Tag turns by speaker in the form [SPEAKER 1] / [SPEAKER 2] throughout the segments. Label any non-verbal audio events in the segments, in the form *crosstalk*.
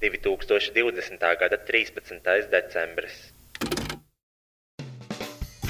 [SPEAKER 1] 2020. gada 13. decembris.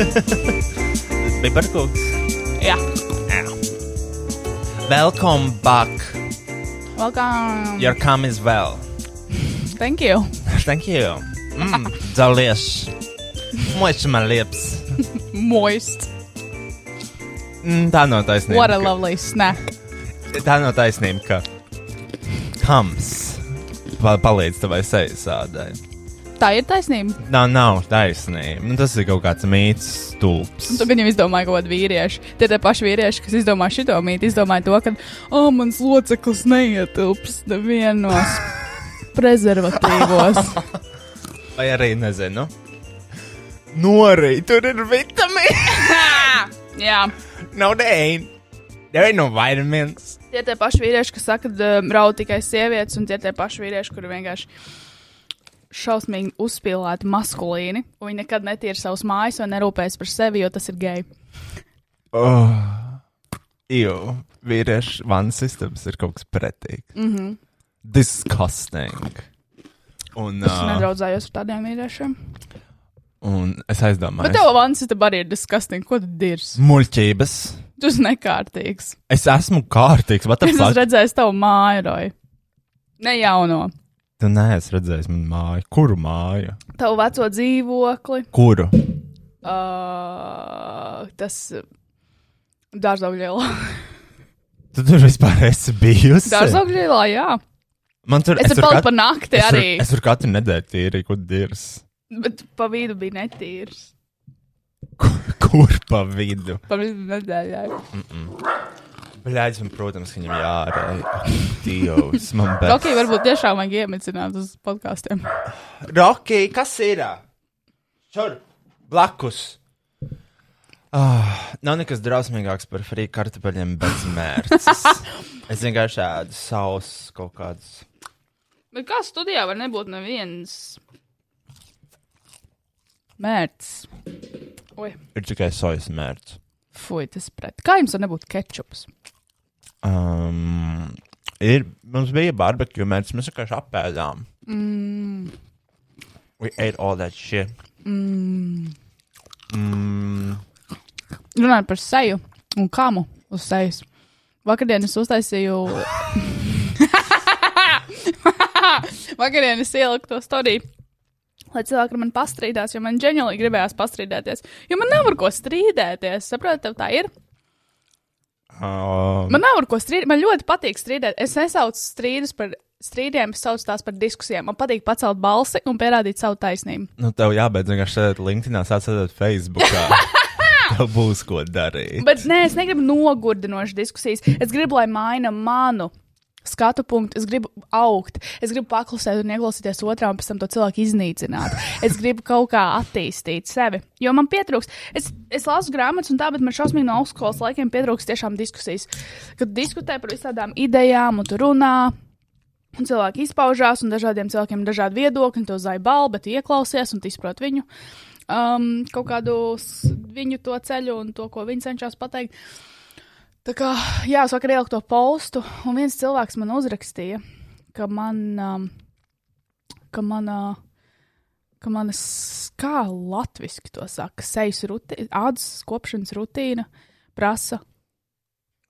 [SPEAKER 2] Tas bija par kungs.
[SPEAKER 3] Jā,
[SPEAKER 2] Welcome back!
[SPEAKER 3] welcome!
[SPEAKER 2] Your come is well.
[SPEAKER 3] Thank you!
[SPEAKER 2] Thank you. Mm, Zalies. Moist my lips.
[SPEAKER 3] Moist!
[SPEAKER 2] Mm, tā nav taisnība.
[SPEAKER 3] What a lovely snack!
[SPEAKER 2] ka, tā nav taisnība, ka kams pa, palīdz tavai sejas sādai.
[SPEAKER 3] Tā ir taisnība.
[SPEAKER 2] Tā nav taisnība. Nu, tas ir kaut kāds mīts, stulbs.
[SPEAKER 3] Tu viņam izdomāji kaut kādu vīriešu. Tie tie paši vīrieši, kas izdomā šito mītu, izdomāja to, ka, ah, oh, mans loceklis neietilps *laughs* nevienos prezervatīvos.
[SPEAKER 2] Vai arī nezinu. Norī, tur ir vitamīni.
[SPEAKER 3] *laughs* Jā,
[SPEAKER 2] Nav dēļ. Tev ir no vitamīns.
[SPEAKER 3] tie tie paši vīrieši, kas saka, ka um, raud tikai sievietes, un tie tie paši vīrieši, kuri vienkārši šausmīgi uzspīlēti maskulīni. un Viņi nekad netīra savus mājas un nerūpējas par sevi, jo tas ir geji.
[SPEAKER 2] Oh. Jū, vīriešu vannas sistēmas ir kaut kas pretīgs. Mm -hmm.
[SPEAKER 3] Mhm.
[SPEAKER 2] Disgusting. Un,
[SPEAKER 3] Es
[SPEAKER 2] uh,
[SPEAKER 3] nedraudzējos ar tādiem vīriešiem.
[SPEAKER 2] un es aizdomājos.
[SPEAKER 3] Bet tev vans ir arī disgusting. Ko tu dirzi?
[SPEAKER 2] Muļķības.
[SPEAKER 3] Tu esi nekārtīgs.
[SPEAKER 2] Es esmu kārtīgs. What the
[SPEAKER 3] Es esmu
[SPEAKER 2] fuck?
[SPEAKER 3] redzējis tavu māju, Roja. Ne jauno.
[SPEAKER 2] Tu neesi redzējis manu māju. Kuru māju?
[SPEAKER 3] Tavu veco dzīvokli,
[SPEAKER 2] Kuru?
[SPEAKER 3] uh, tas *laughs* dārzauglielā.
[SPEAKER 2] Tu tur vispār esi bijusi.
[SPEAKER 3] Dārzauglielā, jā.
[SPEAKER 2] Man tur
[SPEAKER 3] Es
[SPEAKER 2] tur
[SPEAKER 3] tur paliku
[SPEAKER 2] kat-
[SPEAKER 3] par nakti
[SPEAKER 2] es tur-
[SPEAKER 3] arī,
[SPEAKER 2] Es tur katru nedēļu tīri, kur dirs.
[SPEAKER 3] bet pa vidu bija netīrs.
[SPEAKER 2] Kur, *laughs* kur pa vidu?
[SPEAKER 3] Pa vidu nedēļā.
[SPEAKER 2] Bļaģis, un, protams, viņam jārēķina. Dievs, man bērns.
[SPEAKER 3] Roki varbūt tiešām vajag iemicināt uz podkāstiem.
[SPEAKER 2] Roki, kas ir? Šur, blakus. Ah, nav nekas drausmīgāks par frī kartupeļiem bez mērķis. es vienkārši ēdu savus kaut kādus.
[SPEAKER 3] *laughs* Bet kā studijā var nebūt neviens mērķis? Oi,
[SPEAKER 2] Ir tikai sojas mērķis.
[SPEAKER 3] fuj, tas pret. Kā jums var nebūt kečups?
[SPEAKER 2] Um, ir, mums bija barbekju mērķis, mēs vienkārši apēdām. Mm. We ate all that shit.
[SPEAKER 3] mm.
[SPEAKER 2] Mm,
[SPEAKER 3] runājot par seju un kāmu uz sejas. Vakardien es uztaisīju. *laughs* Vakardien es ieliku to stāstu. Lai cilvēki ar mani pastrīdās, jo man ģenerāli gribējās pastrīdēties. Jo man nav ar ko strīdēties. Saprotiet, tev tā ir.
[SPEAKER 1] Um,
[SPEAKER 3] Man nav ar ko strīdēt. Man ļoti patīk strīdēt. Es nesaucu strīdus par strīdiem, es saucu tās par diskusijām. Man patīk pacelt balsi un pierādīt savu taisnību.
[SPEAKER 1] nu, tev jābeidz vienkārši sēdēt LinkedInā, sēdēt Facebookā.
[SPEAKER 3] *laughs*
[SPEAKER 1] tev būs ko darīt.
[SPEAKER 3] Bet nē, es negribu nogurdinošas diskusijas. Es gribu, lai maina manu skatu punktu. Es gribu augt, es gribu paklusēt un ieklausīties otrā un pēc tam to cilvēku iznīcināt. Es gribu kaut kā attīstīt sevi, jo man pietrūkst. Es, es lasu grāmatas un tā, bet man šausmīgi no augstskolas laikiem pietrūkst tiešām diskusijas. Kad diskutē par visādām idejām un tu runā. Un cilvēki izpaužās, un dažādiem cilvēkiem ir dažādi viedokļi, un to zaibal, bet tu ieklausies un tu izproti viņu. Um, kaut kādu s- viņu to ceļu un to, ko viņi cenšas pateikt. Tā kā, jā, es vakar ieliku to postu, un viens cilvēks man uzrakstīja, ka man, um, ka man, uh, ka manas, kā latviski to saka, sejas rutīna, ādas kopšanas rutīna prasa,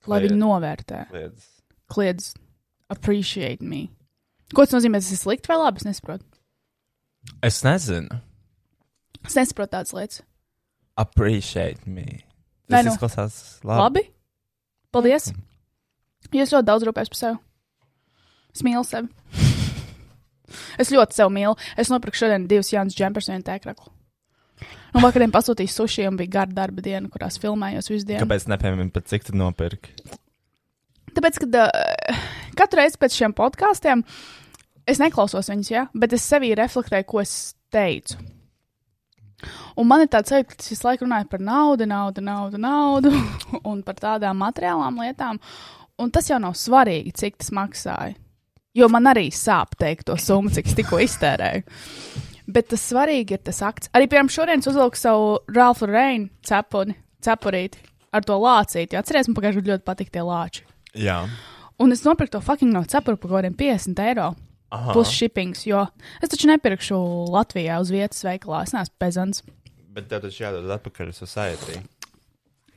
[SPEAKER 3] lai
[SPEAKER 1] Kliedz.
[SPEAKER 3] viņi novērtē,
[SPEAKER 1] Lietas.
[SPEAKER 3] kliedz, appreciate me. Ko tas nozīmē? Tas ir slikti vai labi? Es nesaprotu.
[SPEAKER 1] Es nezinu.
[SPEAKER 3] Es nesaprotu tādas lietas.
[SPEAKER 1] Appreciate me.
[SPEAKER 3] Vai
[SPEAKER 1] Tas
[SPEAKER 3] nu?
[SPEAKER 1] izklausās labi.
[SPEAKER 3] Labi? Paldies! Jūs ļoti daudz rūpēs par sevi. Es mīlu sevi. es ļoti sevi mīlu. Es nopirku šodien divus jaunus džempus, vienu tēkraklu. Un vakarā pasūtīju sushi, un bija gara darba diena, kurās filmējos visu dienu.
[SPEAKER 1] Kāpēc nepiemēram, pat cik tu nopirki?
[SPEAKER 3] Tāpēc, kad uh, katru reizi pēc šiem podkāstiem es neklausos viņus, ja? bet es sevī reflektēju, ko es teicu. Un man ir tāds sajūta, ka šis laiks runāja par naudu, naudu, naudu, naudu *laughs* un par tādām materiālām lietām. Un tas jau nav svarīgi, cik tas maksāja. Jo man arī sāp teikt to summu, cik es tikko iztērēju. Bet tas svarīgi ir tas akts. Arī piemēram, šodien es uzliku savu Ralfa Reina cepuri, cepurīti ar to lācīti. Jo Atcerieties, man pagājušajā gadā ļoti patika tie lāči.
[SPEAKER 1] Jā.
[SPEAKER 3] Un es nopirku to fucking no cepura par kaut kādiem 50 eiro. Aha. Plus shippings, jo es taču nepirkšu Latvijā uz vietas veikalā. Es neesmu pezants.
[SPEAKER 1] Bet tev taču jādod atpakaļ society.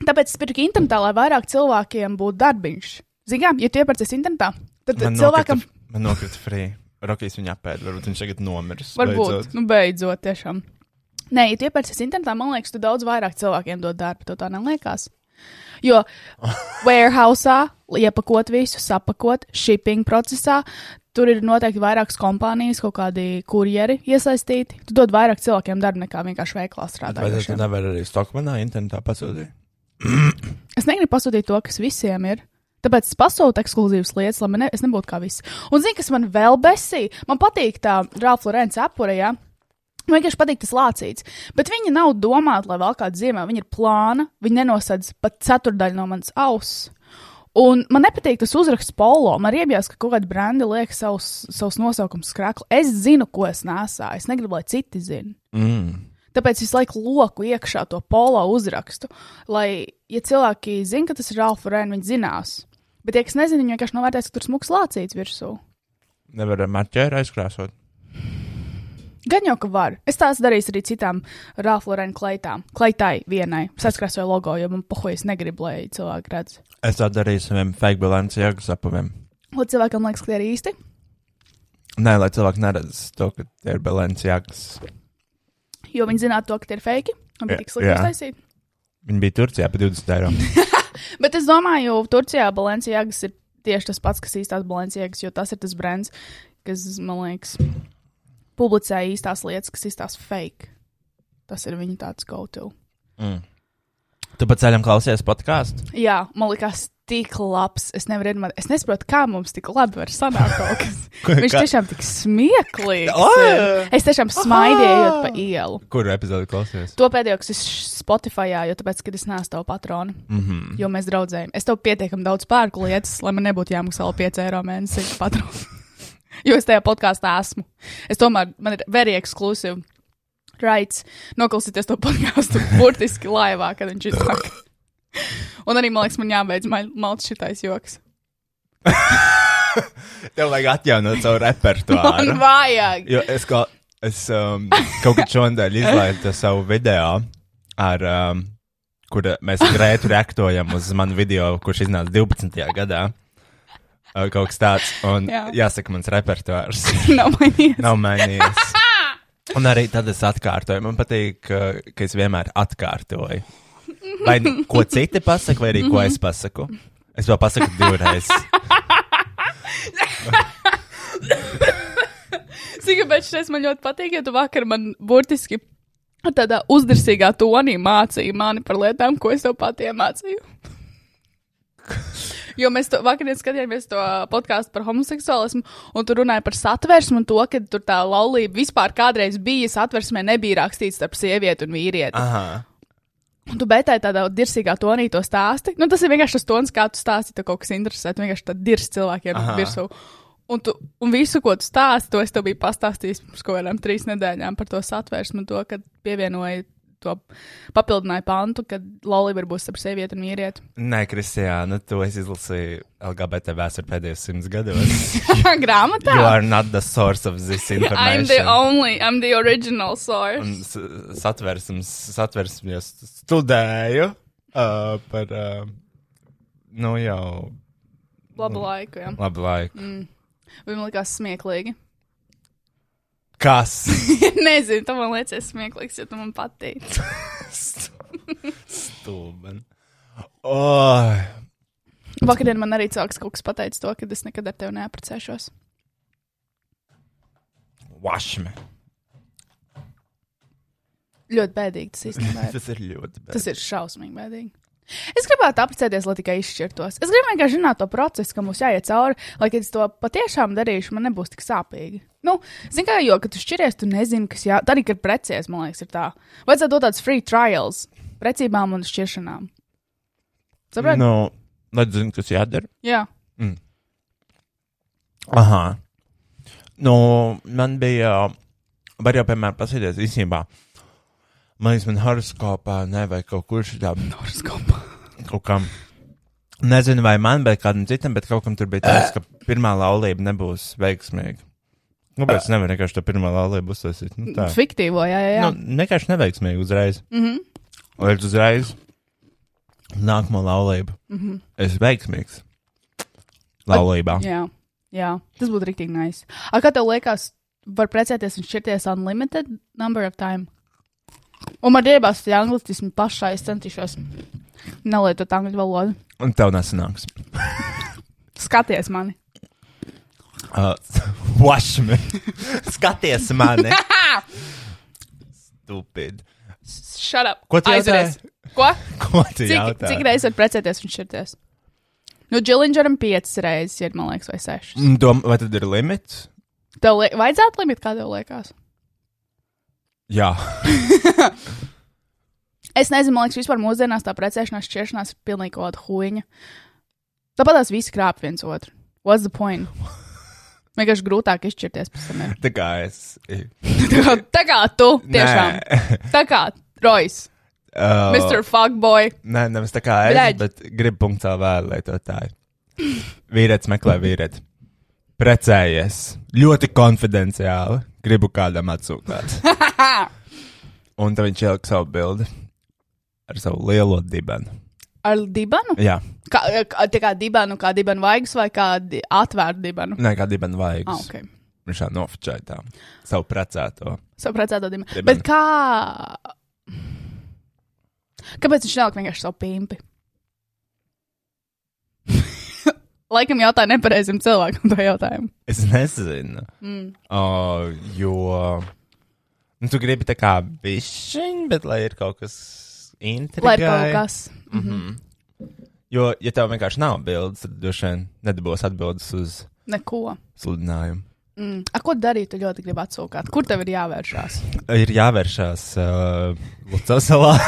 [SPEAKER 3] Tāpēc es pirku internetā, lai vairāk cilvēkiem būtu darbiņš. Zinām, ja tu iepērcies internetā, tad
[SPEAKER 1] Man
[SPEAKER 3] cilvēkam
[SPEAKER 1] nokrita- Man nokrita free. Rokijs viņu apēd, varbūt viņš tagad nomirs.
[SPEAKER 3] varbūt,
[SPEAKER 1] beidzot.
[SPEAKER 3] nu, beidzot, tiešām. Nē, ja tu iepērcies internetā, man liekas, tu daudz vairāk cilvēkiem dod darbu. Tev tā neliekās. Jo warehouse, iepakot visu, sapakot, shipping procesā. Tur ir noteikti vairākas kompānijas, kaut kādi kurjeri iesaistīti. Tu dod vairāk cilvēkiem darbu nekā vienkārši veiklā
[SPEAKER 1] Vai tas
[SPEAKER 3] strādājot.
[SPEAKER 1] nevar arī Stokmanā internetā pasūtīt?
[SPEAKER 3] Es negribu pasūtīt to, kas visiem ir. Tāpēc es pasūtu ekskluzīvas lietas, lai man ne, es nebūtu kā visi. Un zini, kas man vēl besī? Man patīk tā Ralfa Lorenza apure. Ja? Man vienkārši patīk tas lācīts. Bet viņi nav domāti, lai vēl kādā zīmē. Viņi ir plāna, viņi nenosedz pat ceturdaļu no manas auss. Un man nepatīk tas uzraksts polo. Man riebjās, ka kaut kāda brenda liek savus, savus nosaukumus skrakli. Es zinu, ko es nesāju. Es negribu, lai citi zinātu.
[SPEAKER 1] Mm.
[SPEAKER 3] Tāpēc visu laiku loku iekšā to polo uzrakstu, lai, ja cilvēki zina, ka tas ir Ralfa Rēna, viņi zinās. Bet, ja kas nezina, viņi vienkārši novērtēs, ka tur smūgs lācīts virsū.
[SPEAKER 1] Nevar ar marķēru aizkrāsot.
[SPEAKER 3] Gan jau, ka var. Es tās darīšu arī citām Ralfa Rēna kleitām. Kleitai vienai. Saskrāsoju logo, jo man pohojas negrib, lai cilvēki redz.
[SPEAKER 1] Es tā darīju saviem fake bilanci jēgas apaviem.
[SPEAKER 3] Lai cilvēkam liekas, ka tie ir īsti.
[SPEAKER 1] Nē, lai cilvēki neredz to, ka tie ir bilanci jēgas.
[SPEAKER 3] Jo viņi zinātu to, ka tie ir fake. Man bija
[SPEAKER 1] Jā,
[SPEAKER 3] tik slikti
[SPEAKER 1] jā.
[SPEAKER 3] uztaisīt.
[SPEAKER 1] Viņi bija Turcijā par 20
[SPEAKER 3] *laughs*
[SPEAKER 1] eiro.
[SPEAKER 3] Bet es domāju, Turcijā Balenciagas ir tieši tas pats, kas īstās Balenciagas, jo tas ir tas brands, kas, man liekas, publicē īstās lietas, kas izstās fake. Tas ir viņa tāds go-to.
[SPEAKER 1] Mm. Tu pa ceļam klausies podkāstu?
[SPEAKER 3] Jā, man liekas, tik labs. Es nevaru iedomāties, es nesaprotu, kā mums tik labi var sanākt kaut kas. Viņš tiešām tik smieklīgs. ir. Es tiešām smaidīju pa ielu.
[SPEAKER 1] Kuru epizodi klausies?
[SPEAKER 3] To pēdējo, kas ir Spotify, jo tāpēc, ka es neesmu tavu patronu.
[SPEAKER 1] Mm -hmm.
[SPEAKER 3] Jo mēs draudzējamies. Es tev pietiekami daudz pērku lietas, lai man nebūtu jāmaksā vēl 5 eiro mēnesī par patronu. *laughs* jo es tajā podkāstā esmu. Es tomēr man ir very exclusive rights noklausīties to podkāstu *laughs* burtiski laivā, kad viņš iznāk. Un arī, man liekas, man jābeidz ma- malts šitais joks.
[SPEAKER 1] Tev vajag atjaunot savu
[SPEAKER 3] Man
[SPEAKER 1] repertuāru.
[SPEAKER 3] vajag!
[SPEAKER 1] Jo es, kā, es um, kaut kad šodien izlaidu to savu video ar um,
[SPEAKER 2] kur eh, mēs grētu reaktojam uz manu video, kurš iznāca 12. gadā. Eh, Kaut kas tāds, un Jā.
[SPEAKER 3] Jā.
[SPEAKER 2] jāsaka, mans repertuārs
[SPEAKER 3] Nav mainījies.
[SPEAKER 2] nav
[SPEAKER 3] *laughs*
[SPEAKER 2] mainījies. Un arī tad es atkārtoju. Man patīk, ka, ka es vienmēr atkārtoju. Vai nu ko citi pasakā, vai arī ko es pasaku. Es vēl pasaku
[SPEAKER 3] *laughs*
[SPEAKER 2] divreiz.
[SPEAKER 3] *laughs* Zinu, bet šis man ļoti patīk, ja tu vakar man burtiski tādā uzdursīgā tonī mācīji mani par lietām, ko es tev pat iemācīju. Jo mēs to vakar skatījāmies to podkāstu par homoseksuālismu, un tur runāja par satversmi un to, ka tur tā laulība vispār kādreiz bija satversmē, nebija rakstīts starp sievieti un vīrieti.
[SPEAKER 2] Aha.
[SPEAKER 3] Un tu betai tādā dirsīgā tonī to stāsti. Nu, tas ir vienkārši tas tons, kā tu stāsti, ja tev kaut kas interesē. Tu vienkārši tāds dirs cilvēkiem
[SPEAKER 2] Aha.
[SPEAKER 3] virsū. Un, tu, un visu, ko tu stāsti, to es tev biju pastāstījis pirms kaut kādām trīs nedēļām par to satvērsmu, un to, kad pievienoja to papildināju pantu, kad laulība var būt starp sievieti un vīrieti.
[SPEAKER 2] Nē, Kristija, nu tu esi izlasījis LGBT vēsturi pēdējos simts gados.
[SPEAKER 3] *laughs*
[SPEAKER 2] You
[SPEAKER 3] *laughs* Grāmatā!
[SPEAKER 2] are not the source of this
[SPEAKER 3] I'm the
[SPEAKER 2] information.
[SPEAKER 3] only, I'm the original source.
[SPEAKER 2] Un s- Satversmes, satversmes studēju uh, par, uh, nu jau
[SPEAKER 3] Labu laiku, jā.
[SPEAKER 2] labu laiku. Mm.
[SPEAKER 3] Viņam likās smieklīgi. *laughs*
[SPEAKER 2] Kas?
[SPEAKER 3] Nezinu, tu man liekas smieklīgs, jo tu man patīk.
[SPEAKER 2] Stulben. Oh,
[SPEAKER 3] Vakar man arī cilvēks kaut kas pateica to, ka es nekad ar tevi neaprecēšos.
[SPEAKER 2] vašme.
[SPEAKER 3] Ļoti bēdīgi tas īstenībā. ir.
[SPEAKER 2] *laughs* Tas ir ļoti bēdīgi.
[SPEAKER 3] tas ir šausmīgi bēdīgi. Es gribētu apprecēties, lai tikai izšķirtos. Es gribu vienkārši zināt to procesu, ka mums jāiet cauri, lai, kad es to patiešām darīšu, man nebūs tik sāpīgi. Nu, zini, kā jau, kad tu šķiries, tu nezini, kas jā... Tad, kad precējies, man liekas, ir tā. Vajadzētu dot tādus free trials precībām un šķiršanām. Saprati? No.
[SPEAKER 2] Nu, lai zinu, kas jādara.
[SPEAKER 3] Jā.
[SPEAKER 2] Aha. Nu, man bija, var jau, piemēram, pasēdēties īstenībā. Man liekas, man horoskopā nevajag kaut kur šitā
[SPEAKER 3] Horoskopā.
[SPEAKER 2] kaut kam. Nezinu, vai man, bet kādam citam, bet kaut kam tur bija tāds, ka pirmā laulība nebūs veiksmīga. Nu, bet es nevaru vienkārši to pirmā laulību uzsākt. Nu, tā.
[SPEAKER 3] Fiktīvo, jā, jā. jā. Mhm.
[SPEAKER 2] Nu, vienkārši neveiksmīgi uzreiz. Mm -hmm. Līdz uzreiz nākamā laulība. Mm -hmm. Es esmu veiksmīgs. Laulībā.
[SPEAKER 3] Mhm. Jā, jā. tas būtu rīktīgi nice. A, kā tev liekas, var precēties un šķirties unlimited number of time? Un man dievās tie anglismi pašā, es centīšos nelietot angļu valodu.
[SPEAKER 2] Un tev nesanāks.
[SPEAKER 3] Skaties mani.
[SPEAKER 2] Uh, *laughs* Vašmi. *laughs* Skaties mani. Stupid. *laughs*
[SPEAKER 3] Shut up.
[SPEAKER 2] Ko tu
[SPEAKER 3] Aizveries. Ko?
[SPEAKER 2] Ko tu
[SPEAKER 3] Cik,
[SPEAKER 2] jautā?
[SPEAKER 3] cik reizes var precēties un šķirties? Nu, Džilingeram piecas reizes ir, man liekas, vai sešas.
[SPEAKER 2] Mm, Dom, vai tad ir limits?
[SPEAKER 3] Tev li vajadzētu limitu, kā tev liekas?
[SPEAKER 2] Jā.
[SPEAKER 3] Es nezinu, man liekas, vispār mūsdienās tā precēšanās, šķiršanās ir pilnīgi kaut kāda huīņa. Tāpat tās visi krāp viens otru. What's the point? Vienkārši grūtāk izšķirties pēc tam. ir.
[SPEAKER 2] Tā kā es.
[SPEAKER 3] Tā kā- *laughs* Tā kā tu tiešām.
[SPEAKER 2] Nē.
[SPEAKER 3] Tā kā Rois,
[SPEAKER 2] *laughs* Uh,
[SPEAKER 3] Mr. Fuckboy.
[SPEAKER 2] Nē, nevis tā kā es,
[SPEAKER 3] Bļaģ.
[SPEAKER 2] Bļaģ. bet gribu punktā vēl lietotāju. Vīrietis meklē vīrieti. Precējies. Ļoti konfidenciāli. Gribu
[SPEAKER 3] *laughs*
[SPEAKER 2] kādam atsūkt. Un tad viņš ielika savu bildi ar savu lielo dibenu.
[SPEAKER 3] Ar dibanu?
[SPEAKER 2] Jā,
[SPEAKER 3] Kā, kā- tā kā dibanu, kā dibanu vaigas vai kā di atvērtu dibanu?
[SPEAKER 2] nē, kā dibenu vajag.
[SPEAKER 3] Ah, ok.
[SPEAKER 2] Viņš tā nofočēja tā. Savu precēto.
[SPEAKER 3] Sapratu, dibanu.
[SPEAKER 2] Dibenu.
[SPEAKER 3] Bet kā. Kāpēc viņš nelika vienkārši savu pimpi? *laughs* Laikam jautāja nepareizam cilvēkam to jautājumu.
[SPEAKER 2] Es nezinu. Mm. Uh, jo. Nu, tu gribi tā kā višķiņu, bet lai ir kaut kas interesants.
[SPEAKER 3] Lai ir kaut kas. Mhm.
[SPEAKER 2] Jo, ja tev vienkārši nav bildes, tad droši vien nedabūs atbildes uz
[SPEAKER 3] Neko.
[SPEAKER 2] sludinājumu.
[SPEAKER 3] Mm. A, ko darīt? Tu ļoti gribi atsūkāt. Kur tev ir jāvēršās?
[SPEAKER 2] Ir jāvēršās uh, Lucasovā. *laughs*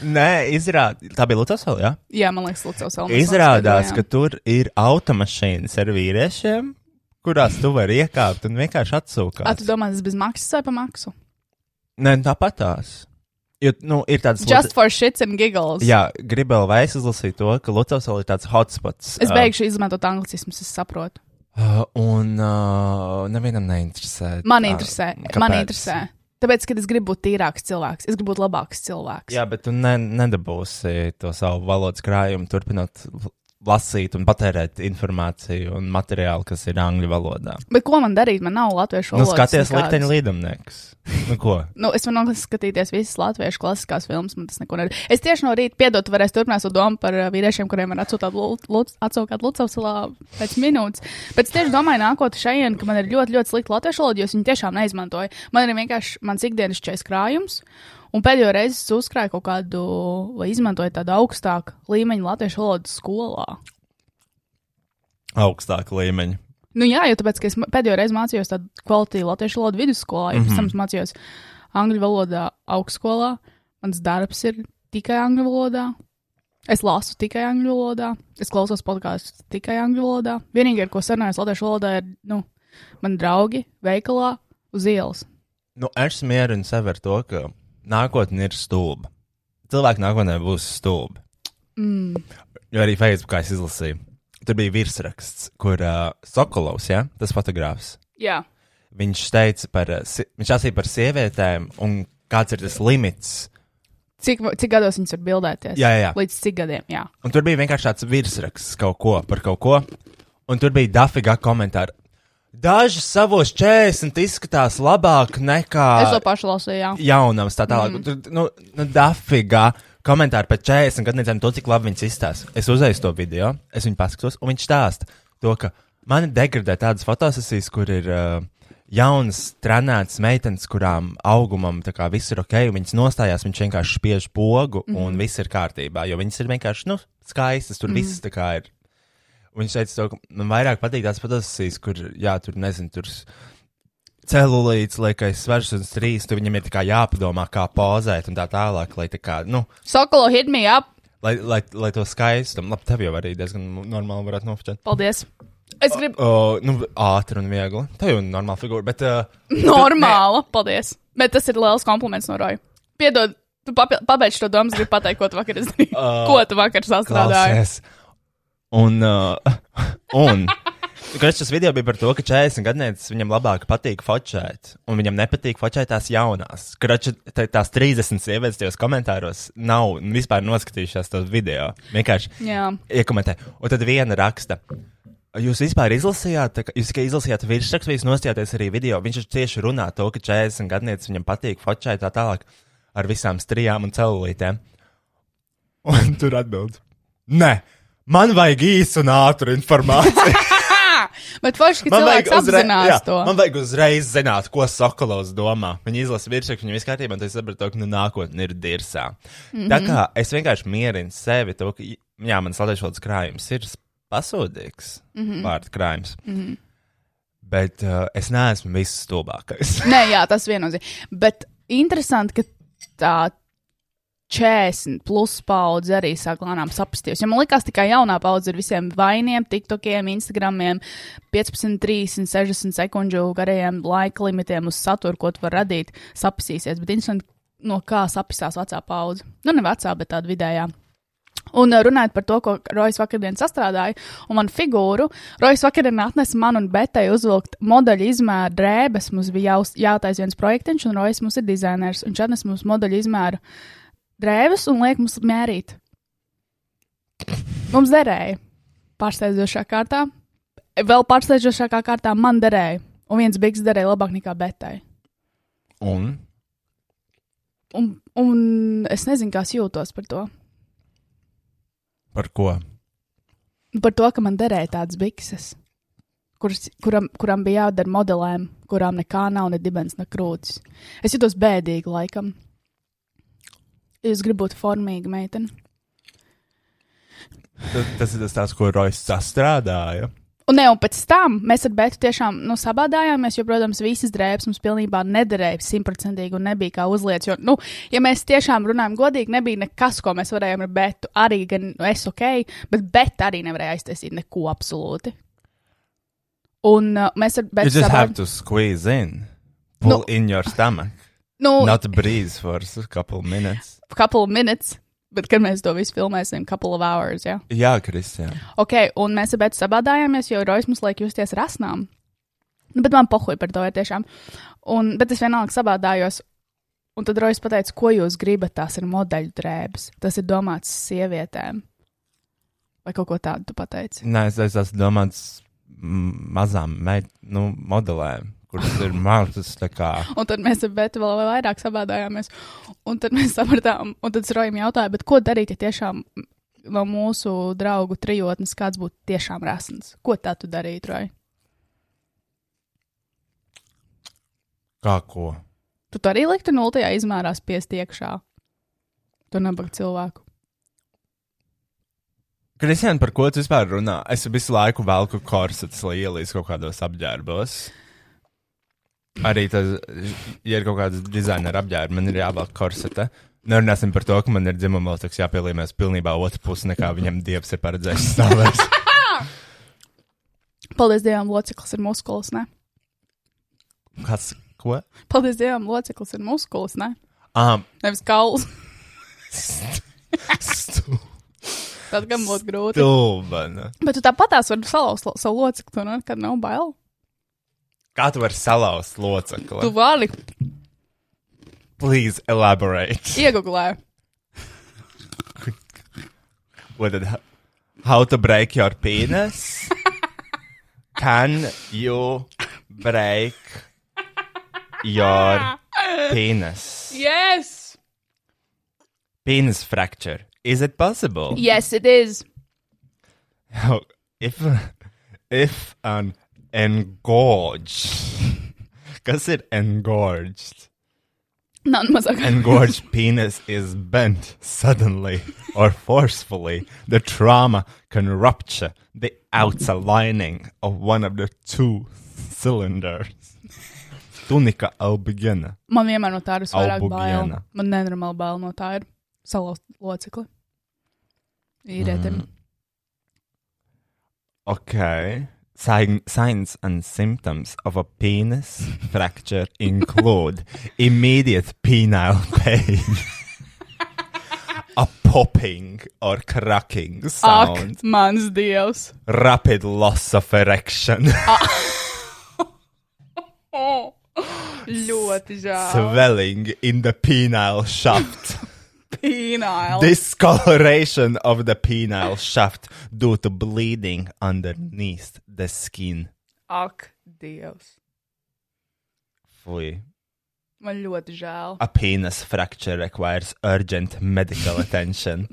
[SPEAKER 2] Nē, izrādās, tā bija Lucasovā. Jā?
[SPEAKER 3] Jā, man liekas, Lucas vēl mēs
[SPEAKER 2] Izrādās, ka
[SPEAKER 3] noskaidrojām.
[SPEAKER 2] tur ir automašīnas ar vīriešiem, kurās tu vari iekāpt un vienkārši
[SPEAKER 3] A, tu
[SPEAKER 2] atsūkāt.
[SPEAKER 3] domā, tas bez maksas vai pa maksu?
[SPEAKER 2] Nē, nu tāpatās. Jo, nu, ir tāds
[SPEAKER 3] Just for shits and giggles.
[SPEAKER 2] Jā, gribēju vēl izlasīt to, ka Lucasovā ir tāds hotspots.
[SPEAKER 3] Es
[SPEAKER 2] ā,
[SPEAKER 3] beigšu izmantot anglicismus, es saprotu.
[SPEAKER 2] Uh, un uh, nevienam neinteresē.
[SPEAKER 3] Man
[SPEAKER 2] tā,
[SPEAKER 3] interesē.
[SPEAKER 2] kāpēc?
[SPEAKER 3] Man interesē. Tāpēc, kad es gribu būt tīrāks cilvēks, es gribu būt labāks cilvēks.
[SPEAKER 2] Jā, bet tu ne, nedabūsi to savu valodas krājumu, turpinot l- lasīt un patērēt informāciju un materiālu, kas ir angļu valodā.
[SPEAKER 3] Bet ko man darīt? Man nav latviešu
[SPEAKER 2] Nu,
[SPEAKER 3] valodas.
[SPEAKER 2] skaties,
[SPEAKER 3] nekādas.
[SPEAKER 2] likteņa līdamnieks. Nu, ko?
[SPEAKER 3] Nu, es varu skatīties visas latviešu klasiskās filmas, man tas neko nedara. Es tieši no rīta piedodu, tu varēsi turpināt savu domu par ā, vīriešiem, kuriem var atsūtāt Lucavsalā pēc minūtes. Bet es tieši domāju, nākot šajien, ka man ir ļoti, ļoti slikta latviešu valoda, jo es viņu tiešām neizmantoju. Man ir vienkārši mans ikdienas čais krājums. Un pēdējo reizi es uzkrāju kaut kādu, vai izmantoju tādu augstāku līmeņu latviešu valodu skolā.
[SPEAKER 2] Augstāka līmeņa.
[SPEAKER 3] Nu, jā, jo tāpēc, ka es ma- pēdējo reizi mācījos tādu kvalitāti latviešu valodu vidusskolā, jau mm -hmm.
[SPEAKER 2] Mhm.
[SPEAKER 3] pirms tam es mācījos angļu valodā augstskolā. Mans darbs ir tikai angļu valodā. Es lasu tikai angļu valodā, es klausos podkāstus tikai angļu valodā. Vienīgais, ar ko sarunājos latviešu valodā, ir nu, mani draugi veikalā uz ielas.
[SPEAKER 2] Nu, es mierinu sevi ar to, ka nākotne ir stulba. Cilvēki nākotnē būs stulbi.
[SPEAKER 3] Mm.
[SPEAKER 2] Jo arī Facebookā es izlasīju. Tur bija virsraksts, kur uh, Sokolovs, ja, tas fotogrāfs,
[SPEAKER 3] Jā,
[SPEAKER 2] viņš teica par, uh, si viņš lasīja par sievietēm un kāds ir tas limits.
[SPEAKER 3] cik, cik gados viņas var bildēties?
[SPEAKER 2] Jā, jā, jā.
[SPEAKER 3] Līdz cik gadiem? Jā.
[SPEAKER 2] Un tur bija vienkārši tāds virsraksts kaut ko par kaut ko. Un tur bija dafigā komentāri. Daži savos 40 izskatās labāk nekā
[SPEAKER 3] Es to pašu lasīju. Jā.
[SPEAKER 2] jaunams, tā tālāk. Mm. Tur, nu, nu, dafigā komentāri par 40 gadiem, to cik labi viņas izstāsta. Es uzreiz to video, es viņu paskatos, un viņš stāsta to, ka man degradē tādas fotosesijas, kur ir. Uh, Jaunas, trenētas meitenes, kurām augumam tā kā viss ir ok, un viņas nostājās, viņš vienkārši spiež pogu, mm -hmm. un viss ir kārtībā. Jo viņas ir vienkārši, nu, skaistas, tur mm -hmm. viss tā kā ir Un Viņš teica, to, ka man vairāk patīk tās fotosesijas, kur, jā, tur nezinu, tur s- celulīts, liekais, svars un strīds. Tur viņam ir tā kā jāpadomā, kā pozēt un tā tālāk, lai, tā kā, nu,
[SPEAKER 3] Sokolo hit me up!
[SPEAKER 2] lai, lai, lai to skaistumu. Labi, tev jau arī diezgan normāli varētu nofočēt.
[SPEAKER 3] Paldies! Es gribu
[SPEAKER 2] O, nu, ātri un viegli. Tev jau ir normāla figūra, bet. Uh,
[SPEAKER 3] Normāla, paldies. Bet tas ir liels kompliments no Roja. Piedod, tu papi- pabeidz to domu, es gribu pateikt, ko tu vakar izdarīji. Uh, ko tu vakar sastrādāji?
[SPEAKER 2] Klausies. Un. Uh, *laughs* un Kas šis video bija par to, ka 40 gadsimtam viņam labāk patīk fotografēt, un viņam nepatīk fotografēt tās jaunās. Kraču, tās 30 sievietes tajos komentāros nav vispār noskatījušās to video. Vienkārši
[SPEAKER 3] Jā.
[SPEAKER 2] iekomentē. Un tad viena raksta. Jūs vispār izlasījāt, tā kā- jūs tikai izlasījāt virsrakstu, jūs nostājāties arī video. Viņš taču tieši runā to, ka 40 gadsimtam viņam patīk fotografēt tā tālāk ar visām strijām un cellulītēm. Un tur atbild: Nē, man vajag īsu un ātru informāciju.
[SPEAKER 3] Bet forši, ka cilvēks apzinās
[SPEAKER 2] jā,
[SPEAKER 3] to.
[SPEAKER 2] man vajag uzreiz zināt, ko Sokolovs domā. Viņa izlasa virsrakstu, viņa vispār kārtībā, un tas saprot, ka nu, nākotne ir dirsā. Mm -hmm.
[SPEAKER 3] Mhm.
[SPEAKER 2] Tā kā es vienkārši mierinu sevi, to, ka jā, mans latviešu valodas krājums ir pasūdīgs, mm
[SPEAKER 3] Mhm.
[SPEAKER 2] -hmm. vārdu krājums. Mm -hmm. Bet uh, es neesmu viss
[SPEAKER 3] *laughs*
[SPEAKER 2] stulbākais.
[SPEAKER 3] Nē, jā, tas viennozīmīgi. Bet interesanti, ka tā 40 plus paudze arī sāk lēnām sapstīties. Ja man liekas, tikai jaunā paudze ir visiem vainiem, tiktokiem, instagramiem, 15, 30, 60 sekundžu garajiem laika limitiem uz saturu, ko tu vari radīt, sapstīsies. Bet interesanti, no kā sapstīsies vecā paudze. Nu, ne vecā, bet tāda vidējā. Un uh, runājot par to, ko Rojas vakardien sastrādāja, un manu figūru, Rojas vakardien atnesa man un Betai uzvilkt modeļu izmēru drēbes. Mums bija jāuz, jātais viens projektiņš, un Rojas mums ir dizainers. Viņš atnesa mums modeļu izmēru drēbes un liek mums mērīt. Mums derēja. Pārsteidzošā kārtā. Vēl pārsteidzošākā kārtā man derēja. Un viens bigs derēja labāk nekā Betai.
[SPEAKER 2] un
[SPEAKER 3] Un, un es nezinu, kā es jūtos par to.
[SPEAKER 2] par ko?
[SPEAKER 3] Par to, ka man derēja tādas bikses, kuras, kuram, kuram bija jādara modelēm, kurām nekā nav, ne dibens, ne krūtis. Es jutos bēdīgi laikam. Jūs gribat būt formīga meitene.
[SPEAKER 2] Tas, tas ir tas, tās, ko Rojas sastrādāja.
[SPEAKER 3] Un, ne, un pēc tam mēs ar Bētu tiešām nu, sabādājāmies, jo, protams, visas drēbes mums pilnībā nederēja simtprocentīgi un nebija kā uzlietas. Jo, nu, ja mēs tiešām runājam godīgi, nebija nekas, ko mēs varējām ar Bētu. Arī gan nu, es ok, bet Bet arī nevarēja aiztaisīt neko absolūti. Un uh, mēs ar
[SPEAKER 2] You
[SPEAKER 3] Bētu
[SPEAKER 2] just
[SPEAKER 3] sabād-
[SPEAKER 2] have to squeeze in, pull no.
[SPEAKER 3] Nu.
[SPEAKER 2] in your stomach.
[SPEAKER 3] Nu,
[SPEAKER 2] Not breathe for a couple minutes.
[SPEAKER 3] couple of minutes, bet kad mēs to visu filmēsim, couple of hours. Ja?
[SPEAKER 2] Jā, Kristija.
[SPEAKER 3] Ok, un mēs abiem sabādājāmies, jo Rojas mums liek justies rasnām. Nu, Bet man pohuļ par to ir tiešām. Un, bet es vienalga sabādājos. Un tad Rojas pateica, ko jūs gribat. Tās ir modeļu drēbes. Tas ir domāts sievietēm. Vai kaut ko tādu tu pateici?
[SPEAKER 2] Nē, es, es esmu domāts mm, mazām mei- nu, modelēm, kuras ir mazas. tā kā-
[SPEAKER 3] Un tad mēs ar Bētu vēl vairāk sabādājāmies. Un tad mēs sapratām, un tad es Rojam jautāju, bet ko darīt, ja tiešām no mūsu draugu trijotnes kāds būtu tiešām rasns? Ko tā tu darītu, Roj?
[SPEAKER 2] Kā ko?
[SPEAKER 3] Tu to arī liktu nultajā izmērā spiest iekšā. Tu nabaga cilvēku.
[SPEAKER 2] Kristiāna, par ko tu vispār runā? Es visu laiku velku korsetus līnijas kaut kādos apģērbos. Arī tas, ja ir kaut kāds dizaineru apģērbs, man ir jāvelk korsete. Nerunāsim par to, ka man ir dzimuma lokus jāpielīmēs pilnībā otrā pusē, nekā viņam dievs ir paredzējis stāvēt.
[SPEAKER 3] Paldies Dievam, loceklis ir muskulis, ne?
[SPEAKER 2] *laughs* Kas? Ko?
[SPEAKER 3] Paldies Dievam, loceklis ir muskulis, ne?
[SPEAKER 2] Um,
[SPEAKER 3] Nevis kauls. *laughs*
[SPEAKER 2] stu,
[SPEAKER 3] Tad gan būtu grūti.
[SPEAKER 2] stulbana.
[SPEAKER 3] Bet tu tāpat tās vari salauzt lo- savu locekli, tu nekad nav bail.
[SPEAKER 2] Kā tu vari salauzt
[SPEAKER 3] Tu
[SPEAKER 2] locekli?
[SPEAKER 3] vari
[SPEAKER 2] Please elaborate.
[SPEAKER 3] iegūlēt.
[SPEAKER 2] What did, how to break your penis? Can you break your penis?
[SPEAKER 3] Yes!
[SPEAKER 2] Penis fracture. Is it possible?
[SPEAKER 3] Yes, it is.
[SPEAKER 2] Oh, if if an engorged, kas ir engorged?
[SPEAKER 3] Nav nu, mazāk.
[SPEAKER 2] Engorged *laughs* penis is bent suddenly or forcefully. The trauma can rupture the outer lining of one of the two cylinders. Tunika albigena.
[SPEAKER 3] Man vienmēr no tā ir vairāk bail.
[SPEAKER 2] Albugiena.
[SPEAKER 3] Man nenormāli bail no tā ir salauzt locekli. Īrietim. Mm.
[SPEAKER 2] Okay. Sign, signs and symptoms of a penis fracture include immediate penile pain, a popping or cracking sound,
[SPEAKER 3] Ak, mans dievs!
[SPEAKER 2] rapid loss of erection,
[SPEAKER 3] Oh, ļoti žēl.
[SPEAKER 2] swelling in the penile shaft,
[SPEAKER 3] Pīnāli.
[SPEAKER 2] discoloration of the penile shaft due to bleeding underneath the skin.
[SPEAKER 3] Ak, dievs.
[SPEAKER 2] Fui.
[SPEAKER 3] Man ļoti žēl.
[SPEAKER 2] A penis fracture requires urgent medical attention.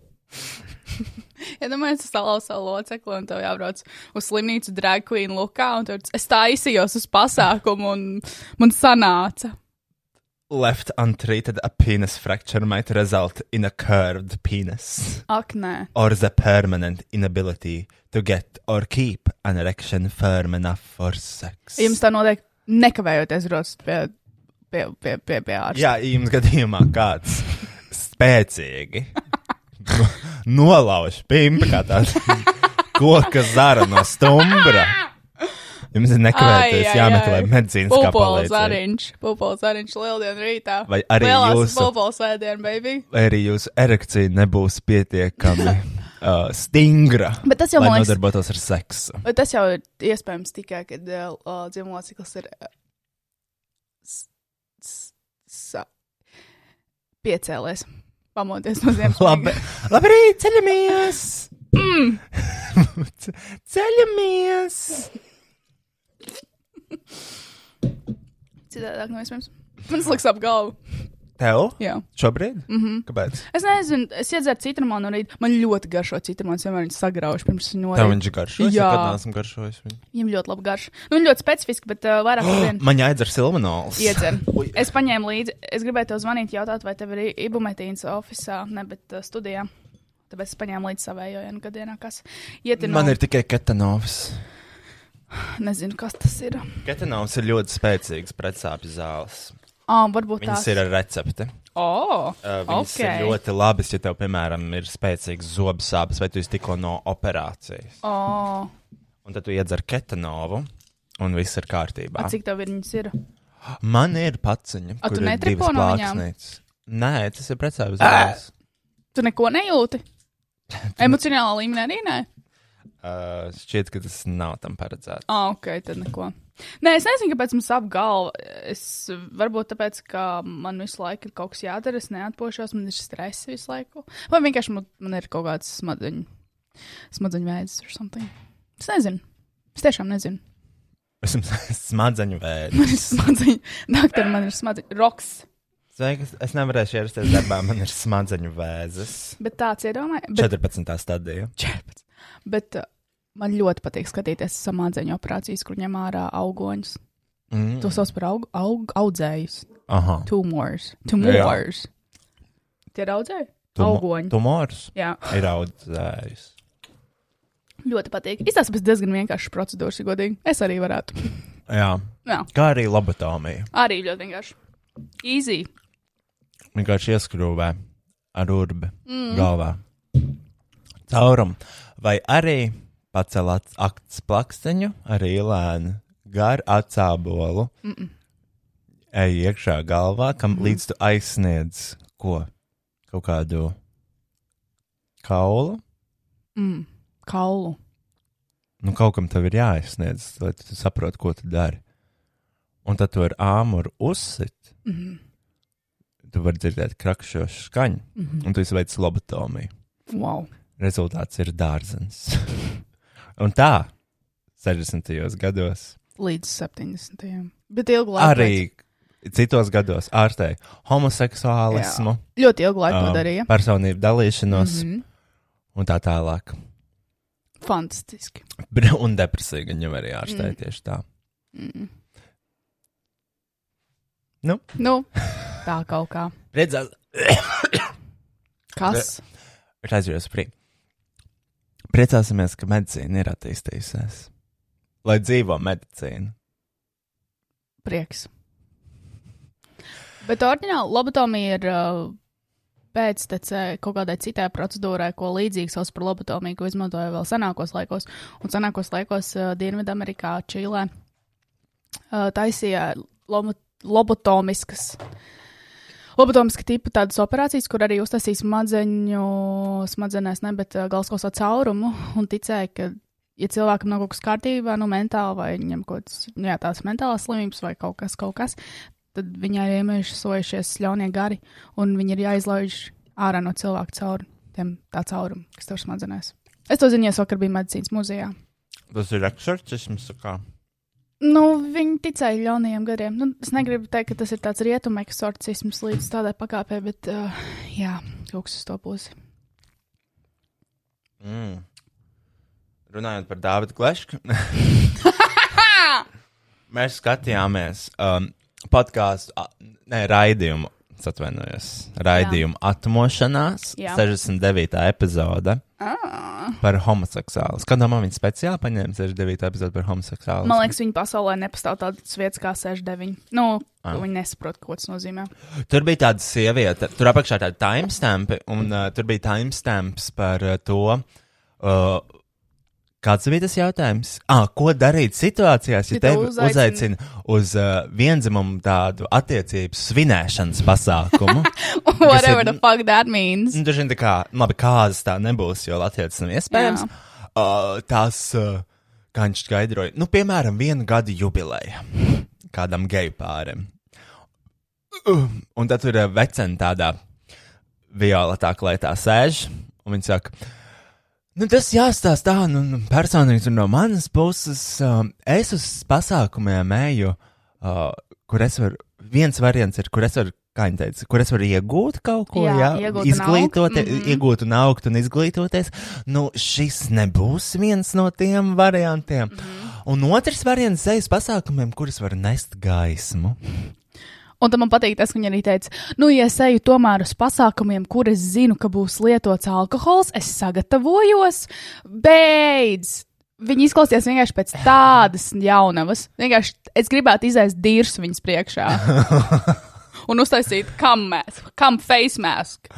[SPEAKER 3] Ja domāju, tas salauzt savu locekli un tev jābrauc uz slimnīcu drag queen lukā, un tur es taisījos uz pasākumu un man sanāca.
[SPEAKER 2] Left untreated, a penis fracture might result in a curved penis
[SPEAKER 3] Ak, nē.
[SPEAKER 2] or the permanent inability to get or keep an erection firm enough for sex.
[SPEAKER 3] Jums tā noteikti nekavējoties rodas pie, pie, pie, pie, pie ārsta.
[SPEAKER 2] Jā, jums gadījumā kāds spēcīgi no- nolauž pimpu kā tāds koka zara no stumbra. Jums ir nekavēties
[SPEAKER 3] Ai, ai,
[SPEAKER 2] jāmeklē
[SPEAKER 3] ai.
[SPEAKER 2] medicīnas
[SPEAKER 3] Pupols
[SPEAKER 2] palīdzība.
[SPEAKER 3] ariņš, pupols ariņš lieldienu rītā.
[SPEAKER 2] Vai arī
[SPEAKER 3] Lielās
[SPEAKER 2] jūsu-
[SPEAKER 3] pupols vēdien, baby.
[SPEAKER 2] Vai arī jūsu erekcija nebūs
[SPEAKER 3] *laughs*
[SPEAKER 2] pietiekami uh, stingra,
[SPEAKER 3] Bet tas jau,
[SPEAKER 2] lai
[SPEAKER 3] man liekas,
[SPEAKER 2] nodarbotos ar seksu.
[SPEAKER 3] Bet tas jau ir iespējams tikai, kad uh, dzimumociklis ir uh, s- s- sa- piecēlies, pamodies no ziemas.
[SPEAKER 2] Labi, labrīt, ceļamies! Mm. *laughs* ceļamies!
[SPEAKER 3] Citādāk nav iespējams. Man sliks ap galvu.
[SPEAKER 2] Tev?
[SPEAKER 3] Jā.
[SPEAKER 2] Šobrīd? Mm
[SPEAKER 3] Mhm.
[SPEAKER 2] -hmm. Kāpēc?
[SPEAKER 3] Es nezinu, es iedzēru citronu un rīt. man ļoti garšo citronu. Es vienmēr viņu sagraušu pirms viņu
[SPEAKER 2] Tev
[SPEAKER 3] norādīju.
[SPEAKER 2] viņš garšo.
[SPEAKER 3] Jā.
[SPEAKER 2] Kad neesam garšojuši
[SPEAKER 3] *gasps*
[SPEAKER 2] viņu.
[SPEAKER 3] Viņam ļoti labi garšo. Nu, viņi ļoti specifiski, bet uh, vairāk
[SPEAKER 2] *gasps*
[SPEAKER 3] vien.
[SPEAKER 2] Man jāizdara silmanols.
[SPEAKER 3] Iedzer. Es paņēmu līdzi, es gribēju tev zvanīt, jautāt, vai tev ir ibumetīns oficiālā, ne, bet uh, studijā. Tāpēc es paņēmu līdzi savējo, ja nu gadienā kas. Ietinu,
[SPEAKER 2] Man ir tikai ketanovs.
[SPEAKER 3] Nezinu, kas tas ir.
[SPEAKER 2] Ketanovs ir ļoti spēcīgs pretsāpju zāles.
[SPEAKER 3] Ah, varbūt
[SPEAKER 2] Viņas
[SPEAKER 3] tas
[SPEAKER 2] ir ar recepti.
[SPEAKER 3] Oh,
[SPEAKER 2] Uh, Viņas okay.
[SPEAKER 3] okay.
[SPEAKER 2] ir ļoti labas, ja tev, piemēram, ir spēcīgs zobu sāpes vai tu esi tikko no operācijas.
[SPEAKER 3] Oh,
[SPEAKER 2] Un tad tu iedzer ketanovu, un viss ir kārtībā.
[SPEAKER 3] cik tev ir viņas ir?
[SPEAKER 2] Man ir paciņa.
[SPEAKER 3] A, tu
[SPEAKER 2] kur ir
[SPEAKER 3] netripo
[SPEAKER 2] divas
[SPEAKER 3] no viņām?
[SPEAKER 2] plāksnītes. Nē, tas ir precēvis. *laughs*
[SPEAKER 3] Tu neko nejūti? Emocionālā līmenī arī nē.
[SPEAKER 2] Uh, Uh, šķiet, ka tas nav tam paredzēts. *laughs*
[SPEAKER 3] Ah, ok, tad neko. Nē, es nezinu, kāpēc mums apgalvo. Es varbūt tāpēc, ka man visu laiku ir kaut kas jādara, es neatpošos, man ir stress visu laiku. Vai vienkārši man, man ir kaut kāds smadzeņu, smadzeņu vēdzis vai something. Es nezinu. Es tiešām nezinu. *laughs*
[SPEAKER 2] Esmu smadzeņu vērts.
[SPEAKER 3] Man ir smadzeņu, doktor, man ir smadzeņu roks.
[SPEAKER 2] Sveiks, es nevarēšu ierasties darbā, man ir smadzeņu vēzis.
[SPEAKER 3] Bet tāds iedomājies. Bet,
[SPEAKER 2] 14. stadija.
[SPEAKER 3] 14. bet uh, man ļoti patīk skatīties samādzeņu operācijas, kur ņem ārā augoņus.
[SPEAKER 2] Mm.
[SPEAKER 3] To sauc par aug, aug, audzējus.
[SPEAKER 2] Aha.
[SPEAKER 3] Tumors. Tumors. Tie ir audzēji?
[SPEAKER 2] Tumo-
[SPEAKER 3] Augoņi.
[SPEAKER 2] Tumors
[SPEAKER 3] Jā,
[SPEAKER 2] ir audzējis.
[SPEAKER 3] ļoti patīk. Izstāsta pēc diezgan vienkāršas procedūras, ja godīgi. Es arī varētu.
[SPEAKER 2] Jā.
[SPEAKER 3] Jā,
[SPEAKER 2] Kā arī lobotomija.
[SPEAKER 3] arī ļoti vienkārši. Easy.
[SPEAKER 2] vienkārši ieskrūvē ar urbi mm. galvā. Caurumu. Vai arī pacelāts akts plaksteņu, arī lēni garu atsābolu. Mm -mm. Ej iekšā galvā, kam mm. līdz tu aizsniedz ko? Kaut kādu kaulu.
[SPEAKER 3] Mm. Kaulu.
[SPEAKER 2] Nu, kaut kam tam ir jāaizsniedz, lai tu saprotu, ko tu dari. Un tad tu ar āmuru uzsit. Mm
[SPEAKER 3] Mhm.
[SPEAKER 2] -hmm. Tu vari dzirdēt krakšošu skaņu, mm -hmm. un tu izveic lobotomiju.
[SPEAKER 3] Mhm. Wow.
[SPEAKER 2] Rezultāts ir dārzens. *laughs* un tā, 60. gados,
[SPEAKER 3] Līdz 70. Bet ilgu laiku.
[SPEAKER 2] arī citos gados ārstēja homoseksuālismu,
[SPEAKER 3] veic- Ļoti ilgu laiku to
[SPEAKER 2] um,
[SPEAKER 3] darīja. Mhm.
[SPEAKER 2] personību dalīšanos mm -hmm. un tā tālāk.
[SPEAKER 3] Fantastiski.
[SPEAKER 2] Br- Un depresija gan jau arī ārstēja mm. tieši tā.
[SPEAKER 3] Mm. Nu, tā kaut kā.
[SPEAKER 2] *coughs* Redzēs,
[SPEAKER 3] Kas?
[SPEAKER 2] Raizījos prī. Priecāsimies, ka medicīna ir attīstījusies. Lai dzīvo medicīna.
[SPEAKER 3] Prieks. Bet oriģināli lobotomija ir uh, pēctecē kaut kādai citai procedūrai, ko līdzīgi sauc par lobotomiju, ko izmantoja vēl senākos laikos. Un senākos laikos uh, Dienvidamerikā, Čīlē uh, taisīja lomo- lobotomiskas. Lobotomiska tipa tādas operācijas, kur arī uztaisīja smadzeņu, smadzenēs, ne, bet uh, galvaskosā caurumu un ticēja, ka ja cilvēkam nav kaut kas kārtībā, nu, mentāli, vai viņam kaut kādas nu, jā, tādas mentālas slimības vai kaut kas, kaut kas tad viņai ir iemiesojušies ļaunie gari, un viņi ir jāizlaiž ārā no cilvēka caur tiem, tā caurumu, kas tev smadzenēs. Es to zinu, ja es vakar biju medicīnas muzejā.
[SPEAKER 2] Tas ir eksorcisms. tā kā.
[SPEAKER 3] Nu, viņi ticēja ļaunajiem gadiem. Nu, es negribu teikt, ka tas ir tāds rietumu eksorcisms līdz tādai pakāpē, bet uh, jā, kaut kas uz to pusi.
[SPEAKER 2] Mm. Runājot par Dāvidu
[SPEAKER 3] *laughs*
[SPEAKER 2] Glešku, mēs skatījāmies um, podkāstu, a- nē, raidījumu, es atvainojos, raidījumu atmošanās,
[SPEAKER 3] Jā.
[SPEAKER 2] 69. epizode
[SPEAKER 3] Ah.
[SPEAKER 2] par homoseksuālu. Kādā man viņa speciāli paņēma 69. epizode par homoseksuālu?
[SPEAKER 3] Man liekas, viņa pasaulē nepastāv tādas vietas kā 69. Nu,
[SPEAKER 2] Ah.
[SPEAKER 3] viņi nesaprot, ko tas nozīmē.
[SPEAKER 2] Tur bija tāda sieviete, tur apakšā tāda timestampa, un uh, tur bija timestamps par uh, to. Uh, Kāds bija tas jautājums? À, ko darīt situācijās, ja
[SPEAKER 3] Ja tev
[SPEAKER 2] tevi
[SPEAKER 3] uzaicina-
[SPEAKER 2] uzaicina uz uh, vienzimumu tādu attiecību svinēšanas
[SPEAKER 3] *laughs*
[SPEAKER 2] pasākumu?
[SPEAKER 3] Whatever
[SPEAKER 2] ir-
[SPEAKER 3] the fuck that means.
[SPEAKER 2] Nu, Dažiem tā kā, labi, kādas tā nebūs, jo Latvijas nav iespējams. Uh, tās, uh, kā viņš skaidroja, nu, piemēram, vienu gadu jubileja kādam geju pārim. Uh, un tad tur ir vecena tādā violetā klētā sēž, un viņi saka, nu, tas jāstāsta tā, nu, nu, personīgi tur no manas puses, uh, es uz pasākumiem eju, uh, kur es varu, viens variants ir, kur es varu. Kā viņi teica, kur es varu iegūt kaut ko, jā,
[SPEAKER 3] Jā, iegūt un
[SPEAKER 2] izglītoties,
[SPEAKER 3] augt, mhm.
[SPEAKER 2] iegūt un augt un izglītoties. Nu, šis nebūs viens no tiem variantiem. Mm -hmm.
[SPEAKER 3] Mhm.
[SPEAKER 2] Un otrs variants ir uz pasākumiem, kurus var nest gaismu.
[SPEAKER 3] Un tam man patīk tas, ka viņa arī teica, nu, ja es eju tomēr uz pasākumiem, kur es zinu, ka būs lietots alkohols, es sagatavojos. Beidz! Viņi izklausījās vienkārši pēc tādas jaunavas. Vienkārši es gribētu izaist dīrs viņas *laughs* priekšā. Un uztaisīt, kam mēs, kam face mask.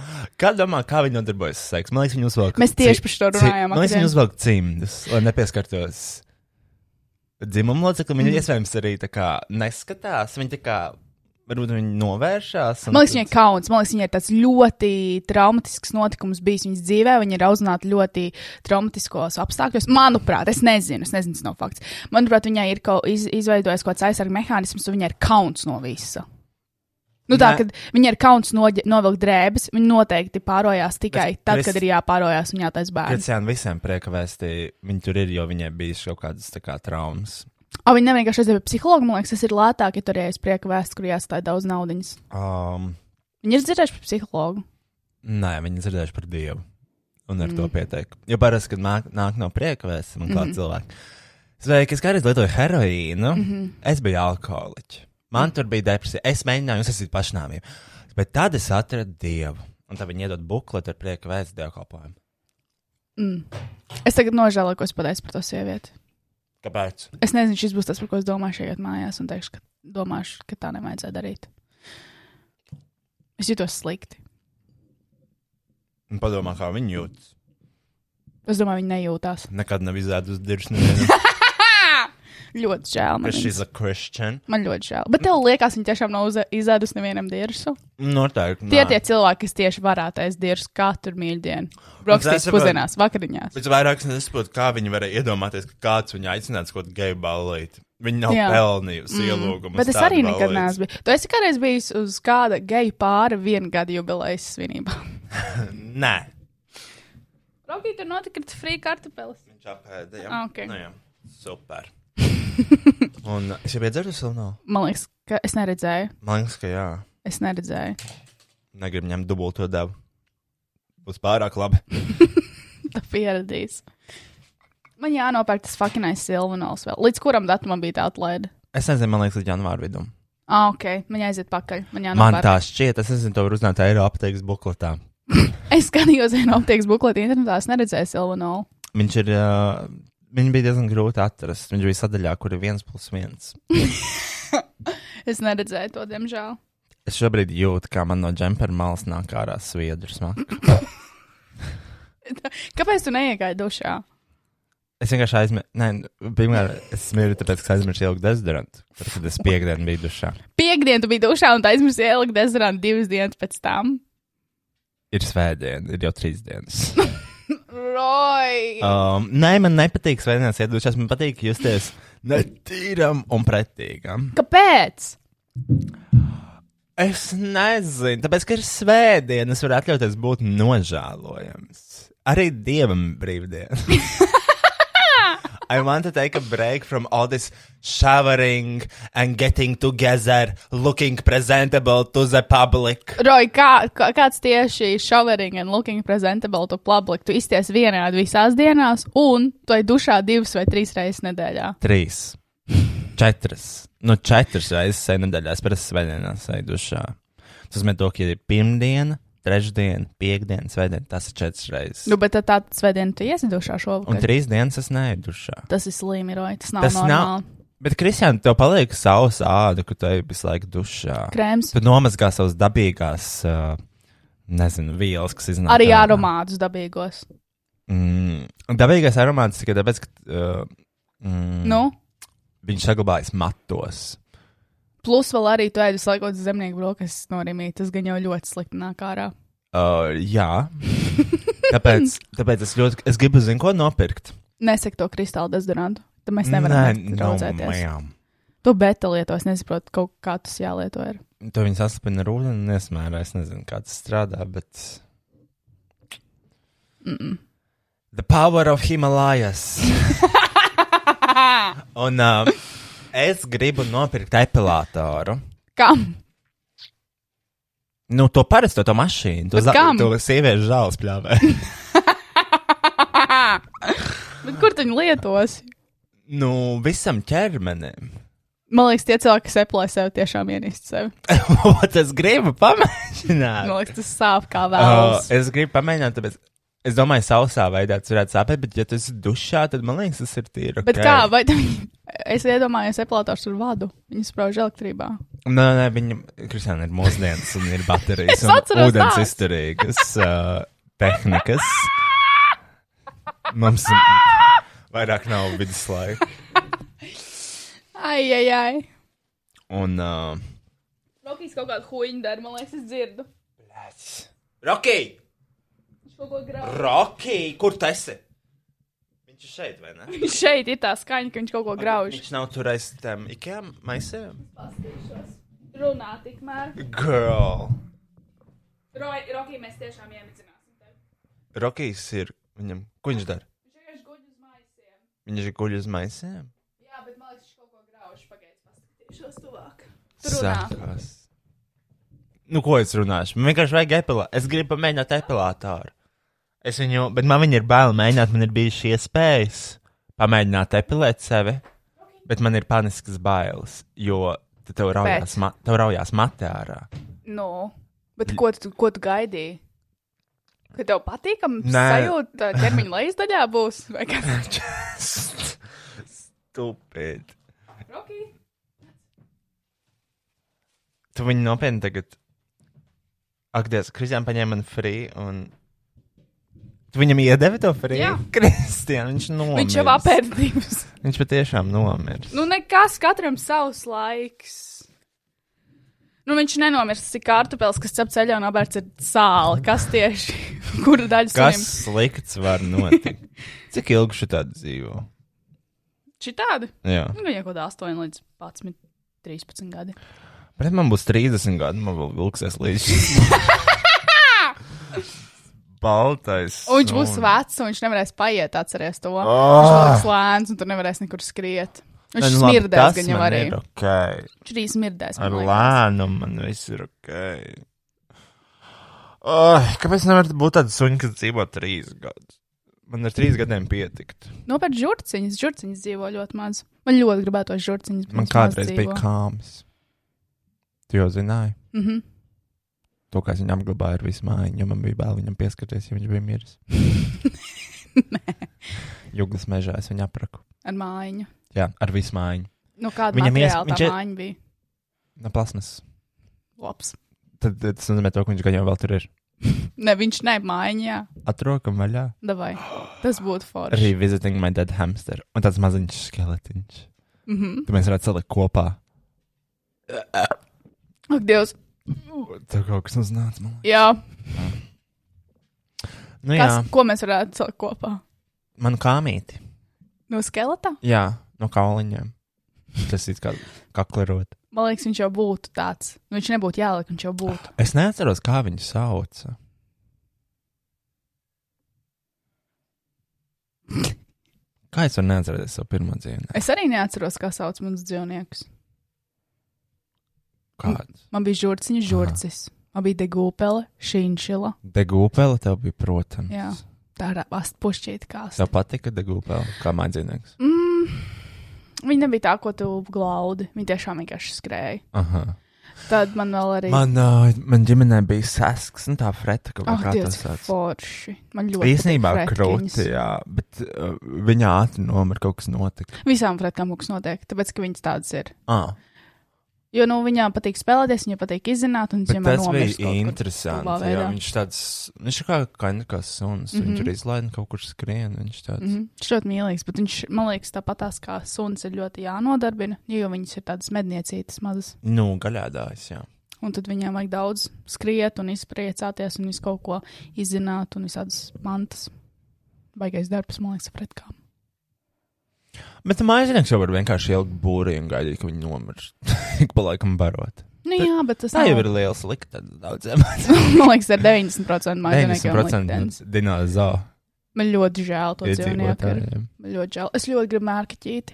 [SPEAKER 2] Kā domā, kā viņi nodarbojas ar seksu? Man liekas, viņi uzvelk.
[SPEAKER 3] Mēs tieši
[SPEAKER 2] ci-
[SPEAKER 3] par šo
[SPEAKER 2] ci-
[SPEAKER 3] runājām
[SPEAKER 2] Man liekas,
[SPEAKER 3] vakardien.
[SPEAKER 2] viņi uzvelk cimdus, lai nepieskartos dzimumu loceklim. Viņi mm. iespējams arī tā kā neskatās. Viņi tā kā varbūt viņi novēršās. un
[SPEAKER 3] Man liekas,
[SPEAKER 2] tad-
[SPEAKER 3] viņai ir kauns. Man liekas, viņai ir tāds ļoti traumatisks notikums bijis viņas dzīvē. Viņa ir audzināta ļoti traumatiskos apstākļos. Manuprāt, es nezinu, es nezinu, tas nav fakts. Manuprāt, viņai ir kaut, iz, izveidojis kaut kāds aizsardzības mehānisms, un viņai ir kauns no visa. Nu, tā,
[SPEAKER 2] Nē.
[SPEAKER 3] kad viņai ir kauns noģe- novilkt drēbes, viņa noteikti pārojās tikai
[SPEAKER 2] Bet
[SPEAKER 3] tad,
[SPEAKER 2] es-
[SPEAKER 3] kad ir jāpārojās un jātais bērns.
[SPEAKER 2] Kristiāna visiem prieka vēstīja, viņi tur ir, jo viņai bija kaut kādas tā kā, traumas.
[SPEAKER 3] O, viņa nevienā aizjāja pie psihologa. Man liekas, tas ir lētāk, ja tur ir prieka vēsts, kur jāstāj daudz naudas.
[SPEAKER 2] Um,
[SPEAKER 3] Viņa ir dzirdējusi par psihologu.
[SPEAKER 2] nē, viņi dzirdējuši par Dievu. Un ar mm. to
[SPEAKER 3] Mhm.
[SPEAKER 2] pietiek. Jo parasti, kad nāk, nāk no prieka vēstures, man klāta mm -hmm. cilvēki. Sveiki, es kādreiz lietoju heroīnu. Mm
[SPEAKER 3] Mhm.
[SPEAKER 2] -hmm. Es biju alkoholiķis. Man tur bija depresija. Es mēģināju uzsākt pašnāvību. Bet tad es atradu Dievu. Un tad viņi iedod bukletu ar prieka vēstures dievkalpojumu.
[SPEAKER 3] Mm. Es tagad nožēloju, ko es pateicu par to sievieti.
[SPEAKER 2] Kāpēc?
[SPEAKER 3] Es nezinu, šis būs tas, par ko es domāju šeit mājās, un teikšu, ka, domāšu, ka tā nevajadzēja darīt. Es jutos slikti.
[SPEAKER 2] Un padomā, kā viņi jūtas.
[SPEAKER 3] Es domāju, viņi nejūtās.
[SPEAKER 2] Nekad nav izdzērusi uz
[SPEAKER 3] *laughs*
[SPEAKER 2] dārza.
[SPEAKER 3] Ļoti žēl. Man, viņas.
[SPEAKER 2] She's a Christian.
[SPEAKER 3] man ļoti žēl. Bet tev liekas, viņi tiešām nav uza- izēdus nevienam dirzu.
[SPEAKER 2] Nu, Noteikti.
[SPEAKER 3] Tie
[SPEAKER 2] nē.
[SPEAKER 3] tie cilvēki, kas tieši varētu aizt dirzu katru mīļdienu. Brokastīs
[SPEAKER 2] saprotu.
[SPEAKER 3] pusdienās, vakariņās.
[SPEAKER 2] Bet vairāk es nesaprotu, kā viņi varēja iedomāties, ka kāds viņu aicināts kaut kādā geju ballītē. Viņi nav
[SPEAKER 3] Jā.
[SPEAKER 2] Jā. pelnījusi mm. ielūgumu.
[SPEAKER 3] Bet
[SPEAKER 2] uz
[SPEAKER 3] es
[SPEAKER 2] tādu
[SPEAKER 3] arī nekad
[SPEAKER 2] ballīti.
[SPEAKER 3] neesmu bijis. Tu esi kādreiz bijis uz kāda geju pāra vienu gadu jubilejas svinībā.
[SPEAKER 2] Nē,
[SPEAKER 3] Rokkī, tur notika frī kartupeles.
[SPEAKER 2] viņš apēdīja.
[SPEAKER 3] Ah, ok.
[SPEAKER 2] Nu, jā.
[SPEAKER 3] *laughs*
[SPEAKER 2] Super. Un es jau iedzēru savu no.
[SPEAKER 3] Man liekas, ka es neredzēju.
[SPEAKER 2] Man liekas, ka jā.
[SPEAKER 3] Es neredzēju.
[SPEAKER 2] Negribu ņemt dubulto devu. Būs pārāk labi.
[SPEAKER 3] Tu pieradīsi. Man jānopērk tas fucking silvanols vēl. Līdz kuram datumam bija tā atlaide?
[SPEAKER 2] Es nezinu, man liekas, līdz janvāra vidum.
[SPEAKER 3] Ah, ok, man jāiziet pakaļ. Man
[SPEAKER 2] Man
[SPEAKER 3] jānopērk.
[SPEAKER 2] tā šķiet, es nezinu, to var uzzināt Eiropas apteikas bukletā.
[SPEAKER 3] Es skatījos vienu aptiekas bukletu internetā, es neredzēju silvanolu.
[SPEAKER 2] Viņš ir. Uh, Viņa bija diezgan grūti atrast. Viņš bija sadaļā, kur ir viens plus viens.
[SPEAKER 3] Es neredzēju to, diemžēl.
[SPEAKER 2] Es šobrīd jūtu, kā man no džempera malas nāk ārā sviedru smaka.
[SPEAKER 3] Kāpēc tu neiegāji dušā?
[SPEAKER 2] Es vienkārši aizmirsu, nē, nu, pirmkārt, es smiru, tāpēc, ka es aizmirsu ielikt dezodorantu. Tad, kad es piekdienu biju dušā,
[SPEAKER 3] Piektdien tu biji dušā un tā aizmirsi ielikt dezerānu divas dienas pēc tam.
[SPEAKER 2] ir svētdiena, ir jau trīs dienas.
[SPEAKER 3] Roj!
[SPEAKER 2] Um, nē, man nepatīk svētdienās iet dušās, man patīk justies netīram un pretīgam.
[SPEAKER 3] Kāpēc?
[SPEAKER 2] Es nezinu, tāpēc, ka ir svētdiena, es varu atļauties būt nožēlojams. Arī dievam brīvdiena. I want to take a break from all this showering and getting together, looking presentable to the public.
[SPEAKER 3] Roj, kā, kā, kāds tieši showering and looking presentable to public? Tu izties vienādi visās dienās, un tu ej dušā divas vai trīs reizes nedēļā.
[SPEAKER 2] Trīs, četras, nu četras reizes sēžu nedēļā, es parasti svētdienās sēžu dušā. Tas nozīmē, to, ka ir pirmdiena, trešdiena, piekdiena, svētdiena, tas ir četras reizes.
[SPEAKER 3] Nu, bet tad tā svētdiena tu iesi dušā
[SPEAKER 2] Un
[SPEAKER 3] šovakar.
[SPEAKER 2] trīs dienas es neeju dušā.
[SPEAKER 3] Tas ir slimi, Roj, tas nav
[SPEAKER 2] Tas nav-
[SPEAKER 3] normāli.
[SPEAKER 2] Bet, Kristija, tev paliek savs āda, ka tu ej visu laiku dušā.
[SPEAKER 3] Krēms.
[SPEAKER 2] Tu nomazgā savas dabīgās, uh, nezinu, vielas, kas iznāk.
[SPEAKER 3] Arī
[SPEAKER 2] ārā.
[SPEAKER 3] aromātus dabīgos.
[SPEAKER 2] Mm, dabīgais aromāts tikai tāpēc, ka uh, mm,
[SPEAKER 3] Nu,
[SPEAKER 2] viņš saglabājas matos.
[SPEAKER 3] plus vēl arī tu ej visu laiku uz zemnieku brokastis norimīt. Tas gan jau ļoti slikti nāk ārā.
[SPEAKER 2] Uh, jā. tāpēc,
[SPEAKER 3] *laughs*
[SPEAKER 2] tāpēc es ļoti, es gribu zināt, ko nopirkt.
[SPEAKER 3] Nesek to kristālu dezodorantu. Tad mēs nevaram
[SPEAKER 2] Nē, nu,
[SPEAKER 3] neiet
[SPEAKER 2] no,
[SPEAKER 3] daudzēties.
[SPEAKER 2] ma'am.
[SPEAKER 3] To beta lieto, es nesaprotu, kaut kā tas jālieto. Ir.
[SPEAKER 2] To viņi saslapina ar ūdeni, un iesmērā. Es nezinu, kā tas strādā, bet. Mm -mm. The power of
[SPEAKER 3] *laughs*
[SPEAKER 2] Himalayas. un uh, es gribu nopirkt epilātoru.
[SPEAKER 3] Kam?
[SPEAKER 2] Nu, to parasto to mašīnu. To,
[SPEAKER 3] Bet
[SPEAKER 2] za-
[SPEAKER 3] kam?
[SPEAKER 2] to sieviešu žāles pļāvē. *laughs*
[SPEAKER 3] Bet kur tu viņu lietos?
[SPEAKER 2] nu, visam ķermenim. *laughs*
[SPEAKER 3] Man liekas, tie cilvēki, kas eplē sev, tiešām ienīst sevi.
[SPEAKER 2] Ot, es gribu pamēģināt.
[SPEAKER 3] Man liekas, tas sāp kā
[SPEAKER 2] Uh,
[SPEAKER 3] vēlams.
[SPEAKER 2] es gribu pamēģināt, tāpēc es domāju, sausā veidā tas varētu sāpēt, bet, ja tu esi dušā, tad man liekas, tas ir tīri.
[SPEAKER 3] Bet
[SPEAKER 2] ok.
[SPEAKER 3] kā, vai tu *laughs* viņu? Es iedomājos, eplētājs tur vadu. Viņu sprauž elektrībā.
[SPEAKER 2] Nu, Nē, nē, viņa, Kristiāna, ir mūsdienas un ir
[SPEAKER 3] Es
[SPEAKER 2] baterijas un
[SPEAKER 3] atceros
[SPEAKER 2] ūdens
[SPEAKER 3] tās.
[SPEAKER 2] izturīgas uh, tehnikas. Mums vairāk nav viduslaika.
[SPEAKER 3] Ai, ai, ai.
[SPEAKER 2] Un, uh,
[SPEAKER 3] Rokijs kaut kādu huīņu dara, man liekas, es dzirdu.
[SPEAKER 1] Rocky!
[SPEAKER 3] Viņš kaut ko grauž.
[SPEAKER 1] Rocky! Kur tu esi?
[SPEAKER 2] Viņš ir šeit, vai ne?
[SPEAKER 3] Viņš *laughs* šeit ir tā skaņa, ka viņš kaut ko grauž.
[SPEAKER 2] Viņš nav tur aiz tam ikām maisēm.
[SPEAKER 3] Paskatīšos. Runā tikmēr.
[SPEAKER 2] Girl!
[SPEAKER 3] Rokī, mēs tiešām iemicināsim tevi.
[SPEAKER 2] Rokijs ir viņam. Ko viņš dara?
[SPEAKER 3] Viņš vienkārši guļ uz maisiem.
[SPEAKER 2] Viņš ir guļ uz maisēm.
[SPEAKER 3] Jā, bet man liekas, viņš kaut ko grauž. Pagaidzi, paskatīšos tuvāk. Tur runā.
[SPEAKER 2] Nu, ko es runāšu? Man vienkārši vajag epilātoru. Es gribu pamēģināt epilātoru. Es viņu, bet man viņa ir bail mēģināt, man ir bijušas iespējas pamēģināt epilēt sevi, bet man ir paniskas bailes, jo tad tev raujās,
[SPEAKER 3] Pēc.
[SPEAKER 2] ma tev raujās matē ārā. *laughs*
[SPEAKER 3] Nu, bet ko tu, ko tu gaidīji? Ka tev patīkam
[SPEAKER 2] Nē.
[SPEAKER 3] sajūta ķermeņa lejasdaļā būs? Vai kas?
[SPEAKER 2] Stupid.
[SPEAKER 3] Rokī.
[SPEAKER 2] Tu viņu nopietni tagad. Ak, Dievs, Kristiāna paņēma man free un. Tu viņam iedevi to free?
[SPEAKER 3] Jā.
[SPEAKER 2] Kristiāna, viņš nomirs.
[SPEAKER 3] Viņš jau apēd *laughs* divas.
[SPEAKER 2] Viņš patiešām nomirs.
[SPEAKER 3] Nu, nekas, katram savs laiks. Nu, viņš nenomirst, cik kartupēlis, kas cep ceļā un apēdz ir sāli. Kas tieši? *laughs* Kura daļa
[SPEAKER 2] Kas
[SPEAKER 3] sunim?
[SPEAKER 2] slikts var
[SPEAKER 3] *laughs*
[SPEAKER 2] notikt? Cik ilgi šī tāda dzīvo?
[SPEAKER 3] Šitādi?
[SPEAKER 2] Jā,
[SPEAKER 3] Nu, viņai kaut kāda 8 līdz 11, 13 gadi.
[SPEAKER 2] bet man būs 30 gadi, man vēl vilksies
[SPEAKER 3] *laughs*
[SPEAKER 2] līdz šim. Baltais.
[SPEAKER 3] Un viņš būs
[SPEAKER 2] suns.
[SPEAKER 3] vecs, un viņš nevarēs paiet, atcerieties to. Oh. Viņš
[SPEAKER 2] Ah!
[SPEAKER 3] būs lēns, un tur nevarēs nekur skriet.
[SPEAKER 2] Nē,
[SPEAKER 3] Viņš
[SPEAKER 2] nu labi, tas
[SPEAKER 3] smirdēs gan jau
[SPEAKER 2] man
[SPEAKER 3] arī.
[SPEAKER 2] ir Okay.
[SPEAKER 3] Viņš arī smirdēs.
[SPEAKER 2] Ar
[SPEAKER 3] man liekas.
[SPEAKER 2] lēnumu man viss ir ok. Oh, kāpēc nevar būt tāda suņa, kas dzīvo trīs gadus? Man ar trīs gadiem pietikt.
[SPEAKER 3] Nopērk Nu, žurciņas, žurciņas dzīvo ļoti maz. Man ļoti gribētu tos žurciņas. bet
[SPEAKER 2] Man
[SPEAKER 3] viņš maz
[SPEAKER 2] kādreiz
[SPEAKER 3] dzīvo.
[SPEAKER 2] bija kāms. Tu jau zināji?
[SPEAKER 3] Mhm.
[SPEAKER 2] To, kā es viņu apglabāju ar visu māju, jo man bija bail viņam pieskarties, ja viņš bija miris. Jūglas mežā es viņu apraku.
[SPEAKER 3] Ar mājiņu.
[SPEAKER 2] Jā, ar visu māju.
[SPEAKER 3] Nu, kāda
[SPEAKER 2] Viņam ies-
[SPEAKER 3] materiāla
[SPEAKER 2] viņš
[SPEAKER 3] tā
[SPEAKER 2] ir-
[SPEAKER 3] mājiņa bija?
[SPEAKER 2] No Nu, plasmas.
[SPEAKER 3] Labs.
[SPEAKER 2] Tad tad tas nozīmē, to, ka viņš gan jau vēl tur ir.
[SPEAKER 3] Ne, viņš nemaiņā.
[SPEAKER 2] Atrokam vaļā.
[SPEAKER 3] Davai. Tas būtu forši.
[SPEAKER 2] Revisiting my dead hamster. Un tāds maziņš skeletiņš.
[SPEAKER 3] Mm -hmm.
[SPEAKER 2] Tu mēs varētu salikt kopā.
[SPEAKER 3] Ak, Dievs.
[SPEAKER 2] Tur kaut kas uznāca man.
[SPEAKER 3] Jā.
[SPEAKER 2] liekas. Nu jā,
[SPEAKER 3] Kas, ko mēs varētu salikt kopā?
[SPEAKER 2] man kāmīti.
[SPEAKER 3] No skeleta?
[SPEAKER 2] Jā, no kauliņiem. Tas ir kā kaklerot.
[SPEAKER 3] Man liekas, viņš jau būtu tāds. Nu, viņš nebūtu jāliek, viņš jau būtu.
[SPEAKER 2] Es neatceros, kā viņu sauca. Kā es varu neatcerēties savu pirmo dzīvi?
[SPEAKER 3] Es arī neatceros, kā sauc mans dzīvnieks.
[SPEAKER 2] Kāds?
[SPEAKER 3] Man bija žurciņš, žurcis. Man bija degūpele, šīnšila.
[SPEAKER 2] Degūpēle tev bija, protams.
[SPEAKER 3] Jā. Tā ir astpušķīta kāsa.
[SPEAKER 2] Tev patika degūpēle, kā mājdzīvnieks.
[SPEAKER 3] Mm. Viņa nebija tā, ko tu glaudi. Viņa tiešām vienkārši skrēja.
[SPEAKER 2] Aha.
[SPEAKER 3] Tad man vēl arī.
[SPEAKER 2] Man, uh, man ģimenē bija sasks, un tā freta, ka
[SPEAKER 3] Ak, Ah,
[SPEAKER 2] kā tas
[SPEAKER 3] Dievs,
[SPEAKER 2] sauc.
[SPEAKER 3] forši. Man ļoti.
[SPEAKER 2] Īsnībā
[SPEAKER 3] patīk fretkiņas.
[SPEAKER 2] krūti, jā, bet uh, viņa ātri nomira kaut kas notika.
[SPEAKER 3] Visām fretkām kaut kas notiek, tāpēc, ka viņas tādas ir.
[SPEAKER 2] Ah,
[SPEAKER 3] Jo, nu, viņām patīk spēlēties, viņai patīk izzināt, un
[SPEAKER 2] bet
[SPEAKER 3] viņiem
[SPEAKER 2] tas bija interesanti. Jā, viņš tāds, viņš ir kā kaņģis, kā suns. Mm -hmm. Viņš
[SPEAKER 3] Mhm.
[SPEAKER 2] ir izlaidis kaut kur skrien. Viņš tāds.
[SPEAKER 3] Mm -hmm. Viņš ļoti mīlīgs, bet viņš, man liekas, tāpat tās kā suns ir ļoti jānodarbina, jo viņas ir tādas medniecītas mazas,
[SPEAKER 2] Nu, gaļādājs, jā.
[SPEAKER 3] un tad viņām vajag daudz skriet un izpriecāties un visu kaut ko izzināt un visādas mantas. Baigais darbs, man liekas, fretkām.
[SPEAKER 2] Bet maiznieks jau var vienkārši ielikt būrī un gaidīt, ka viņi nomirs. *laughs* Ik pa laikam barot.
[SPEAKER 3] Nu, jā, bet tas
[SPEAKER 2] Tā jau
[SPEAKER 3] *laughs* nav-
[SPEAKER 2] ir liela slikta *laughs* daudziem.
[SPEAKER 3] man liekas, ar 90% maģiskā
[SPEAKER 2] 90%
[SPEAKER 3] liktenes.
[SPEAKER 2] dinozauru
[SPEAKER 3] Man ļoti žēl to dzīvnieku. ir.
[SPEAKER 2] iedzīvotājiem.
[SPEAKER 3] Man ļoti žēl. Es ļoti gribu mērķīt.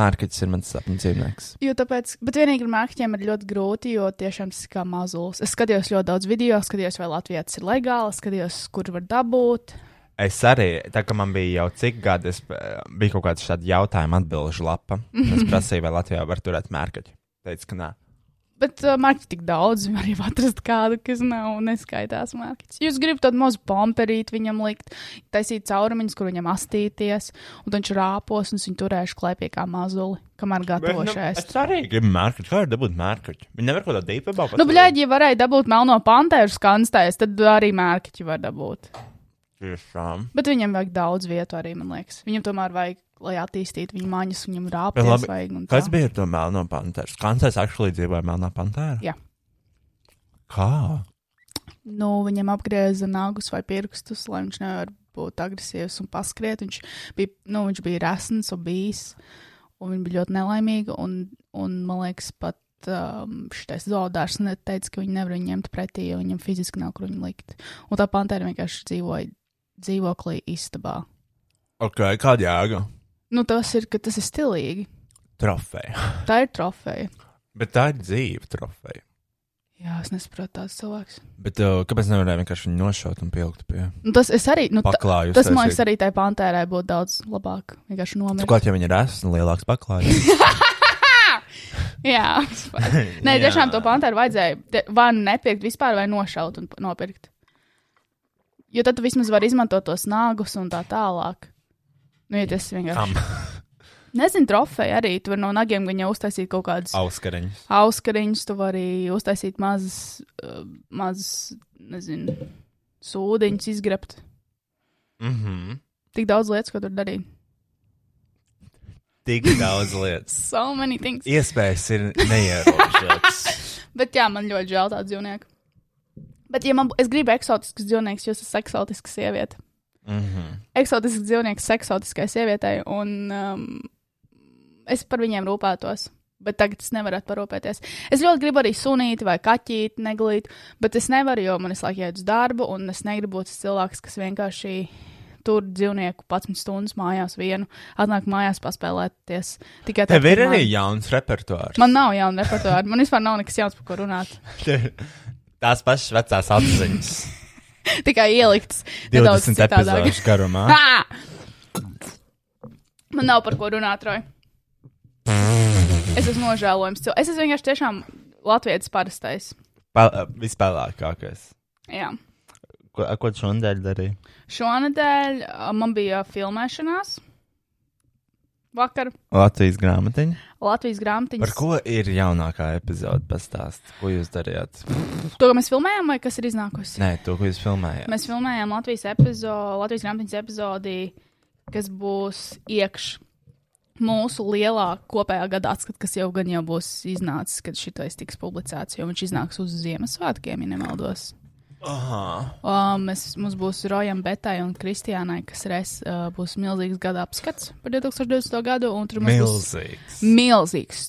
[SPEAKER 2] Mārketis ir mans sapņu dzīvnieks.
[SPEAKER 3] Jo tāpēc, bet vienīgi ar mārketingu ir ļoti grūti, jo tiešām tas ir kā mazulis. Es skatījos ļoti daudz video, skatījos, vai Latvijā tas ir legāli, skatījos, kur var dabūt.
[SPEAKER 2] Es arī, tā kā man bija jau cik gadi, es eh, bija kaut kāda šāda jautājuma atbildžu lapa. Un *laughs* Es prasīju, vai Latvijā var turēt mērķi. Teica, ka nē.
[SPEAKER 3] Bet uh, mārketinga tik daudz, var arī atrast kādu, kas nav neskaitās mārketings. Jūs gribat tādu mazu pomperīti viņam likt, taisīt caurumiņus, kur viņam astīties, un tad viņš rāpos, un es viņu turēšu klēpī kā mazuli, kamēr gatavošais.
[SPEAKER 2] nu, Es arī gribu mērķi. Kā var dabūt mērķi? Viņi nevar kaut kādā dīpībā.
[SPEAKER 3] Nu, bļaigi, ja varēja dabūt melno pantēru skanstēs, tad arī mērķi var dabūt.
[SPEAKER 2] Tiešām.
[SPEAKER 3] Bet viņam vajag daudz vietu arī, man liekas. Viņam tomēr vajag, lai attīstītu viņa maņas, viņam
[SPEAKER 2] Bet
[SPEAKER 3] rāpjas
[SPEAKER 2] labi,
[SPEAKER 3] vajag. un tā.
[SPEAKER 2] Kas bija ar to melno panteru? Kancēs akšlī dzīvoja melnā pantēra?
[SPEAKER 3] Jā.
[SPEAKER 2] Kā?
[SPEAKER 3] Nu, viņam apgrieza nagus vai pirkstus, lai viņš nevar būt agresīvs un paskriet. Viņš bija, nu, viņš bija resns un bijis, un viņa bija ļoti nelaimīga. Un, un man liekas, pat um, šis zoodārs teica, ka viņi nevar viņu ņemt pretī, jo viņam fiziski nav kur viņu likt. Un tā pantēra vienkārši dzīvoja dzīvoklī istabā.
[SPEAKER 2] Ok, kāda jēga?
[SPEAKER 3] Nu, tas ir, ka tas ir stilīgi.
[SPEAKER 2] Trofeja.
[SPEAKER 3] Tā ir trofeja.
[SPEAKER 2] Bet tā ir dzīva trofeja.
[SPEAKER 3] Jā, es nesaprotu tās cilvēks.
[SPEAKER 2] Bet uh, kāpēc nevarēja vienkārši viņu nošaut un pielikt pie
[SPEAKER 3] Nu, tas es arī, nu, ta,
[SPEAKER 2] paklājus?
[SPEAKER 3] tas man liekas, arī tai pantērai būtu daudz labāk. Vienkārši nomirt.
[SPEAKER 2] Turklāt, ja viņi ir esmu lielāks paklājs.
[SPEAKER 3] *laughs* Jā, Nē,
[SPEAKER 2] Jā.
[SPEAKER 3] tiešām to pantāru vajadzēja te- vai nu nepirkt vispār, vai nošaut un p- nopirkt. Jo tad tu vismaz vari izmantot tos nāgus un tā tālāk. Nu, ja tas vienkārši.
[SPEAKER 2] Kam?
[SPEAKER 3] Nezinu, trofeja arī. Tu vari no nagiem viņa uztaisīt kaut kādus
[SPEAKER 2] Auskariņš.
[SPEAKER 3] auskariņus, tu vari uztaisīt mazas, uh, mazas nezinu, sūdiņus izgrebt.
[SPEAKER 2] Mhm.
[SPEAKER 3] Tik daudz lietas, ko tur darīt.
[SPEAKER 2] Tik daudz lietas.
[SPEAKER 3] So many things.
[SPEAKER 2] Iespējas ir neierobežotas.
[SPEAKER 3] *laughs* Bet jā, man ļoti žēl tādu dzīvnieku. Bet, ja man, bū- es gribu eksotiskus dzīvniekus, jo es esmu eksotiska sieviete.
[SPEAKER 2] Mhm.
[SPEAKER 3] eksotisks dzīvnieks, eksotiskai sievietei, un um, es par viņiem rūpētos. Bet tagad es nevaru parūpēties. Es ļoti gribu arī sunīt vai kaķīt, neglīt, bet es nevaru, jo man ir slēgts jāiet uz darbu, un es negribu būt tas cilvēks, kas vienkārši tur dzīvnieku 11 stundas mājās vienu, atnāk mājās paspēlēties. Tikai
[SPEAKER 2] Tev
[SPEAKER 3] tāpēc,
[SPEAKER 2] ir
[SPEAKER 3] ka
[SPEAKER 2] arī
[SPEAKER 3] man-
[SPEAKER 2] jauns repertuārs.
[SPEAKER 3] Man nav jauna repertuāra, man vispār nav nekas jauns, par ko runāt.
[SPEAKER 2] *laughs* Tās pašas vecās atziņas.
[SPEAKER 3] Tikai ielikts *laughs* nedaudz
[SPEAKER 2] 20
[SPEAKER 3] citādāk. *laughs*
[SPEAKER 2] epizodes garumā.
[SPEAKER 3] Ah! Man nav par ko runāt, Roja. Es esmu nožēlojams. cilvēks. Es esmu vienkārši tiešām latviešu parastais.
[SPEAKER 2] Pa- Vispēlākākais.
[SPEAKER 3] Jā.
[SPEAKER 4] Ko, a, ko tu šodien darīji?
[SPEAKER 3] Šonadēļ ā, man bija filmēšanās. Vakar
[SPEAKER 4] Latvijas grāmatiņa.
[SPEAKER 3] Latvijas grāmatiņas.
[SPEAKER 2] Par ko ir jaunākā epizode? Pastāst, ko jūs darījāt?
[SPEAKER 3] To, ko mēs filmējām, vai kas ir iznākusi?
[SPEAKER 2] Nē, to, ko jūs filmējāt.
[SPEAKER 3] Mēs filmējām Latvijas, epizo, Latvijas grāmatiņas epizodi, kas būs iekš mūsu lielā kopējā gada atskata, kas jau gan jau būs iznācis, kad šitais tiks publicēts, jo viņš iznāks uz Ziemassvētkiem, ja nemaldos.
[SPEAKER 2] Aha.
[SPEAKER 3] Um, mēs, mums būs Rojam, Betai un Kristiānai, kas res, uh, būs milzīgs gada apskats par 2020. gadu. un tur mums būs-
[SPEAKER 2] Milzīgs.
[SPEAKER 3] milzīgs,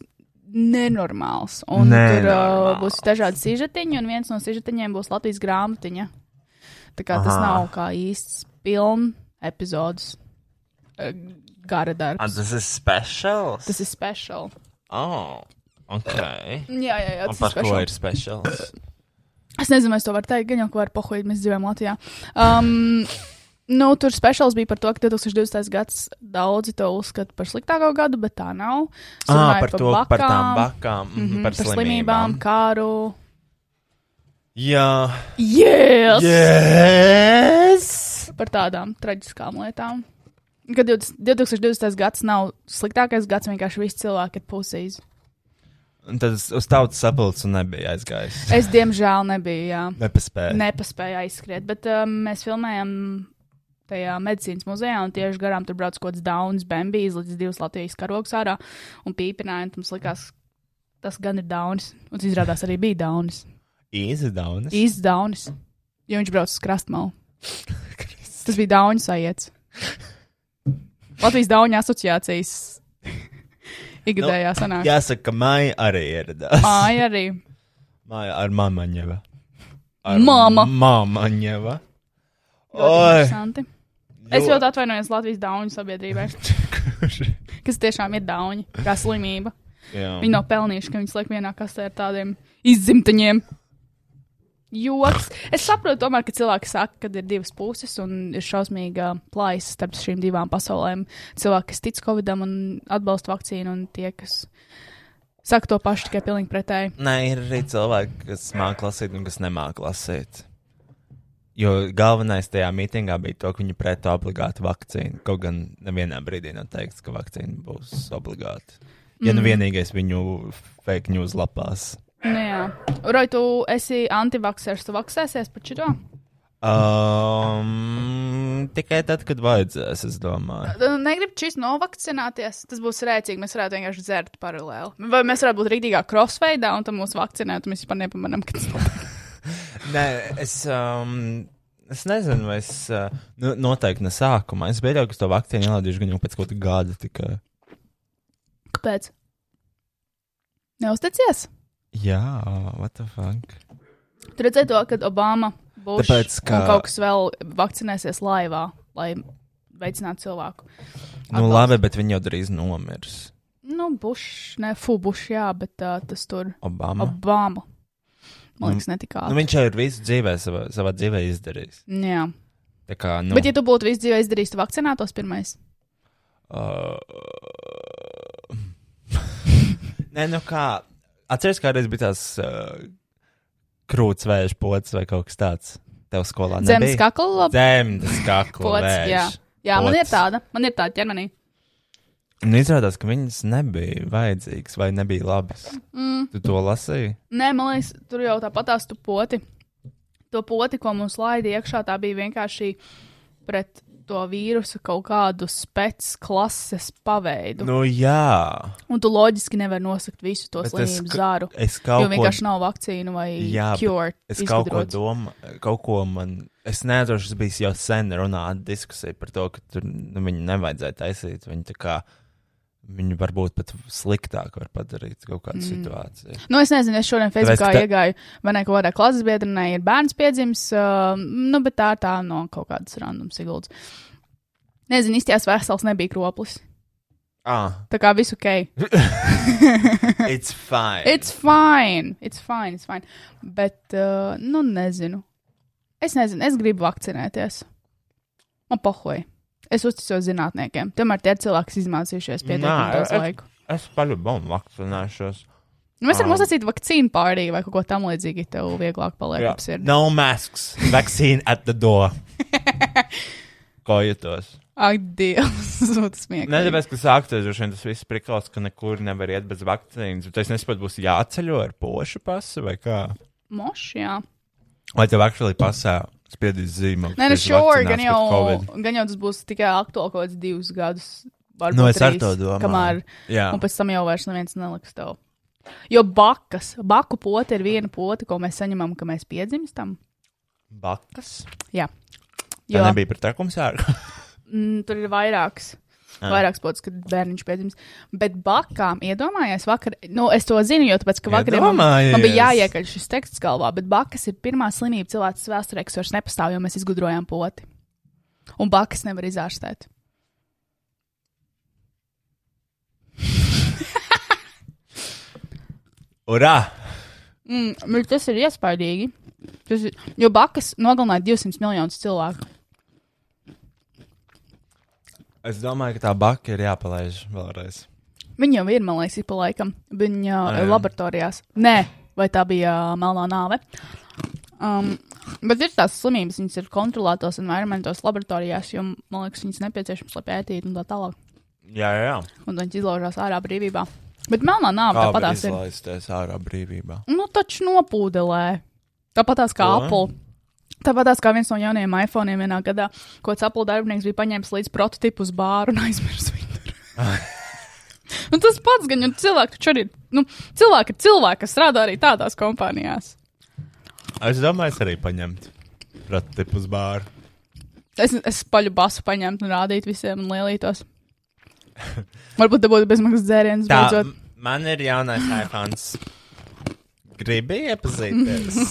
[SPEAKER 3] nenormāls. Un nenormāls. tur uh,
[SPEAKER 2] Nenormāls.
[SPEAKER 3] būs dažādi sižetiņi, un viens no sižetiņiem būs Latvijas grāmatiņa. Tā kā Aha. tas
[SPEAKER 2] Aha.
[SPEAKER 3] nav kā īsts pilns epizodes uh,
[SPEAKER 4] Ah,
[SPEAKER 3] gara darbs.
[SPEAKER 4] tas ir speciāls.
[SPEAKER 3] Tas ir speciāls.
[SPEAKER 4] Oh, ok.
[SPEAKER 3] Jā, jā, jā,
[SPEAKER 4] Un
[SPEAKER 3] tas ir
[SPEAKER 4] par ko
[SPEAKER 3] speciāls.
[SPEAKER 4] ir speciāls?
[SPEAKER 3] Es nezinu, vai es to varu teikt, gan jau ko var pahuīt, mēs dzīvojam Latvijā. Um, nu, tur speciāls bija par to, ka 2020. gads daudzi to uzskata par sliktāko gadu, bet tā nav. Es runāju
[SPEAKER 2] Ah, par to, par tām
[SPEAKER 3] bakām,
[SPEAKER 2] bakām, mm
[SPEAKER 3] mhm,
[SPEAKER 2] -hmm, par,
[SPEAKER 3] par slimībām, kāru.
[SPEAKER 2] Jā,
[SPEAKER 3] Yes!
[SPEAKER 2] yes!
[SPEAKER 3] par tādām traģiskām lietām. Kad 20 2020. gads nav sliktākais gads, vienkārši visi cilvēki ir pusīs.
[SPEAKER 2] Un tad uz uz tautas sapulces un nebija aizgājis.
[SPEAKER 3] Es, diemžēl, nebiju, jā,
[SPEAKER 2] Nepaspēja.
[SPEAKER 3] nepaspēju aizskriet, bet um, mēs filmējam tajā medicīnas muzejā, un tieši garām tur brauc kaut kāds Dauns, Bambijas, līdz divas Latvijas karogs ārā, un pīpināja, un mums likās, tas gan ir Dauns, un tas izrādās arī bija Dauns.
[SPEAKER 4] Easy down.
[SPEAKER 3] Īsts Dauns, jo viņš brauc uz krastmalu. Tas bija Daunis aiets. Latvijas Dauņa asociācijas *laughs* ikgadējā
[SPEAKER 2] Nu,
[SPEAKER 3] sanāksmē.
[SPEAKER 4] Nu, Jāsaka, ka maija arī ieradās.
[SPEAKER 3] Māja arī.
[SPEAKER 4] *laughs* Maija ar mamaņeva.
[SPEAKER 3] Mama.
[SPEAKER 4] Mamaņeva.
[SPEAKER 3] Ļoti
[SPEAKER 4] Oi. *laughs*
[SPEAKER 3] interesanti. Es ļoti atvainojos Latvijas Dauņu sabiedrībai, *laughs* kas tiešām ir Dauņi, kā slimība.
[SPEAKER 4] Jā.
[SPEAKER 3] Viņi nav pelnījuši, ka viņus liek vienā kastē ar tādiem izzimtaņiem. Joks. Es saprotu, tomēr, ka cilvēki saka, ka ir divas puses un ir šausmīga plaisa starp šīm divām pasaulēm. Cilvēki, kas tic Covidam un atbalsta vakcīnu, un tie, kas saka to pašu, tikai pilnīgi pretēji.
[SPEAKER 2] Nē, ir arī cilvēki, kas māca lasīt, un kas nemāca lasīt. Jo galvenais tajā mītingā bija tas, ka viņi pretu obligāti vakcīnu. Kaut gan nevienā brīdī nav teikts, ka vakcīna būs obligāti. Ja nu vienīgais viņu fake news lapās.
[SPEAKER 3] Nu, jā, Roj, tu esi antivaksers, tu vaksēsies par šito?
[SPEAKER 2] Um, tikai tad, kad vajadzēs, es domāju.
[SPEAKER 3] Negribu Nu, šis novakcināties. Tas būs rēcīgi. Mēs varētu vienkārši dzert paralēli. Vai mēs varētu būt rītīgā crossveidā un tam mūs vakcinēt, un mēs vispār nepamanām, ka tas notiek.
[SPEAKER 2] Nē, es, um, es nezinu, vai es uh, nu, noteikti ne sākumā. Es biju jau to vakcīnu ielādējuši gan jau pēc kaut kāda gada. Tikai.
[SPEAKER 3] Kāpēc? Neusticies?
[SPEAKER 2] Jā, what the fuck?
[SPEAKER 3] Tur redzēja to, ka Obama būs
[SPEAKER 2] Tāpēc, ka-
[SPEAKER 3] kaut kas vēl vakcinēsies laivā, lai veicinātu cilvēku.
[SPEAKER 2] Nu,
[SPEAKER 3] Atbalstu.
[SPEAKER 2] labi, bet viņi jau drīz nomirs.
[SPEAKER 3] Nu, Bušs, ne Fubušs, jā, bet uh, tas tur
[SPEAKER 2] Obama. Ob
[SPEAKER 3] Obama. Man liekas, netikā.
[SPEAKER 2] Mm. nu, viņš jau ir visu dzīvē, savā, savā dzīvē izdarījis.
[SPEAKER 3] Jā,
[SPEAKER 2] Tā kā, nu,
[SPEAKER 3] nu. bet ja tu būtu visu dzīvi izdarījis, tu vakcinētos pirmais.
[SPEAKER 2] Uh, *laughs* Nē, nu kā. Atceries, kādreiz bija tās uh, krūts vēža pocis vai kaut kas tāds. Tev skolā
[SPEAKER 3] Zemes
[SPEAKER 2] nebija.
[SPEAKER 3] kakla labi.
[SPEAKER 2] Zemes kakla.
[SPEAKER 3] Pocis, jā.
[SPEAKER 2] vēža.
[SPEAKER 3] Jā, man
[SPEAKER 2] pocis.
[SPEAKER 3] ir tāda, man ir tāda ķermenī.
[SPEAKER 2] Un Nu, izrādās, ka viņas nebija vajadzīgas vai nebija labas.
[SPEAKER 3] Mm.
[SPEAKER 2] Tu to lasīji?
[SPEAKER 3] Nē, man liekas, tur jau tāpat tās tu poti. To poti, ko mums laida iekšā, tā bija vienkārši pret to vīrusu kaut kādu specklases paveidu. Nu.
[SPEAKER 2] Nu jā,
[SPEAKER 3] Un tu loģiski nevari nosakt visu to
[SPEAKER 2] Bet es
[SPEAKER 3] slimību
[SPEAKER 2] ka-
[SPEAKER 3] zāru.
[SPEAKER 2] es
[SPEAKER 3] Jo
[SPEAKER 2] kaut ko,
[SPEAKER 3] vienkārši nav vakcīnu vai
[SPEAKER 2] Jā, bet
[SPEAKER 3] cure.
[SPEAKER 2] es kaut ko
[SPEAKER 3] izgudrots.
[SPEAKER 2] domāju, kaut ko man, es nezinu, tas bija jau sen runāta diskusija par to, ka tur nu, viņu nevajadzēja taisīt. Viņu tā kā, viņu varbūt pat sliktāk var padarīt kaut kādu mm. situāciju.
[SPEAKER 3] Nu, es nezinu, es šodien Facebookā
[SPEAKER 2] ka-
[SPEAKER 3] iegāju, vai ne, kaut kādā klases biedrenē ir bērns piedzimis, uh, nu, bet tā ir tā no kaut kādas randomas ieguldījums. Nezinu, īstās vesels nebija kroplis. *laughs*
[SPEAKER 2] Ah,
[SPEAKER 3] Tā kā visu ok.
[SPEAKER 2] it's fine.
[SPEAKER 3] It's fine. It's fine. It's fine. Bet, uh, nu, nezinu. Es nezinu, es gribu vakcinēties. Man pohoj. Es uzticos zinātniekiem. Tomēr tie ir cilvēki, kas izmācījušies pietiekami
[SPEAKER 2] Nā,
[SPEAKER 3] daudz
[SPEAKER 2] es-
[SPEAKER 3] laiku.
[SPEAKER 2] es paļubomu vakcinēšos.
[SPEAKER 3] Nu, mēs varam
[SPEAKER 2] um,
[SPEAKER 3] uzsākt vakcīnu pārdīvi vai kaut ko tamlīdzīgu, ja tev vieglāk paliek
[SPEAKER 2] Jā.
[SPEAKER 3] ap sirdi.
[SPEAKER 2] No masks, vaccine at the
[SPEAKER 3] *laughs*
[SPEAKER 2] door. Ko jūtos?
[SPEAKER 3] Ak, Dievs, *laughs* tas
[SPEAKER 2] Nē,
[SPEAKER 3] smieklīgi.
[SPEAKER 2] tāpēc, ka sākties droši vien tas viss prikals, ka nekur nevar iet bez vakcīnas. Bet es nesaprotu, būs jāceļo ar pošu pasu vai kā.
[SPEAKER 3] Moš, jā.
[SPEAKER 2] Vai tev aktuāli pasā spiedīs zīmogu?
[SPEAKER 3] Nē, nu,
[SPEAKER 2] kas
[SPEAKER 3] sure,
[SPEAKER 2] vakcinās
[SPEAKER 3] gan
[SPEAKER 2] pret
[SPEAKER 3] jau,
[SPEAKER 2] Covid?
[SPEAKER 3] gan jau tas būs tikai aktuāli kaut kāds divus gadus. varbūt
[SPEAKER 2] Nu, es ar
[SPEAKER 3] trīs,
[SPEAKER 2] to domāju.
[SPEAKER 3] Kamēr
[SPEAKER 2] Jā,
[SPEAKER 3] Un pēc tam jau vairs neviens neliks tev. Jo bakas, baku pote ir viena pote, ko mēs saņemam, kad mēs piedzimstam.
[SPEAKER 2] bakas.
[SPEAKER 3] Jo
[SPEAKER 2] Jā, nebija pret tekums ārā.
[SPEAKER 3] mm, tur ir vairāks.
[SPEAKER 2] Ah.
[SPEAKER 3] Vairāks potes, kad bērniņš piedzimst. Bet bakām iedomājās vakar, nu es to zinu, jo tāpēc, ka vakar man, man bija
[SPEAKER 2] Iedomājies!
[SPEAKER 3] jāiekaļ šis teksts galvā, bet bakas ir pirmā slimība cilvēces vēsturē, kas vairs nepastāv, jo mēs izgudrojām poti. Un bakas nevar izārstēt.
[SPEAKER 2] *laughs* Urā!
[SPEAKER 3] Mm, bet tas ir iespaidīgi. Tas ir, jo bakas nogalināja 200 miljonus cilvēku.
[SPEAKER 2] Es domāju, ka tā baka ir jāpalaiž vēlreiz.
[SPEAKER 3] Viņa jau ir, man liekas, ik pa laikam. Viņa
[SPEAKER 2] Ā,
[SPEAKER 3] ir
[SPEAKER 2] jā.
[SPEAKER 3] laboratorijās. Nē, vai tā bija ā, melnā nāve? Um, bet ir tās slimības, viņas ir kontrolētos environmentos, laboratorijās, jo, man liekas, viņas nepieciešams, lai pētītu un tā tālāk.
[SPEAKER 2] Jā, jā, jā.
[SPEAKER 3] Un viņas izlaužās ārā brīvībā. Bet melnā nāve
[SPEAKER 2] Kā var
[SPEAKER 3] tāpatās ir.
[SPEAKER 2] izlaisties ārā brīvībā?
[SPEAKER 3] Nu, taču nopūdelē. Tāpatās kā
[SPEAKER 2] Ko?
[SPEAKER 3] Apple. Tāpatās kā viens no jaunajiem iPhone vienā gadā, ko tas Apple darbinieks bija paņēmis līdz prototipu uz bāru un aizmirsis viņu. tur.
[SPEAKER 2] *laughs*
[SPEAKER 3] nu, tas pats gan jau cilvēki, taču arī nu, cilvēki ir cilvēki, kas strādā arī tādās kompānijās.
[SPEAKER 2] Es domāju, es arī paņemtu. Ratipus bāru.
[SPEAKER 3] Es, es paļu basu paņemtu un rādītu visiem un
[SPEAKER 2] *laughs*
[SPEAKER 3] lielītos. Varbūt te būtu bezmaksas dzēriens,
[SPEAKER 2] Tā,
[SPEAKER 3] beidzot.
[SPEAKER 2] m- man ir
[SPEAKER 3] *gasps*
[SPEAKER 2] jaunais iPhone. Gribu iepazīties.
[SPEAKER 3] *laughs*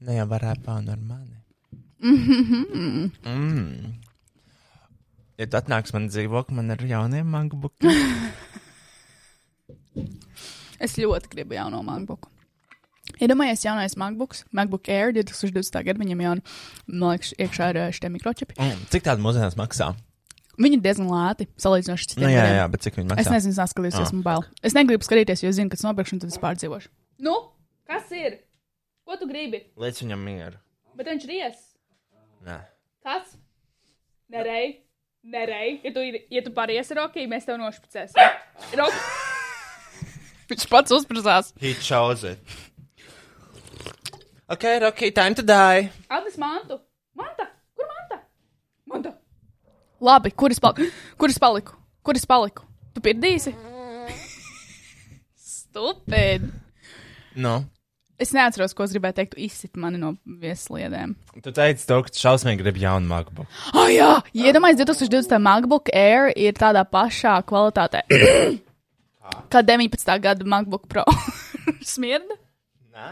[SPEAKER 2] Nē, jau var iPhone ar
[SPEAKER 3] *laughs*
[SPEAKER 2] mani. Mm. Ja tu atnāks man dzīvokli, man ir jaunie
[SPEAKER 3] Mm.
[SPEAKER 2] MacBooki.
[SPEAKER 3] Es ļoti gribu jauno MacBook. Iedomājies, jaunais MacBook, MacBook Air 2020. gada viņam jau, man liekas, iekšā ir eh, šitie mikročipi.
[SPEAKER 2] Mm. Cik tāda mūsdienās maksā?
[SPEAKER 3] Viņi ir diezgan lēti, salīdzinot ar citiem.
[SPEAKER 2] Nu, jā,
[SPEAKER 3] gadiem.
[SPEAKER 2] jā, bet cik viņi
[SPEAKER 3] Es
[SPEAKER 2] maksā?
[SPEAKER 3] nezinu, es skatīšos,
[SPEAKER 2] Ah.
[SPEAKER 3] esmu bail. Es negribu skatīties, jo es zinu, ka tas nopirkšu, un tad es pārdzīvošu. Nu, kas ir? Ko tu gribi?
[SPEAKER 2] Liec viņam mieru.
[SPEAKER 3] Bet viņš ir ies.
[SPEAKER 2] Nē.
[SPEAKER 3] Kas? Nerei. Nerei. Ja tu, ir- ja tu pāries ar rokkī, mēs tev nošpicēsim. Rok... viņš pats uzprasās.
[SPEAKER 2] He chose it. Ok, Rocky, time to die.
[SPEAKER 3] Atnes mantu. Manta, kur manta? Manta. Labi, kur es, pal kur es paliku? Kur es paliku? Tu *laughs* pirdīsi? Stupid.
[SPEAKER 2] Nu,
[SPEAKER 3] Es neatceros, ko es gribēju teikt. Tu izsit mani no viesliedēm.
[SPEAKER 2] Tu teici, to, ka tu šausmīgi gribi jaunu MacBook.
[SPEAKER 3] Ah, jā! Iedomājieties, 2020. MacBook Air ir tādā pašā kvalitātē *clears throat* kā 19. gada MacBook Pro. *laughs* Smirda? Nē.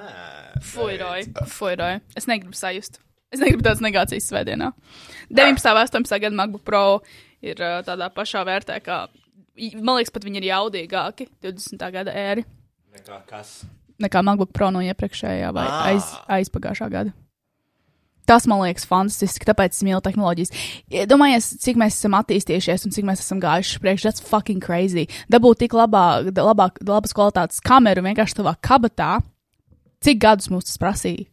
[SPEAKER 3] Fuiroj, fuiroj. Es negribu sajust. Es negribu tādas negācijas svētdienā. 19. un 18. gada MacBook Pro ir ā, tādā pašā vērtē, kā. Man liekas, pat viņi ir jaudīgāki 20. gada ēri
[SPEAKER 2] Nekā kas.
[SPEAKER 3] nekā MacBook Pro no iepriekšējā vai aiz, aizpagājušā gada. Tas man liekas fantastiski, tāpēc es mīlu tehnoloģijas. Domājies, cik mēs esam attīstījušies un cik mēs esam gājuši priekšā. That's fucking crazy. Dabūt tik labā, da- labāk, labas kvalitātes kameru vienkārši tavā kabatā, cik gadus mums tas prasīja?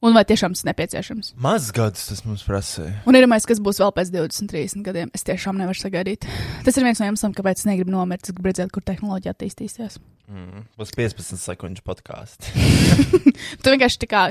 [SPEAKER 3] Un vai tiešām tas nepieciešams?
[SPEAKER 2] Maz gadus tas mums prasīja.
[SPEAKER 3] Un iedomājieties, kas būs vēl pēc 20, 30 gadiem. Es tiešām nevaru sagaidīt. Tas ir viens no iemesliem, kāpēc es negribu nomirt. Es gribu redzēt, kur tehnoloģija attīstīsies.
[SPEAKER 2] Būs 15 sekundžu podkāsts. *laughs*
[SPEAKER 3] Tu vienkārši tā kā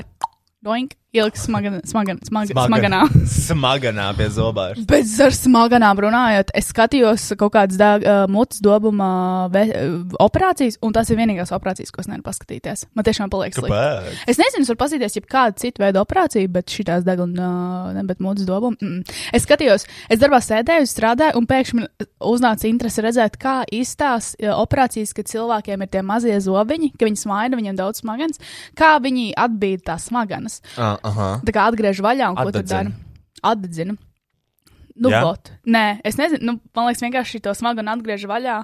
[SPEAKER 3] doink, ieliks smagan, smagan, smagan,
[SPEAKER 2] Smagan.
[SPEAKER 3] smaganā.
[SPEAKER 2] Smaganā pie zobārsta.
[SPEAKER 3] Bet ar smaganām runājot, es skatījos kaut kādas dā- uh, mutes dobuma ve, uh, operācijas, un tās ir vienīgās operācijas, ko es nevaru paskatīties. Man tiešām paliek slikti.
[SPEAKER 2] Kāpēc?
[SPEAKER 3] Es nezinu, es varu paskatīties jebkādu citu veidu operāciju, bet šitās deguna, ne, bet mutes dobuma. Mm. Es skatījos, es darbā sēdēju, strādāju, un pēkšņi man uznāca interese redzēt, kā izstās uh, operācijas, kad cilvēkiem ir tie mazie zobiņi, ka viņi smaida, viņiem daudz smaganas, kā viņi atbīd tās smaganas.
[SPEAKER 2] Ah, aha.
[SPEAKER 3] Tā kā atgriež vaļā un ko tad
[SPEAKER 2] Atdedzina.
[SPEAKER 3] dara? Atdedzina. Nu,
[SPEAKER 2] Jā?
[SPEAKER 3] bot. Nē, es nezinu, nu, man liekas, vienkārši to smagu un atgriež vaļā.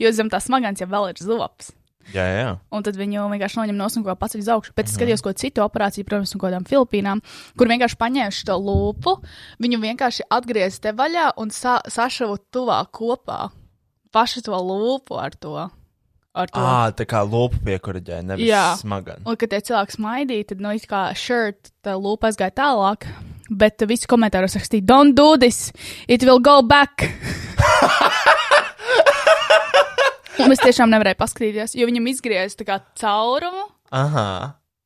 [SPEAKER 3] Jo zem tā smagans jau vēl ir zobs.
[SPEAKER 2] Jā, jā.
[SPEAKER 3] Un tad viņu vienkārši noņem no sunkas, paceļ uz augšu.
[SPEAKER 2] Mhm.
[SPEAKER 3] Pēc tam skatījos, ko citu operāciju, protams, no kādām Filipīnām, kur vienkārši paņēmuši to lūpu, viņu vienkārši atgriezt te vaļā un sa sašavu tuvāk kopā. Pašu to lūpu ar to. Ar to.
[SPEAKER 2] Ah, tā kā lopu piekuraģē, nevis
[SPEAKER 3] Oh. Jā.
[SPEAKER 2] smagan.
[SPEAKER 3] Un, kad tie cilvēki smaidīja, tad, nu, it kā šeit tā lūpa aizgāja tālāk. Bet visi komentāros rakstīja, don't do this, it will go back. un es tiešām nevarēju paskatīties, jo viņam izgriezās tā kā caurumu.
[SPEAKER 2] Aha.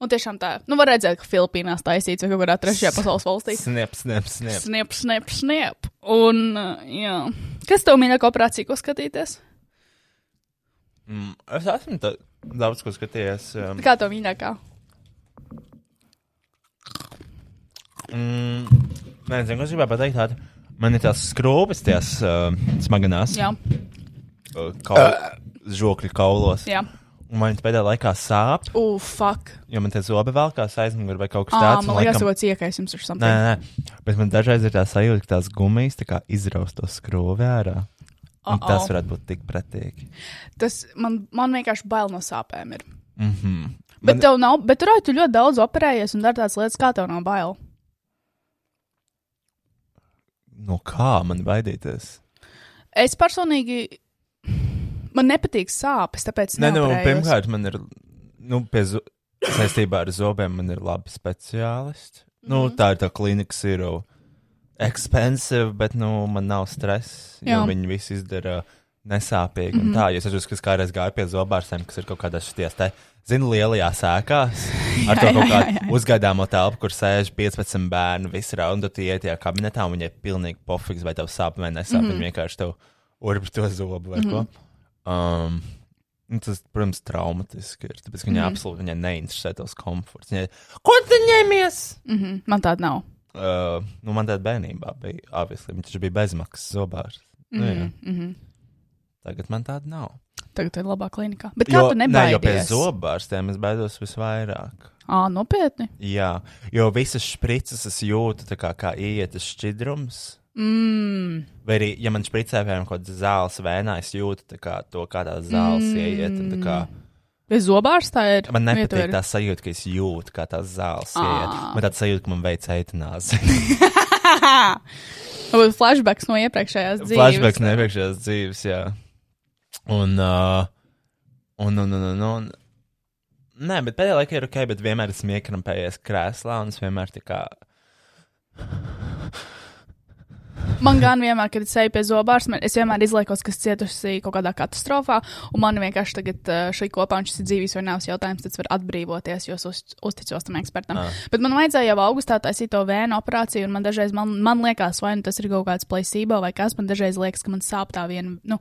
[SPEAKER 3] Un tiešām tā, nu, var redzēt, ka Filipīnās taisīts vai kaut kādā trešajā pasaules valstī.
[SPEAKER 2] Snip, snip, snip.
[SPEAKER 3] Sniep, sniep, sniep. Un, uh, jā. Kas tev mīļākā operācija, ko skatīties?
[SPEAKER 2] Mm, es esmu tā, daudz ko skatījies. Um,
[SPEAKER 3] Kā tev mīļākā?
[SPEAKER 2] mm, nezinu, ko es gribēju pateikt. Tādu. Man ir tās skrūves, tās uh, smaganās.
[SPEAKER 3] Jā,
[SPEAKER 2] Uh, kaul, žokļu kaulos.
[SPEAKER 3] jā.
[SPEAKER 2] Un Man viņas pēdējā laikā sāp,
[SPEAKER 3] Uf, fuck.
[SPEAKER 2] jo man tie zobi velkās aizmugurē vai kaut kas
[SPEAKER 3] Ā,
[SPEAKER 2] tāds.
[SPEAKER 3] man
[SPEAKER 2] un
[SPEAKER 3] liekas,
[SPEAKER 2] laikam-
[SPEAKER 3] tas ir iekais ar
[SPEAKER 2] Nē,
[SPEAKER 3] something.
[SPEAKER 2] nē, nē, bet man dažreiz ir tā sajūta, ka tās gumijas tā kā izraus to skrūvi ārā. Un
[SPEAKER 3] Uh-oh.
[SPEAKER 2] tas varētu būt tik pretīgi.
[SPEAKER 3] Tas man, man vienkārši bail no sāpēm. Ir.
[SPEAKER 2] Mhm. Mm
[SPEAKER 3] Bet man... tev nav, bet tur jau tu ļoti daudz operējies un dari tādas lietas, kā tev nav bail.
[SPEAKER 2] no kā man baidīties?
[SPEAKER 3] Es personīgi. Man nepatīk sāpes, tāpēc.
[SPEAKER 2] Nē, nu,
[SPEAKER 3] neoperējos.
[SPEAKER 2] pirmkārt, man ir nu, pie zo- saistībā ar zobiem, man ir labi speciālisti. Nu,
[SPEAKER 3] Mhm.
[SPEAKER 2] tā ir tā klinika, kas ir uh, expensive, bet nu, man nav stress, jo
[SPEAKER 3] Jā. Mhm.
[SPEAKER 2] viņi visi izdara nesāpīgi. Mm -hmm. Tā, jo es atceros, ka es kādreiz gāju pie zobārstiem, kas ir kaut kādās šitās te, zinu, lielajā
[SPEAKER 3] *laughs*
[SPEAKER 2] sēkās, ar to
[SPEAKER 3] Jā, jā,
[SPEAKER 2] kaut
[SPEAKER 3] jā, jā,
[SPEAKER 2] kādu
[SPEAKER 3] jā.
[SPEAKER 2] uzgaidāmo telpu, kur sēž 15 bērnu visur, un tu iet tajā kabinetā, un viņai pilnīgi pofiks, vai tev sāp vai nesāp, mm
[SPEAKER 3] Mhm.
[SPEAKER 2] -hmm. viņi vienkārši tev urbi to zobu vai mm -hmm. ko. Um, Nu, Tas, protams, traumatiski ir. Tāpēc ka viņa
[SPEAKER 3] Mhm.
[SPEAKER 2] mm. absolūti viņai neinteresē tos komforts. Viņa, Ko tu ņemies?
[SPEAKER 3] Mhm, man tāda nav.
[SPEAKER 2] Uh, nu, man tādā bērnībā bija. Obviously, viņš taču bija bezmaksas zobārs. Mm. Nu, jā.
[SPEAKER 3] Mm -hmm.
[SPEAKER 2] Tagad man tāda nav.
[SPEAKER 3] Tagad tu ir labā klinikā. Bet kā tu
[SPEAKER 2] nē, jo pie
[SPEAKER 3] nebaidies?
[SPEAKER 2] zobārstiem es baidos visvairāk.
[SPEAKER 3] Ā, nopietni.
[SPEAKER 2] Jā, jo visas sprices es jūtu, tā kā, kā ietas šķidrums.
[SPEAKER 3] Mm.
[SPEAKER 2] Vai arī, ja man špricē piemēram kaut kāda zāles vēnā, es jūtu tā kā, to, kā tā zāles mm. ieiet. Un, tā kā,
[SPEAKER 3] Bez zobārs tā ir.
[SPEAKER 2] Man
[SPEAKER 3] Vieta
[SPEAKER 2] nepatīk
[SPEAKER 3] ir-
[SPEAKER 2] tā sajūta, ka es jūtu, kā tās zāles
[SPEAKER 3] Ā.
[SPEAKER 2] iet. Man tāds sajūta, ka man veids eitanāzi.
[SPEAKER 3] Varbūt flashbacks no iepriekšējās dzīves.
[SPEAKER 2] Flashbacks nepriekšējās dzīves, jā. Un, uh, un, un, un, un, un. Nē, bet pēdējā laikā ir ok, bet vienmēr esmu iekrampējies krēslā un es vienmēr tā kā.
[SPEAKER 3] Man gan vienmēr, kad es eju pie zobārs, man, es vienmēr izliekos, ka es cietusi kaut kādā katastrofā, un man vienkārši tagad eh, šī kopā, un šis ir dzīves vai nāves jautājums, tad es varu atbrīvoties, jo es uz, uzticos tam ekspertam. Ah. Bet man vajadzēja jau augustā taisīt to vēnu operāciju, un man dažreiz man, man liekas, vai nu tas ir kaut kāds placebo vai kas, man dažreiz liekas, ka man sāp tā viena. Nu,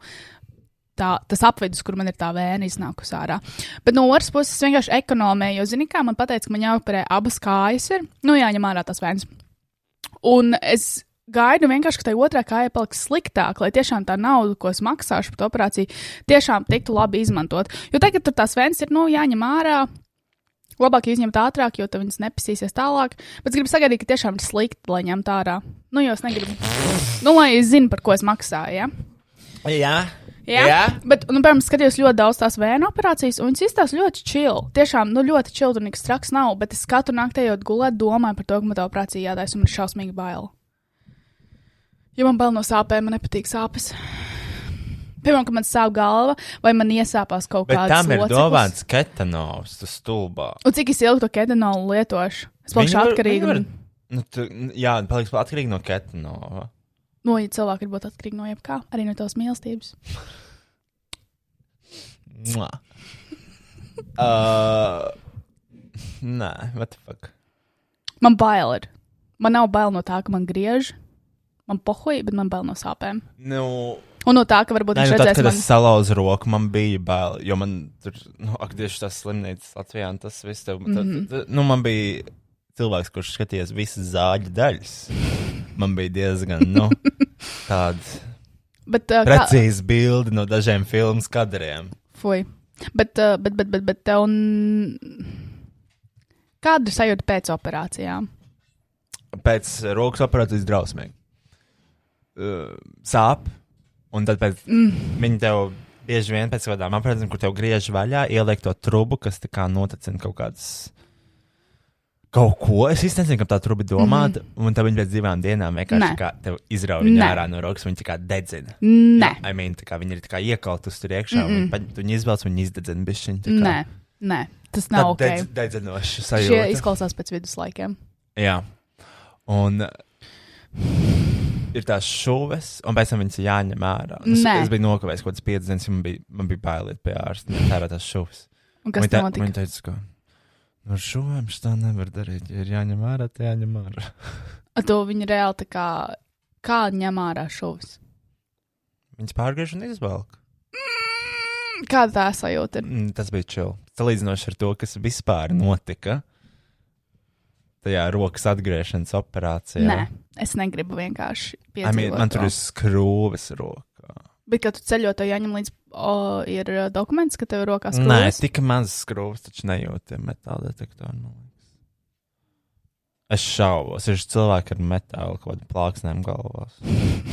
[SPEAKER 3] tā, tas apvidus, kur man ir tā vēja iznākusi ārā. Bet no otras puses, es vienkārši ekonomēju, jo, zini, kā man teica, ka man jāoperē abas kājas, ir nu, jāņem ārā tas vēns. Un es gaidu vienkārši, ka tai otrā kāja paliks sliktāk, lai tiešām tā nauda, ko es maksāšu par to operāciju, tiešām tiktu labi izmantot. Jo tagad tur tās vēns ir nu, jāņem ārā. Labāk izņemt ātrāk, jo tad viņas nepasīsies tālāk. Bet es gribu sagaidīt, ka tiešām ir slikti, lai ņemtu ārā. Nu, jo es negribu. Nu, lai es zinu, par ko es maksāju. Ja?
[SPEAKER 2] Jā,
[SPEAKER 3] Jā,
[SPEAKER 2] Jā.
[SPEAKER 3] Jā. bet, nu, piemēram, skatījos ļoti daudz tās vēja operācijas, un viņas izstāsta ļoti čili. Tiešām, nu, ļoti čili, un nekas traks nav. Bet es katru naktī ejot gulēt, domāju par to, ka man tā operācija jādaisa, un man ir šausmīgi bail. Ja man bail no sāpēm, man nepatīk sāpes. Piemēram, ka man sāp galva, vai man iesāpās kaut
[SPEAKER 2] bet
[SPEAKER 3] kāda
[SPEAKER 2] tam ir dāvāns ketanovs, tas stulbā.
[SPEAKER 3] Un cik es ilgi to kedenolu lietošu? Es palikšu
[SPEAKER 2] Viņi var-
[SPEAKER 3] atkarīga.
[SPEAKER 2] viņi
[SPEAKER 3] Var...
[SPEAKER 2] Nu, tu, jā, paliks atkarīgi no ketanova.
[SPEAKER 3] No Nu, ja cilvēka ir būt atkarīga no jebkā, arī no tās mīlestības.
[SPEAKER 2] Mwah. *laughs* uh, nē, what the fuck?
[SPEAKER 3] Man bail ir. Man nav bail no tā, ka man griež. Man pohoja, bet man bail no sāpēm.
[SPEAKER 2] Nu,
[SPEAKER 3] Un no tā, ka varbūt
[SPEAKER 2] Nē,
[SPEAKER 3] viņš
[SPEAKER 2] nu, tad,
[SPEAKER 3] redzēs
[SPEAKER 2] kad
[SPEAKER 3] man.
[SPEAKER 2] es salauzu roku, man bija bail, jo man tur, nu, ak, tieši tas slimnīcas Latvijā, un tas viss tev, mm
[SPEAKER 3] Mhm.
[SPEAKER 2] -hmm. tad, nu, man bija cilvēks, kurš skatījās visas zāļu daļas. Man bija diezgan,
[SPEAKER 3] *laughs*
[SPEAKER 2] nu, tāds
[SPEAKER 3] Bet, uh, kā,
[SPEAKER 2] precīzs bildi no dažiem filmu kadriem.
[SPEAKER 3] fuj. Bet, uh, bet, bet, bet, bet tev. n- Kāda ir sajūta pēc operācijām?
[SPEAKER 2] Pēc rokas operācijas drausmīgi. Uh, sāp, un tad pēc
[SPEAKER 3] Mm.
[SPEAKER 2] Viņi tev bieži vien pēc kādām apgājumiem, kur tev griež vaļā, ieliek to trubu, kas tā kā notecina kaut kādas. Kaut ko es īstenībā nezinu, kam tā truba ir domāta. Mm -hmm. Un tad viņi pēc divām dienām vienkārši
[SPEAKER 3] Mhm. Nē.
[SPEAKER 2] kā tevi izrauj viņu
[SPEAKER 3] Nē.
[SPEAKER 2] ārā no rokas. Viņi tā kā dedzina.
[SPEAKER 3] Nē, Mhm.
[SPEAKER 2] I mean, tā kā viņi ir tā kā iekaltus tur iekšā. Mm -mm. Viņi, paņem- viņi izvelc un viņi izdedzina bišķiņu. tā kā.
[SPEAKER 3] nē, nē, tas nav
[SPEAKER 2] Tad
[SPEAKER 3] ok.
[SPEAKER 2] dedz- Dedzinoši
[SPEAKER 3] Šie
[SPEAKER 2] sajūta.
[SPEAKER 3] izklausās pēc viduslaikiem.
[SPEAKER 2] Jā. Un uh, ir tās šuves, un pēc tam viņas ir jāņem ārā. Un Es,
[SPEAKER 3] Nē.
[SPEAKER 2] es biju nokavējis kaut kādas piecas dienas, jo man bija, man bija bailīgi pie ārsta. Nē, tā ir tās šuves.
[SPEAKER 3] Un kas
[SPEAKER 2] tā,
[SPEAKER 3] tam notika?
[SPEAKER 2] viņa teica, ka nu, no šuvēm šis tā nevar darīt. Ja ir jāņem ārā, tad jāņem ārā.
[SPEAKER 3] Ar To viņi reāli tā kā, kā ņem ārā šovis.
[SPEAKER 2] Viņas pārgriež un izvelk.
[SPEAKER 3] Kāda Mm, tā sajūta ir?
[SPEAKER 2] Mm, Tas bija čili. Salīdzinoši ar to, kas vispār notika tajā rokas atgriešanas operācijā.
[SPEAKER 3] Nē, es negribu vienkārši
[SPEAKER 2] I mean,
[SPEAKER 3] piedzīvot.
[SPEAKER 2] man tur
[SPEAKER 3] to.
[SPEAKER 2] ir skrūves rokā.
[SPEAKER 3] Bet, kad tu ceļo, tev jāņem līdz o, ir uh, dokuments, ka tev rokās
[SPEAKER 2] Nē,
[SPEAKER 3] krūzes?
[SPEAKER 2] tik maz skrūves, taču nejūtu ja metāla detektoru. man liekas. Es šaubos, ir cilvēki ar metāla kaut kādiem plāksnēm galvās.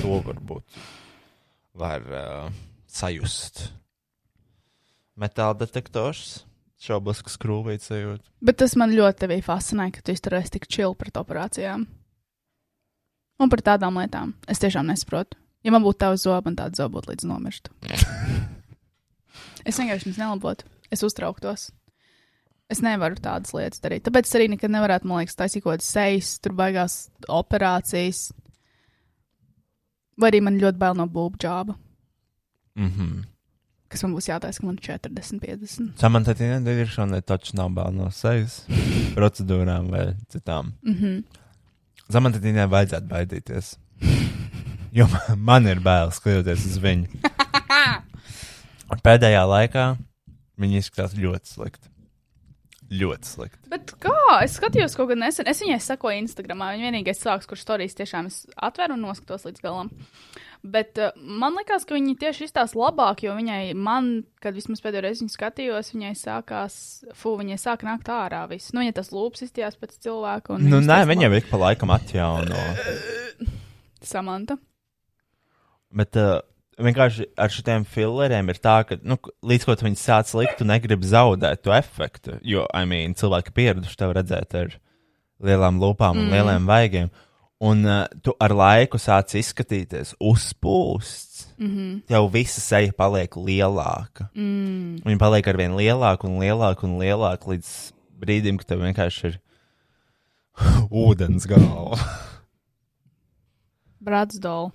[SPEAKER 2] To varbūt var uh, sajust. Metāla detektors. Šaubos, ka skrūvīts jūt.
[SPEAKER 3] Bet tas man ļoti tevī fascinē, ka tu izturējies tik čili pret operācijām. Un par tādām lietām. Es tiešām nesaprotu. Ja man būtu tāds zobs, man tāds zobs būtu līdz nomirstu. es vienkārši viņus nelabotu. Es uztrauktos. Es nevaru tādas lietas darīt. Tāpēc es arī nekad nevarētu, man liekas, taisīt kaut kādas sejas, tur baigās operācijas. Vai arī man ļoti bail no būvģāba,
[SPEAKER 2] Mhm.
[SPEAKER 3] kas man būs jātaisa, ka man ir 40, 50.
[SPEAKER 2] Samantatīna nediršana taču nav bail no sejas procedūrām vai citām.
[SPEAKER 3] Mm -hmm.
[SPEAKER 2] Zamantatīnai vajadzētu baidīties. Jo man- man ir bail skatoties uz viņu. Pēdējā laikā viņi izskatās ļoti slikti. Ļoti slikti.
[SPEAKER 3] Bet kā? Es skatījos kaut kad nesen. Es viņai sekoju Instagram. Viņa vienīgais cilvēks, kurš stāstījis, tiešām es atveru un noskatos līdz galam. Bet uh, man liekas, ka viņi tieši izstāsta labāk, jo viņai, man, kad vismaz pēdējo reizi viņu skatījos, viņai sākās, fū, viņai sāka nākt ārā viss. Nu, viņa tas lūpas izstījās pēc cilvēka.
[SPEAKER 2] Nu, nē, viņiem ir pa laikam atjauno.
[SPEAKER 3] Samanta.
[SPEAKER 2] Bet uh, vienkārši ar šiem filleriem ir tā, ka nu, līdz ko viņi sāc likt, tu negribi zaudēt to efektu. Jo, I mean, cilvēki pieraduši tev redzēt ar lielām lupām un mm. lieliem vaigiem. Un uh, tu ar laiku sāc izskatīties uzpūsts.
[SPEAKER 3] Mm -hmm.
[SPEAKER 2] tev visa seja paliek lielāka.
[SPEAKER 3] mm.
[SPEAKER 2] Viņa paliek ar vien lielāku un lielāku un lielāku līdz brīdim, kad tev vienkārši ir *sighs* ūdens galva. *laughs*
[SPEAKER 3] Brats Dola.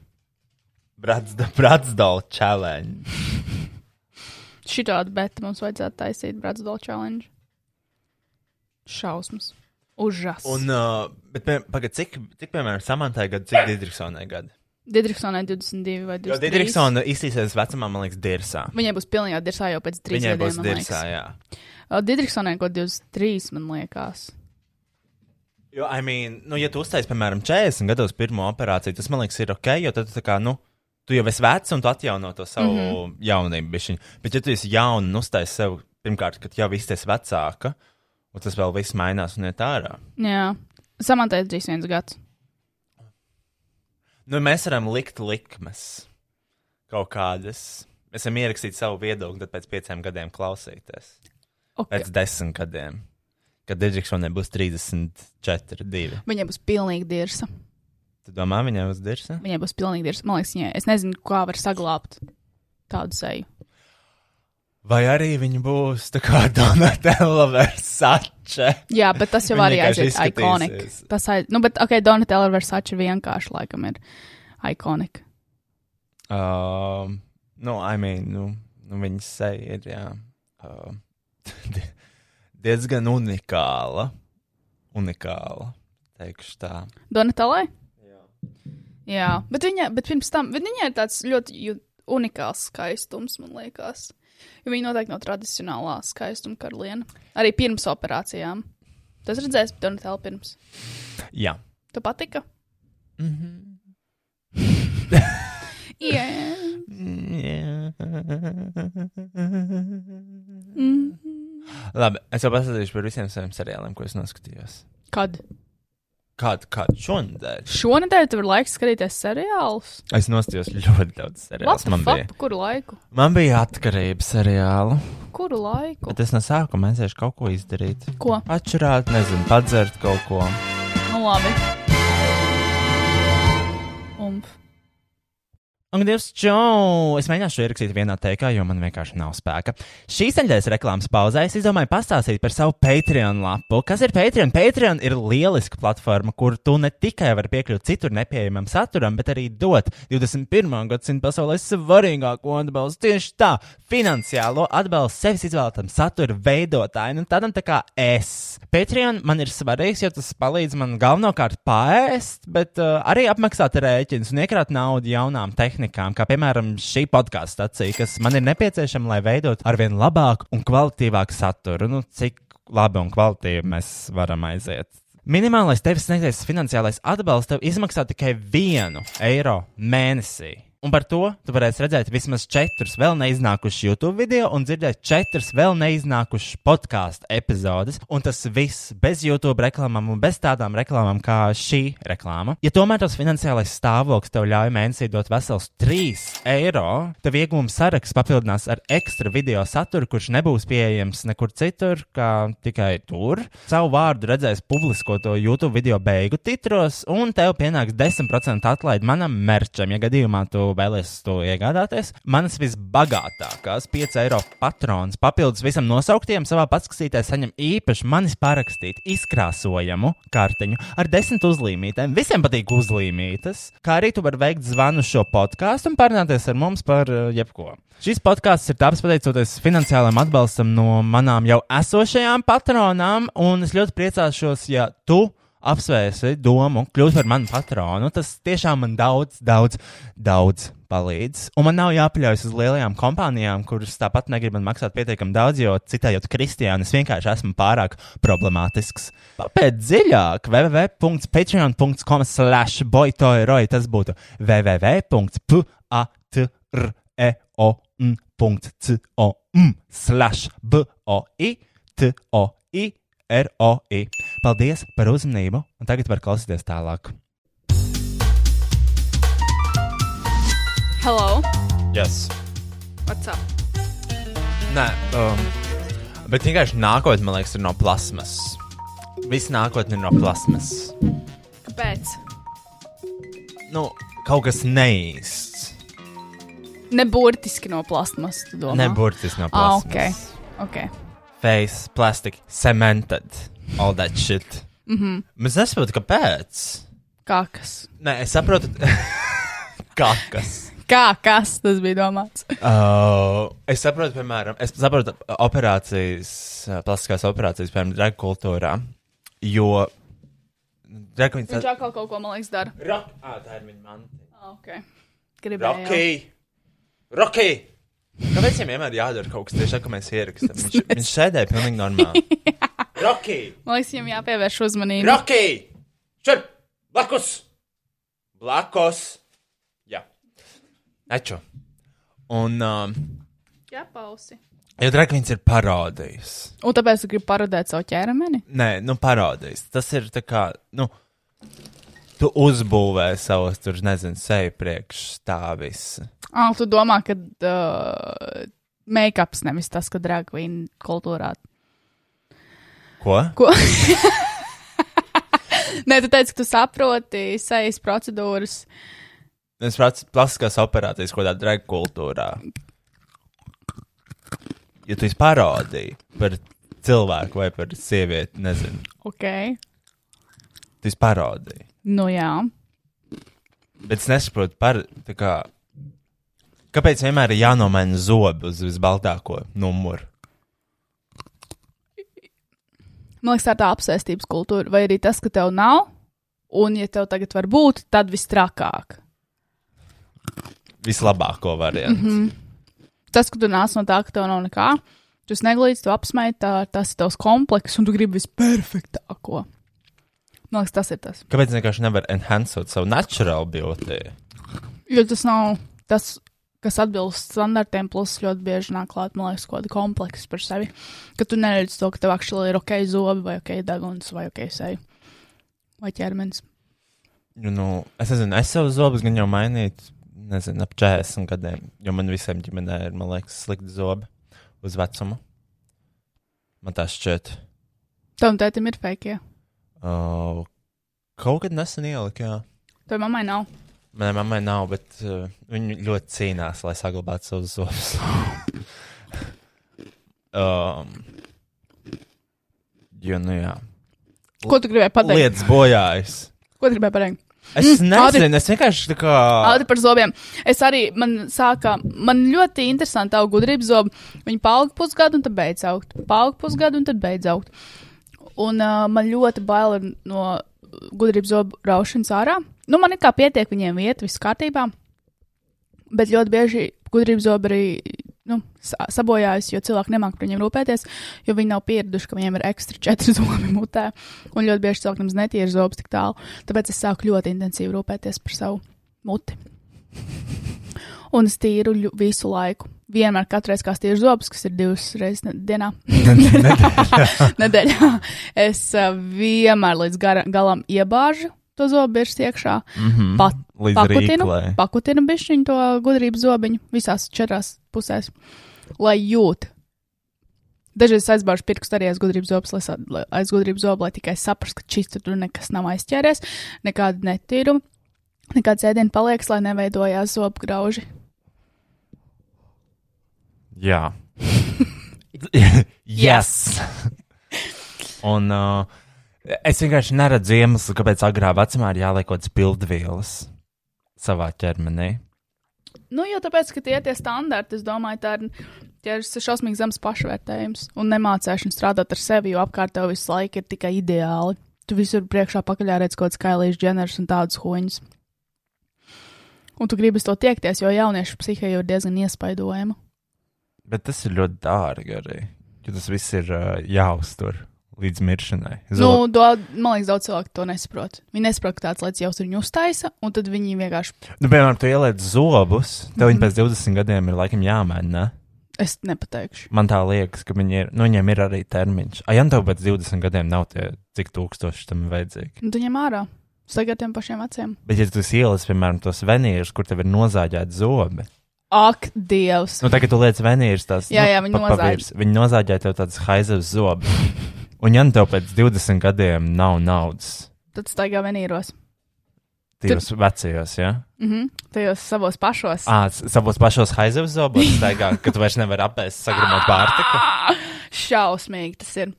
[SPEAKER 2] Bratsdala challenge.
[SPEAKER 3] Šitādi, bet mums vajadzētu taisīt Brats Dola challenge. Šausmas. Užas.
[SPEAKER 2] Un, uh, bet, pie- pagad, cik, cik piemēram, samantai gadu, cik Digitrisonai gadu?
[SPEAKER 3] Didriksonai 22 vai 23.
[SPEAKER 2] Jo Digriksona izsīsies vecumā, man liekas, dirsā.
[SPEAKER 3] Viņai būs pilnībā dirsā jau pēc trīs
[SPEAKER 2] Viņai būs
[SPEAKER 3] gadiem.
[SPEAKER 2] dirsā, jā.
[SPEAKER 3] Didriksonai kaut 23, man liekas.
[SPEAKER 2] Jo, I mean, nu, ja tu uztais, piemēram, 40 gados pirmo operāciju, tas man liekas, ir ok, jo tad tu tā kā, nu, tu jau esi vecs un tu atjauno to savu mm
[SPEAKER 3] Mhm.
[SPEAKER 2] -hmm. jaunību. Bišķiņ. Bet, ja tu esi jauna un uztais sev, pirmkārt, kad jau izties vecāka, un tas vēl viss mainās un iet ārā.
[SPEAKER 3] Jā, samantai 31 gads.
[SPEAKER 2] Nu, mēs varam likt likmes kaut kādas. Mēs varam ierakstīt savu viedokli, tad pēc pieciem gadiem klausīties.
[SPEAKER 3] Okay.
[SPEAKER 2] Pēc desmit gadiem, kad Digitronai būs 34, 2.
[SPEAKER 3] Viņai būs pilnīgi dirsa.
[SPEAKER 2] Tu domā, viņai būs dirsa?
[SPEAKER 3] Viņai būs pilnīgi dirsa. Man liekas, viņai, es nezinu, kā var saglabāt tādu seju.
[SPEAKER 2] Vai arī viņi būs tā kā *laughs* Donatella Versace?
[SPEAKER 3] Jā, bet tas jau
[SPEAKER 2] Viņa
[SPEAKER 3] arī
[SPEAKER 2] vienkārši
[SPEAKER 3] aiziet ikoniski.
[SPEAKER 2] izskatīsies.
[SPEAKER 3] Tas aiz... nu, bet, ok, Donatella Versace vienkārši laikam ir ikoniski.
[SPEAKER 2] Um, nu, I mean, nu, nu viņas seja ir jā, um, *laughs* di- diezgan unikāla. Unikāla, teikšu tā.
[SPEAKER 3] Donatellai? Jā. Jā, bet, viņa, bet pirms tam bet viņai ir tāds ļoti ju- unikāls skaistums, man liekas. Jo viņa noteikti nav tradicionālā skaistuma karaliene. Arī pirms operācijām. Tas redzēs Donatella pirms.
[SPEAKER 2] Jā.
[SPEAKER 3] Tu patika? Mm-hmm. *laughs* Mhm. Yeah. Mhm.
[SPEAKER 2] Labi, es jau pastāstīšu par visiem saviem seriāliem, ko es noskatījos.
[SPEAKER 3] Kad?
[SPEAKER 2] Kādu, kādu šonadēļ?
[SPEAKER 3] Šonadēļ tev ir laiks skatīties seriālus.
[SPEAKER 2] Es nostājos ļoti daudz
[SPEAKER 3] What
[SPEAKER 2] seriālu.
[SPEAKER 3] the
[SPEAKER 2] Man,
[SPEAKER 3] fuck?
[SPEAKER 2] bija-
[SPEAKER 3] Pa Kuru laiku?
[SPEAKER 2] man bija atkarības seriāla.
[SPEAKER 3] Kuru laiku?
[SPEAKER 2] Bet es no sākuma aiziešu kaut ko izdarīt.
[SPEAKER 3] Ko?
[SPEAKER 2] Atšķirāt, nezinu, padzert kaut ko.
[SPEAKER 3] Nu, labi. Umf.
[SPEAKER 2] Un, Dievs, čau! Es mēģināšu ierakstīt vienā teikā, jo man vienkārši nav spēka. Šīs nedēļas reklāmas pauzē es izdomāju pastāstīt par savu Patreon lapu. Kas ir Patreon? Patreon ir lieliska platforma, kur tu ne tikai vari piekļūt citur nepieejamam saturam, bet arī dot 21. gadsimta pasaulē svarīgāko atbalstu tieši tā - finansiālo atbalstu sevis izvēlētam satura veidotājam, un tādam tā kā es. Patreon man ir svarīgs, jo tas palīdz man galvenokārt pāriest, bet uh, arī apmaksāt rēķinus un iekrāt naudu jaunām tehnikām, kā piemēram šī podkāstu stācija, kas man ir nepieciešama, lai veidotu arvien labāku un kvalitīvāku saturu. Nu, cik labi un kvalitīvi mēs varam aiziet. Minimālais tevis sniegtais finansiālais atbalsts tev izmaksā tikai vienu eiro mēnesī. Un par to tu varēsi redzēt vismaz četrus vēl neiznākušus YouTube video un dzirdēt četrus vēl neiznākušus podkāstu epizodes. Un tas viss bez YouTube reklāmām un bez tādām reklāmām kā šī reklāma. Ja tomēr tas finansiālais stāvoklis tev ļauj mēnesī dot vesels 3 eiro, tev iegūmu saraksts papildinās ar ekstra video saturu, kurš nebūs pieejams nekur citur, kā tikai tur. Savu vārdu redzēs publiskoto YouTube video beigu titros, un tev pienāks 10% atlaide manam merčam, ja gadījumā tu vēlies to iegādāties. Manas visbagātākās 5 eiro patronas papildus visam nosauktiem savā paskatītē saņem īpaši manis pārakstīt izkrāsojamu kartiņu ar 10 uzlīmītēm. Visiem patīk uzlīmītas, kā arī tu vari veikt zvanu šo podkāstu un parunāties ar mums par eh, jebko. Šis podkāsts ir tāds pateicoties finansiālam atbalstam no manām jau esošajām patronām, un es ļoti priecāšos, ja tu apsvērsi domu kļūt par manu patronu. Nu, Tas tiešām man daudz, daudz, daudz palīdz. Un man nav jāpaļaujas uz lielajām kompānijām, kuras tāpat negrib man maksāt pietiekami daudz, jo citējot kristiāni, es vienkārši esmu pārāk problemātisks. Pēc dziļāk, www.patreon.com slash boytoiroi tas būtu www.patreon.com slash boitoi. ROI. Paldies par uzmanību, un tagad var klausīties tālāk.
[SPEAKER 3] Hello,
[SPEAKER 2] Yes.
[SPEAKER 3] what's up?
[SPEAKER 2] Nē, um, bet vienkārši nākotnē, man liekas, ir no plasmas. Viss nākotnē ir no plasmas.
[SPEAKER 3] Kāpēc?
[SPEAKER 2] Nu, kaut kas neīsts.
[SPEAKER 3] Neburtiski no plasmas, tu domā?
[SPEAKER 2] Neburtis no
[SPEAKER 3] Ah,
[SPEAKER 2] plasmas.
[SPEAKER 3] ok. Ok.
[SPEAKER 2] Face, plastic, cemented, all that shit. Mm
[SPEAKER 3] Mhm.
[SPEAKER 2] -hmm. Mēs nesaprotam, kāpēc.
[SPEAKER 3] Kā kas?
[SPEAKER 2] Nē, es saprotu. *laughs* Kā kas?
[SPEAKER 3] Kā kas tas bija *laughs* domāts?
[SPEAKER 2] Uh, es saprotu, piemēram, es saprotu uh, operācijas, uh, plastiskās operācijas, piemēram, drag kultūrā. Jo nu, drag
[SPEAKER 3] Viņš
[SPEAKER 2] queens.
[SPEAKER 3] atkal kaut ko, man liekas, dara.
[SPEAKER 2] Rak, ā, tā ir viņa mantiņa.
[SPEAKER 3] Okay. Ah, Gribēju.
[SPEAKER 2] Rocky! Rocky! Kāpēc viņam vienmēr jādara kaut kas tieši tā, ka mēs ierakstām? *laughs* Viņš, viņš sēdēja pilnīgi *laughs* normāli. Rocky!
[SPEAKER 3] Man liekas, viņam jāpievērš uzmanība.
[SPEAKER 2] Rocky! Šur! Blakus! Blakus! Jā. Eču. Un, um,
[SPEAKER 3] Jā, pausi.
[SPEAKER 2] jo Drakvins ir parodijas.
[SPEAKER 3] Un tāpēc es gribu parodēt savu ķermeni.
[SPEAKER 2] Nē, nu parodijas. Tas ir tā kā, nu, tu uzbūvē savus, tur nezinu, seju priekšstāvis.
[SPEAKER 3] Ah, tu domā, ka uh, make-ups nevis tas, ka dragvīna kultūrā.
[SPEAKER 2] Ko?
[SPEAKER 3] Ko? Nē, tu teici, ka tu saproti sejas procedūras.
[SPEAKER 2] Es saprotu, plastiskās operācijas kaut kādā drag kultūrā. Ja tu esi parodija par cilvēku vai par sievieti, nezinu,
[SPEAKER 3] Ok.
[SPEAKER 2] tu esi parodija.
[SPEAKER 3] Nu jā.
[SPEAKER 2] Bet es nesaprotu, par, tā kā, kāpēc vienmēr ir jānomaina zobi uz visbaltāko numuru.
[SPEAKER 3] Man liekas, tā ir tā apsēstības kultūra, vai arī tas, ka tev nav, un ja tev tagad var būt, tad viss trakāk.
[SPEAKER 2] Vislabāko variantu.
[SPEAKER 3] Mhm.
[SPEAKER 2] Mm -hmm.
[SPEAKER 3] Tas, ka tu nāc no tā, ka tev nav nekā, tu neglīdzi, tu apsmēji, tā, tas ir tavs komplekss, un tu gribi visperfektāko. Man liekas, tas ir tas.
[SPEAKER 2] Kāpēc vienkārši nevar enhancot savu natural beauty?
[SPEAKER 3] Jo tas nav tas, kas atbilst standartiem, plus ļoti bieži nāk klāt, man liekas, kaut kāda kompleksa par sevi. Ka tu neredzi to, ka tev akšķelē ir ok zobi, vai ok deguns, vai ok seja, vai ķermenis.
[SPEAKER 2] Nu, Nu, es nezinu, es savus zobus gan jau mainīju, nezinu, ap 40 gadiem. Jo man visiem ģimenē ir, man liekas, slikti zobi uz vecumu. Man tā šķiet.
[SPEAKER 3] Tam tētim ir fake.
[SPEAKER 2] Uh, kaut kad nesen ieliku, jā.
[SPEAKER 3] Tev mammai nav.
[SPEAKER 2] Manai mammai nav, bet uh, viņa ļoti cīnās, lai saglabātu savus zobus. *laughs* um, jo, nu jā,
[SPEAKER 3] Ko tu gribēji pateikt?
[SPEAKER 2] lietas bojājas.
[SPEAKER 3] Ko tu gribēji pateikt?
[SPEAKER 2] Es
[SPEAKER 3] Mm,
[SPEAKER 2] nezinu, es vienkārši tā kā.
[SPEAKER 3] Ātri par zobiem. Es arī, man sāka, man ļoti interesanti auga gudrības zobi. Viņi paauga pusgadu un tad beidz augt. Paauga pusgadu un tad beidz augt. Un uh, man ļoti bail ir no gudrības zobu raušanas ārā. Nu, man ir kā pietiek viņiem vieta, viss kārtībā. Bet ļoti bieži gudrības zobi arī nu, sa- sabojājas, jo cilvēki nemāk par viņiem rūpēties, jo viņi nav pieraduši, ka viņiem ir ekstra četri *laughs* zobi mutē. Un ļoti bieži cilvēkiem nemaz netīra zobs tik tālu. Tāpēc es sāku ļoti intensīvi rūpēties par savu muti. Un es tīru ļu- visu laiku. Vienmēr, katru reizi, kad es tīru zobus, kas ir divas reizes ne- dienā, *laughs* nedēļā, es uh, vienmēr līdz gara, galam iebāžu to zobu bišķi iekšā,
[SPEAKER 2] Mm -hmm.
[SPEAKER 3] pat
[SPEAKER 2] Līdz
[SPEAKER 3] pakutinu,
[SPEAKER 2] rīklē.
[SPEAKER 3] pakutinu bišķiņu nu, to gudrības zobiņu visās četrās pusēs, lai jūt. Dažreiz es aizbāžu pirkstu arī aiz gudrības zobus, lai, sa- lai- aiz gudrības zobu, lai tikai saprastu, ka šis tur nekas nav aizķēries, nekāda netīruma, nekāds ēdienu palieks, lai neveidojās zobu grauži.
[SPEAKER 2] Jā. *laughs* yes! Un uh, es vienkārši neredzu iemeslu, kāpēc agrā vecumā ir jāliek kaut kādas pildvielas savā ķermenī.
[SPEAKER 3] Nu, jo tāpēc, ka tie ir tie standarti, es domāju, tā ir, tie ir šausmīgi zems pašvērtējums un nemācēšana strādāt ar sevi, jo apkārt tev visu laiku ir tikai ideāli. Tu visur priekšā pakaļā redz kaut kādas kailīgas ģenerus un tādas huņas. Un tu gribi uz to tiekties, jo jauniešu psihē jau ir diezgan iespaidojama.
[SPEAKER 2] Bet tas ir ļoti dārgi arī, jo tas viss ir uh, jāuztur līdz miršanai.
[SPEAKER 3] Nu, do, man liekas, daudz cilvēku to nesaprot. Viņi nesaprot, ka tāds lietas jau ir viņu uztaisa, un tad viņi vienkārši,
[SPEAKER 2] Nu, piemēram, tu ieliec zobus, tev mm -hmm. viņi
[SPEAKER 3] Mhm.
[SPEAKER 2] pēc 20 gadiem ir laikam jāmaina. ne?
[SPEAKER 3] es nepateikšu.
[SPEAKER 2] Man tā liekas, ka viņi ir, nu, viņiem ir arī termiņš. Ai, ja tev pēc 20 gadiem nav tie, cik tūkstoši tam vajadzīgi.
[SPEAKER 3] Un Nu, tu ņem ārā, sagad tiem pašiem acīm.
[SPEAKER 2] Bet, ja tu ieliec, piemēram, tos venīrus, kur tev ir nozāģēti zobi,
[SPEAKER 3] Ak, Dievs!
[SPEAKER 2] nu, tagad tu liec venīrus, tās
[SPEAKER 3] Jā, jā,
[SPEAKER 2] nu,
[SPEAKER 3] viņi nozāģ.
[SPEAKER 2] virs. Viņi nozāģē tev tādas haizavas zobus. Un, ja nu tev pēc 20 gadiem nav naudas,
[SPEAKER 3] Tad staigā venīros.
[SPEAKER 2] tīros vecajos, ja?
[SPEAKER 3] Mhm, tajos savos pašos.
[SPEAKER 2] Ā, s- savos pašos haizavas
[SPEAKER 3] *laughs*
[SPEAKER 2] zobos, staigā, ka tu vairs nevari apēst sagramot pārtiku. *laughs*
[SPEAKER 3] Šausmīgi tas ir.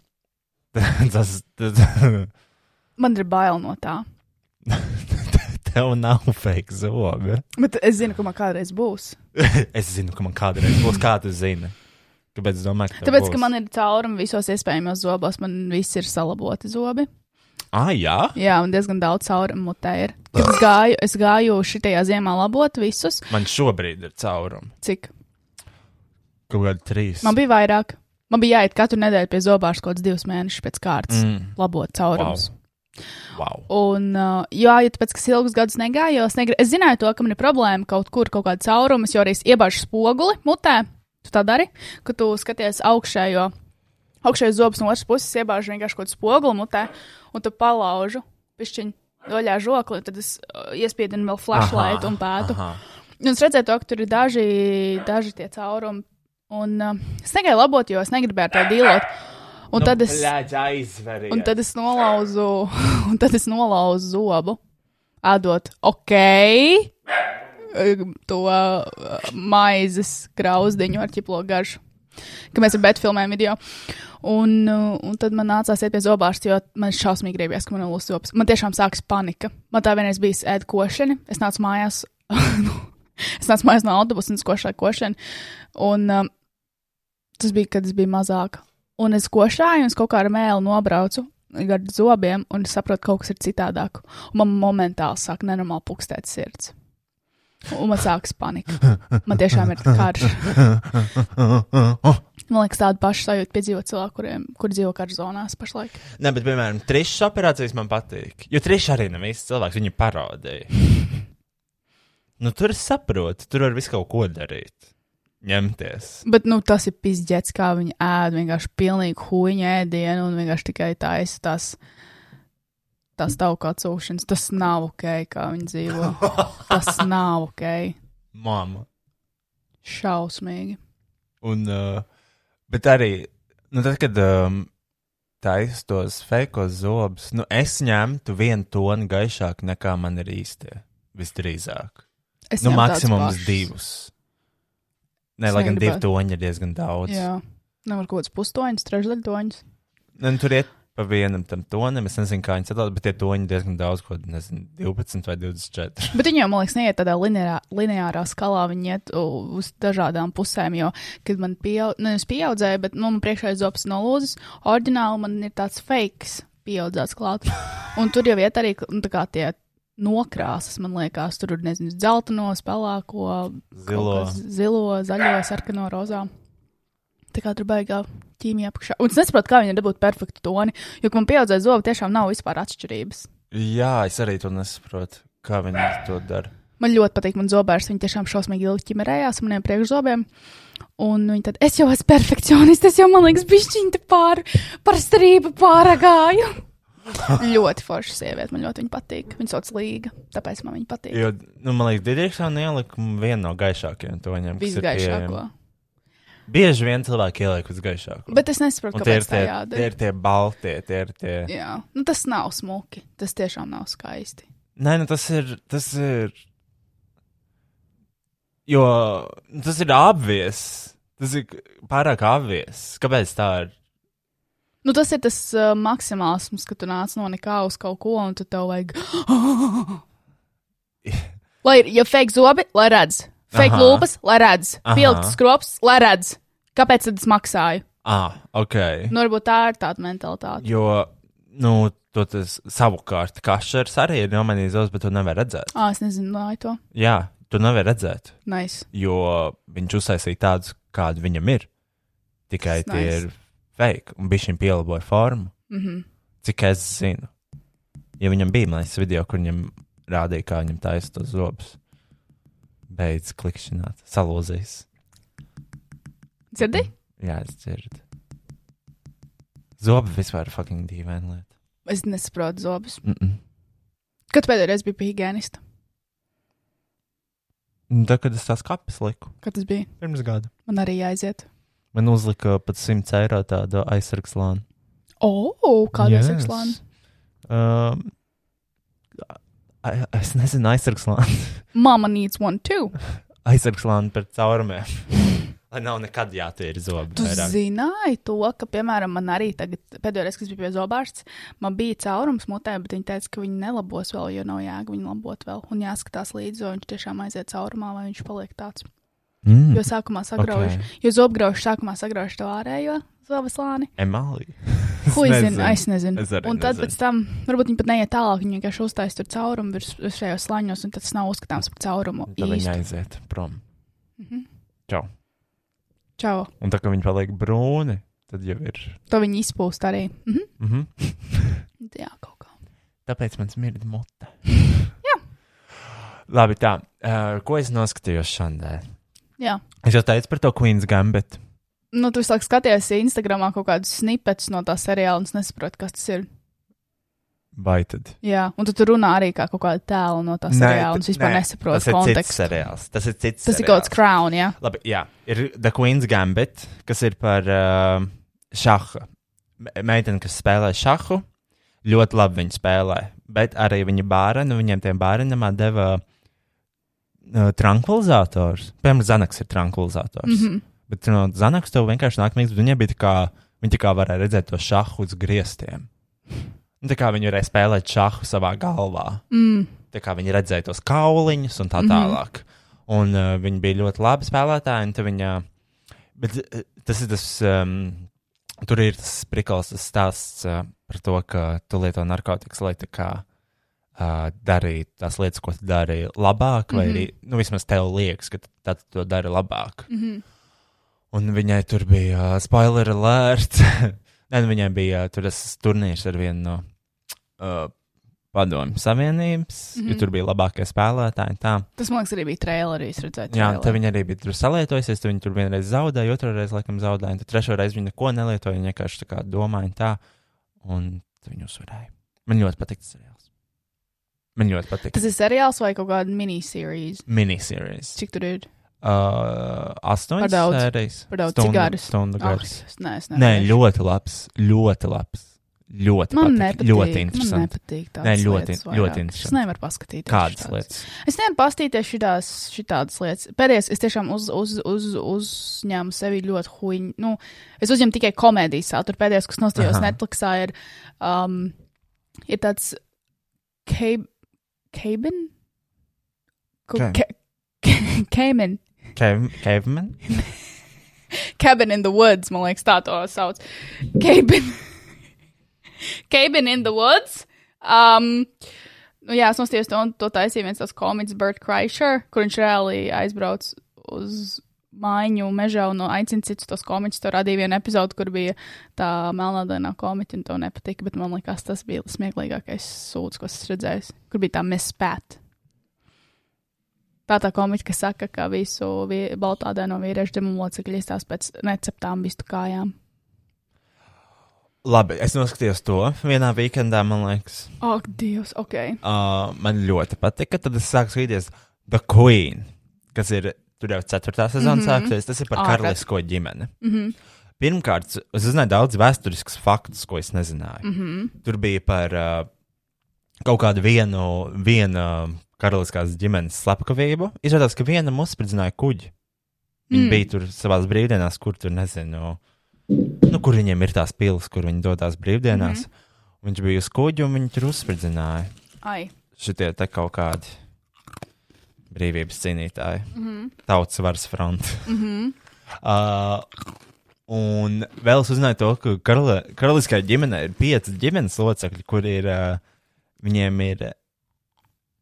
[SPEAKER 2] tas, tas *laughs*
[SPEAKER 3] Man ir bail no tā.
[SPEAKER 2] tev nav fake zobi.
[SPEAKER 3] Bet es zinu, ka man kādreiz būs.
[SPEAKER 2] *laughs* Es zinu, ka man kādreiz būs kāda zina. Kāpēc es domāju, ka tev
[SPEAKER 3] Tāpēc,
[SPEAKER 2] būs?
[SPEAKER 3] ka man ir caurumi visos iespējamos zobos, man viss ir salaboti zobi.
[SPEAKER 5] Ah, jā?
[SPEAKER 3] Jā, un diezgan daudz caurumu mutē ir. Kad es gāju, es gāju šitajā ziemā labot visus,
[SPEAKER 5] Man šobrīd ir caurumi.
[SPEAKER 3] cik
[SPEAKER 5] Kaut kādi trīs.
[SPEAKER 3] man bija vairāk. Man bija jāiet katru nedēļu pie zobārsta kaut kāds divus mēnešus pēc kārtas, mm. labot caurumus. Wow.
[SPEAKER 5] Wow.
[SPEAKER 3] Un, uh, jā, ja tāpēc, ka es ilgus gadus negāju, es, negri... es zināju, to, ka man ir problēma kaut kur, kaut kāda cauruma, jo arī es iebāžu spoguli mutē. Tu tā dari, ka tu skaties augšējo, augšējo zobus no otras puses, iebāžu vienkārši kaut kādu spoguli mutē, un tu palaužu pišķiņu doļā žokli, tad es uh, iespiedinu vēl flashlight un pētu. Un es redzēju, to, ka tur ir daži, daži tie caurumi, un uh, es negaidu labot, jo es negribēju ar to dīlot. Un tad es.
[SPEAKER 2] aizverīgi.
[SPEAKER 3] Un tad es nolauzu, *laughs* un tad es nolauzu zobu. Atdot, ok, to uh, maizes grauzdiņu ar ķiplo garšu, ka mēs ar Bētu filmējam video. Un, uh, un tad man nācās iet pie zobārsta, jo man šausmīgi gribējās, ka man ir lūsas zopas. Man tiešām sākas panika. Man tā vienreiz bija ēd košana, es nācu mājās. *laughs* Es nācu mājās no autobusa un es košāju košanu. Un, um, tas bija, kad es biju mazāka. Un es košāju, un es kaut kā ar mēlu nobraucu ar zobiem, un es saprotu, ka kaut kas ir citādāk. Un man momentāli sāk nenormāli pukstēt sirds. Un man sākas panika. Man tiešām ir karš. Man liekas, tādu pašu sajūtu piedzīvo cilvēki, kuriem kur dzīvo karš zonās pašlaik.
[SPEAKER 2] Nē, bet, piemēram, trešas operācijas man patīk. Jo trešā arī nav īsts cilvēks, viņa parodēja. Nu, tur es saprotu, tur var visu kaut ko darīt. Ņemties.
[SPEAKER 3] *laughs* Bet nu, tas ir pizdzēts, kā viņi ēd vienkārši pilnīgi huīņa ēdienu un vienkārši tikai taisa tās, tās tauku atsūkšanas. Tas nav ok, kā viņi dzīvo. Tas nav ok.
[SPEAKER 2] Māma.
[SPEAKER 3] Šausmīgi.
[SPEAKER 2] Un, uh, bet arī, nu, tad, kad um, taisnos tos fejkos zobus, nu, es ņemtu vienu tonu gaišāk nekā man ir īstie. Visdrīzāk.
[SPEAKER 3] Es
[SPEAKER 2] Nu,
[SPEAKER 3] ņemu tādus
[SPEAKER 2] maksimums
[SPEAKER 3] pašus.
[SPEAKER 2] divus. Nē,
[SPEAKER 3] Es
[SPEAKER 2] lai gan divi
[SPEAKER 3] negribētu.
[SPEAKER 2] toņi ir diezgan daudz.
[SPEAKER 3] Jā. Nevar kaut kāds pustoņus, trešdaļtoņus.
[SPEAKER 2] Nu, tur iet pa vienam tam tonim. Es nezinu, kā viņi sadalās, bet tie toņi diezgan daudz, ko nezinu, 12 vai 24.
[SPEAKER 3] Bet viņi jau, man liekas, neiet tādā lineārā, lineārā skalā, viņi iet u- uz dažādām pusēm. Jo, kad man pieaug, ne, es pieaudzēju, bet nu, man priekšā ir zobs nolūzis, oriģināli man ir tāds fakes pieaudzēts klāt. Un tur jau iet arī nu, tā kā tie nokrāsas, man liekas, tur ir nezinu, dzelteno, spēlēko,
[SPEAKER 2] Zilo.
[SPEAKER 3] zilo, zaļo, sarkano, rozā. Tā kā tur baigā ķīmija apakšā. Un es nesaprotu, kā viņi dabūtu perfektu toni, jo, kad man pieaudzēja zobi, tiešām nav vispār atšķirības.
[SPEAKER 2] Jā, es arī to nesaprotu, kā viņi to dara.
[SPEAKER 3] Man ļoti patīk, man zobārs, viņi tiešām šausmīgi ilgi ķimerējās ar maniem priekšzobiem. Un viņi tad, es jau esmu perfekcionists, es jau man liekas, bišķiņa pār, par strīpu pāragāju.
[SPEAKER 2] *laughs*
[SPEAKER 3] ļoti forša sieviete, man ļoti viņa patīk. Viņa sauc Līga, tāpēc man viņa patīk.
[SPEAKER 2] Jo, nu, man liekas, Digitrisāna ielika viena no gaišākajām toņiem. kas ir
[SPEAKER 3] Visgaišāko.
[SPEAKER 2] pieejama. Bieži vien cilvēki ieliek uz gaišāko.
[SPEAKER 3] Bet es nesaprotu,
[SPEAKER 2] Un tie ir
[SPEAKER 3] kāpēc tā
[SPEAKER 2] tie, tie,
[SPEAKER 3] jādara.
[SPEAKER 2] ir tie balti, tie ir tie.
[SPEAKER 3] Jā, nu, tas nav smuki. Tas tiešām nav skaisti.
[SPEAKER 2] Nē, nu tas ir. Tas ir... Jo nu, tas ir apvies. Tas ir pārāk apvies. Kāpēc tā ir?
[SPEAKER 3] Nu, tas ir tas uh, maksimālisms, ka tu nāc no nekā uz kaut ko, un tu tev
[SPEAKER 2] *laughs*
[SPEAKER 3] vajag. lai ir, ja fake zobi, lai redz, fake
[SPEAKER 2] Aha.
[SPEAKER 3] lūpas, lai redz,
[SPEAKER 2] Aha.
[SPEAKER 3] pilks skrops, lai redz. Kāpēc tad es maksāju?
[SPEAKER 2] Ah, ok.
[SPEAKER 3] Nu, varbūt tā ir tāda mentalitāte.
[SPEAKER 2] Jo, nu, to tas savukārt kašers arī ir nomanījis, bet to nevar redzēt.
[SPEAKER 3] Ah, es nezinu, lai to.
[SPEAKER 2] Jā, to nevar redzēt,
[SPEAKER 3] Nice.
[SPEAKER 2] jo viņš uztaisīja tādus, kādi viņam ir. Tikai
[SPEAKER 3] Tas
[SPEAKER 2] tie
[SPEAKER 3] nice.
[SPEAKER 2] ir fake, un viņš viņam pielaboja formu.
[SPEAKER 3] Mm -hmm.
[SPEAKER 2] Cik es zinu, ja viņam bija mākslinieks video, kur viņam rādīja, kā viņam taisa tos zobus. Beidz klikšķināt, salūzīs.
[SPEAKER 3] Dzirdi?
[SPEAKER 2] Jā, es dzirdu. Zobi vispār ir fucking dīvaina lieta.
[SPEAKER 3] Es nesaprotu zobus.
[SPEAKER 2] Mm -mm.
[SPEAKER 3] Kad pēdējā reize bija pie higienista?
[SPEAKER 2] Nu, Tad, kad es tās kapes liku,
[SPEAKER 3] Kad tas bija?
[SPEAKER 2] pirms gada,
[SPEAKER 3] Man arī jāaiziet.
[SPEAKER 2] man uzlika pat 100 eiro tādu aizsargslānu.
[SPEAKER 3] O, oh, kāda ir slāņa?
[SPEAKER 2] Um, a- a- es nezinu, aizsargslānu. *laughs*
[SPEAKER 3] Mama needs one too.
[SPEAKER 2] Aizsargslānu par caurumiem.
[SPEAKER 3] *laughs*
[SPEAKER 2] Lai nav nekad jātīra zobi.
[SPEAKER 3] Tu
[SPEAKER 2] vairāk.
[SPEAKER 3] zināji to, ka, piemēram, man arī tagad, pēdējā reizē, kad es biju pie zobārsta, man bija caurums mutē, bet viņi teica, ka viņi nelabos vēl, jo nav jēga viņu labot vēl. Un jāskatās līdzi, vai viņš tiešām aiziet caurumā, vai viņš paliek tāds.
[SPEAKER 2] Mm.
[SPEAKER 3] Jo sākumā sagrauž, okay. jo zobgrauž sākumā sagrauž to ārējo zobaslāni.
[SPEAKER 2] Emālija.
[SPEAKER 3] *laughs* Ko es zinu? Es nezinu.
[SPEAKER 2] Es arī
[SPEAKER 3] un tad
[SPEAKER 2] nezinu.
[SPEAKER 3] pēc tam, varbūt viņi pat neiet tālāk, viņi vienkārši uzstājas tur caurumu virs šajos slāņos, un tas nav uzskatāms par caurumu.
[SPEAKER 2] Tad viņi
[SPEAKER 3] īstu.
[SPEAKER 2] aiziet prom.
[SPEAKER 3] Mhm.
[SPEAKER 2] Čau.
[SPEAKER 3] Čau.
[SPEAKER 2] Un tā kā viņi paliek brūni, tad jau ir.
[SPEAKER 3] To viņi izpūst arī. Mhm.
[SPEAKER 2] Mhm. *laughs*
[SPEAKER 3] Jā, kaut kā.
[SPEAKER 2] Tāpēc man smirda mute.
[SPEAKER 3] *laughs* Jā.
[SPEAKER 2] Labi, tā. Uh, ko es noskatījos šodien?
[SPEAKER 3] Jā.
[SPEAKER 2] Es jau teicu par to Queen's Gambit.
[SPEAKER 3] Nu, tu visu laiku skaties Instagramā kaut kādus snipetus no tā seriāla, un es nesaprotu, kas tas ir.
[SPEAKER 2] Vai tad?
[SPEAKER 3] Jā, un tu tur runā arī kā kaut kāda tēla no tā seriāla, un es vispār
[SPEAKER 2] tas
[SPEAKER 3] nesaprotu
[SPEAKER 2] ir cits
[SPEAKER 3] kontekstu.
[SPEAKER 2] seriāls. Tas ir cits.
[SPEAKER 3] Tas ir kaut kāds crown, jā.
[SPEAKER 2] Labi, jā, ir The Queen's Gambit, kas ir par uh, šāhu. Me- Meitene, kas spēlē šāhu, ļoti labi viņa spēlē. Bet arī viņa bērnu, viņiem tiem bērnam deva uh, tranquilizators. Piemēram, Zanaks ir tranquilizators.
[SPEAKER 3] Mm -hmm.
[SPEAKER 2] Bet no Zanaks tev vienkārši nāk mīgs, bet viņa bija tā kā, viņa tā kā varēja redzēt to šāhu uz griestiem. Un tā kā viņi varēja spēlēt šāhu savā galvā.
[SPEAKER 3] mm.
[SPEAKER 2] Tā kā viņi redzēja tos kauliņus un tā tālāk. Mm -hmm. Un uh, viņi bija ļoti labi spēlētāji. un tad Viņa, bet uh, tas ir tas, um, tur ir tas prikals, tas stāsts uh, par to, ka tu lieto narkotikas, lai tā kā uh, darītu tās lietas, ko tu dari labāk, mm -hmm. vai
[SPEAKER 3] Mhm.
[SPEAKER 2] arī nu, vismaz tev liekas, ka tad tu to dari labāk.
[SPEAKER 3] Mm -hmm.
[SPEAKER 2] Un viņai tur bija uh, spoiler alert. *laughs* Nē, nu, viņai bija uh, tur tas turnīrs ar vienu no uh, padomju savienības, mm -hmm.
[SPEAKER 3] Mhm.
[SPEAKER 2] jo tur bija labākie spēlētāji. un Tā.
[SPEAKER 3] Tas, man liekas, arī bija traileris redzēt.
[SPEAKER 2] Jā,
[SPEAKER 3] traileri.
[SPEAKER 2] tā viņa arī bija tur salietojusies. Tad viņa tur vienreiz zaudēja, otru reizi, laikam, zaudēja. un Tad trešo reizi viņa neko nelietoja. Viņa vienkārši tā kā domāja un tā. Un tad viņa uzvarēja. Man ļoti patīk tas seriāls. Man ļoti patīk.
[SPEAKER 3] Tas ir seriāls vai kaut kāda minisērijas?
[SPEAKER 2] Minisērijas.
[SPEAKER 3] Cik tur ir?
[SPEAKER 2] Uh, astoņas
[SPEAKER 3] Par daudz.
[SPEAKER 2] sērijas.
[SPEAKER 3] Par daudz
[SPEAKER 2] Stundu-
[SPEAKER 3] cigāris.
[SPEAKER 2] Stundu
[SPEAKER 3] Ah,
[SPEAKER 2] garas.
[SPEAKER 3] es- Nē, es
[SPEAKER 2] Nē,
[SPEAKER 3] nevarēšu.
[SPEAKER 2] ļoti labs. Ļoti labs. Ļoti
[SPEAKER 3] Man
[SPEAKER 2] patīk,
[SPEAKER 3] nepatīk.
[SPEAKER 2] Ļoti
[SPEAKER 3] Man
[SPEAKER 2] interesanti.
[SPEAKER 3] nepatīk tādas
[SPEAKER 2] Nē, ļoti-
[SPEAKER 3] lietas
[SPEAKER 2] ļoti
[SPEAKER 3] vairāk.
[SPEAKER 2] interesanti.
[SPEAKER 3] Es nevaru paskatīties.
[SPEAKER 2] Kādas
[SPEAKER 3] šitās.
[SPEAKER 2] lietas?
[SPEAKER 3] Es nevaru paskatīties šitās, šitādas lietas. Pēdējais, es tiešām uz, uz, uz, uzņēmu sevi ļoti huņu. Nu, es uzņēmu tikai komēdijas saturu. Pēdējais, kas nostājos
[SPEAKER 2] Aha.
[SPEAKER 3] Netflixā, ir, um, ir tāds Keibin?
[SPEAKER 2] Cab-
[SPEAKER 3] Keibin.
[SPEAKER 2] Cave- Caveman?
[SPEAKER 3] Cabin in the Woods, man liekas, tā to sauc. *laughs* Cabin, Cabin in the Woods. Um, nu, jā, es nostājos to, un to taisīja viens tāds komiķis, Bert Kreischer, kur viņš reāli aizbrauc uz mājiņu mežā un aicina citus tos komiķus. Tur radīja vienu epizodi, kur bija tā melnādainā komiķa, un to nepatika, bet man liekas, tas bija smieklīgākais sūds, ko es redzēju, kur bija tā mispēt. Tā tā komiķa, kas saka, ka visu vi baltādā no vīriešu dzimumu locekļu izstās pēc neceptām vistu kājām.
[SPEAKER 2] Labi, es noskatījos to vienā weekendā, man liekas.
[SPEAKER 3] Ak, Dievs, ok.
[SPEAKER 2] Uh, man ļoti patika. Tad es sāku skatīties The Queen, kas ir tur jau ceturtā sezona
[SPEAKER 3] Mhm.
[SPEAKER 2] mm -hmm. sāksies. Tas ir par
[SPEAKER 3] Ārprāt.
[SPEAKER 2] karalisko ģimeni. Mm -hmm.
[SPEAKER 3] Mhm.
[SPEAKER 2] Pirmkārt, es uzzināju daudz vēsturiskus faktus, ko es nezināju.
[SPEAKER 3] Mhm.
[SPEAKER 2] Mm -hmm. Tur bija par uh, kaut kādu vienu, vienu karaliskās ģimenes slepkavību. Izrādās, ka viena mums spridzināja kuģi. Viņi mm. bija tur savā brīvdienās, kur tur nezinu, nu, kur viņiem ir tās pilsētas, kur viņi dodas brīvdienās. Mm -hmm. Viņš bija uz kuģa un viņi tur uzspridzināja
[SPEAKER 3] Ai,
[SPEAKER 2] šitie te kaut kādi brīvības cīnītāji, mm
[SPEAKER 3] Mhm.
[SPEAKER 2] -hmm. tautas varas fronte. Mm -hmm. *laughs* uh, un vēl es uzzināju to, ka karali, karaliskajā ģimenē ir pieci ģimenes locekļi, kur ir uh, viņiem ir. ā,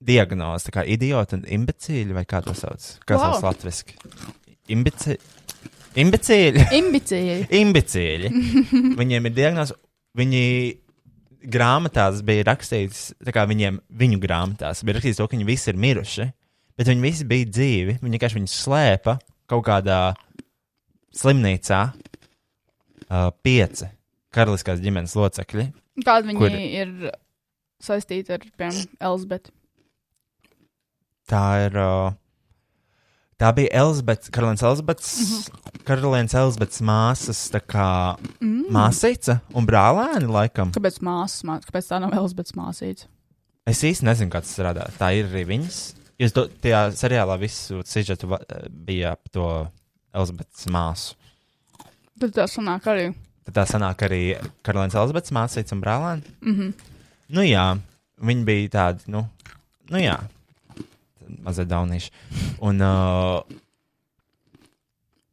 [SPEAKER 2] Diagnoze, tā kā idioti un imbecīļi, vai kā to sauc? Kā
[SPEAKER 3] Wow.
[SPEAKER 2] sauc latviešu? Imbeci... Imbecīļi!
[SPEAKER 3] imbicīļi.
[SPEAKER 2] imbecīļi. viņiem ir diagnoze, viņi grāmatās bija rakstīts, tā kā viņiem, viņu grāmatās bija rakstīts, to, ka viņi visi ir miruši, bet viņi visi bija dzīvi. Viņi vienkārši viņus slēpa kaut kādā slimnīcā uh, pieci karaliskās ģimenes locekļi.
[SPEAKER 3] Kāda viņi
[SPEAKER 2] Kur-
[SPEAKER 3] Kur? ir saistīta ar, piemēram, Elzbetu?
[SPEAKER 2] Tā ir. Uh, tā bija Elizabetes, Karolīnas Elizabetes, Karolīnas Elizabetes māsas, tā kā mm. māsīca un brālēni, laikam.
[SPEAKER 3] Kāpēc māsas, mā... kāpēc tā nav Elzbetas māsīca?
[SPEAKER 2] Es īsti nezinu, kā tas strādā. Tā ir arī viņas. Jūs to tajā seriālā visu sižetu va- bija ap to Elizabetes māsu.
[SPEAKER 3] Tad tā sanāk arī.
[SPEAKER 2] Tad tā sanāk arī Karolīnas Elizabetes māsīca un brālēna. Mm -hmm.
[SPEAKER 3] Mhm.
[SPEAKER 2] Nu jā, viņi bija tādi, nu, nu jā, mazliet daunīši. Un, uh,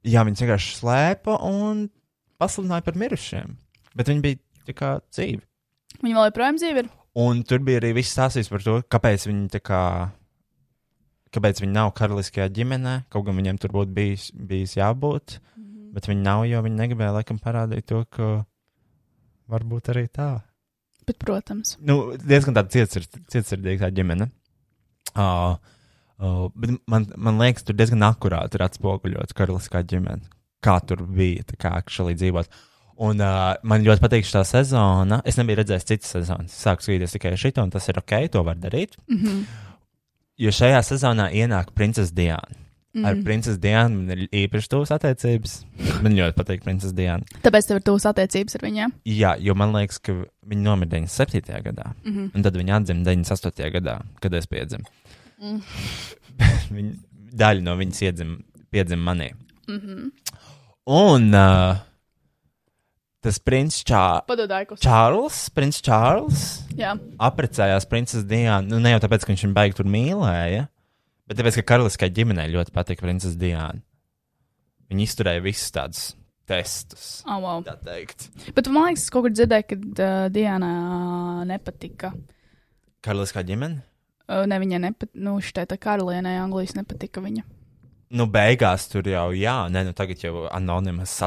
[SPEAKER 2] jā, viņas vienkārši slēpa un pasludināja par mirušiem. Bet viņi bija tā kā dzīvi.
[SPEAKER 3] Viņa vēl joprojām dzīve ir.
[SPEAKER 2] Un tur bija arī viss stāstījis par to, kāpēc viņi tā kā. Kāpēc viņi nav karaliskajā ģimenē? Kaut gan viņiem tur būtu bijis, bijis jābūt. Bet viņi nav, jo viņi negribēja laikam parādīt to, ka var būt arī tā.
[SPEAKER 3] Bet, protams,
[SPEAKER 2] nu, diezgan tāda cietsirdīga cietsirdīga tā ģimene. Uh, uh, bet man, man liekas, tur diezgan akurāti ir atspoguļots karaliskā ģimene. Kā tur bija, tā kā akšalī dzīvot. Un uh, man ļoti patīk šī sezona. Es nebiju redzējis citas sezonas. Es sāku skatīties tikai šito, un tas ir ok, to var darīt. Mm -hmm. Jo šajā sezonā ienāk princese Diana.
[SPEAKER 3] Mhm.
[SPEAKER 2] Mm. Ar princesi Dianu man ir īpaši tuvas attiecības. Man ļoti patīk princese Diana.
[SPEAKER 3] tāpēc tev ir tuvas attiecības ar viņiem.
[SPEAKER 2] Jā, jo man liekas, ka viņa nomira 97. gadā. Mm -hmm. Un tad viņa atdzima 98. gadā, kad es piedzimu.
[SPEAKER 3] Mhm.
[SPEAKER 2] *laughs* Mm. viņa, daļa no viņas iedzima, piedzima manī. Mm
[SPEAKER 3] Mhm.
[SPEAKER 2] -hmm. Un uh, tas princis Čā,
[SPEAKER 3] Padodāju, kas
[SPEAKER 2] Čārls, princis Čārls
[SPEAKER 3] Jā,
[SPEAKER 2] apprecējās princesi Diānu. Nu, ne jau tāpēc, ka viņš viņu baigi tur mīlēja, bet tāpēc, ka karaliskajai ģimenei ļoti patika princese Diāna. Viņa izturēja visus tādus testus,
[SPEAKER 3] oh, wow.
[SPEAKER 2] tā teikt.
[SPEAKER 3] Bet man liekas, es kaut kur dzirdēju, ka uh, Diana nepatika.
[SPEAKER 2] Karaliskā ģimene?
[SPEAKER 3] Uh, ne, viņai nepatika. Nu, šitai tā karalienei Anglijas nepatika viņa.
[SPEAKER 2] nu, beigās tur jau, jā, nē, nu, tagad jau anonīmas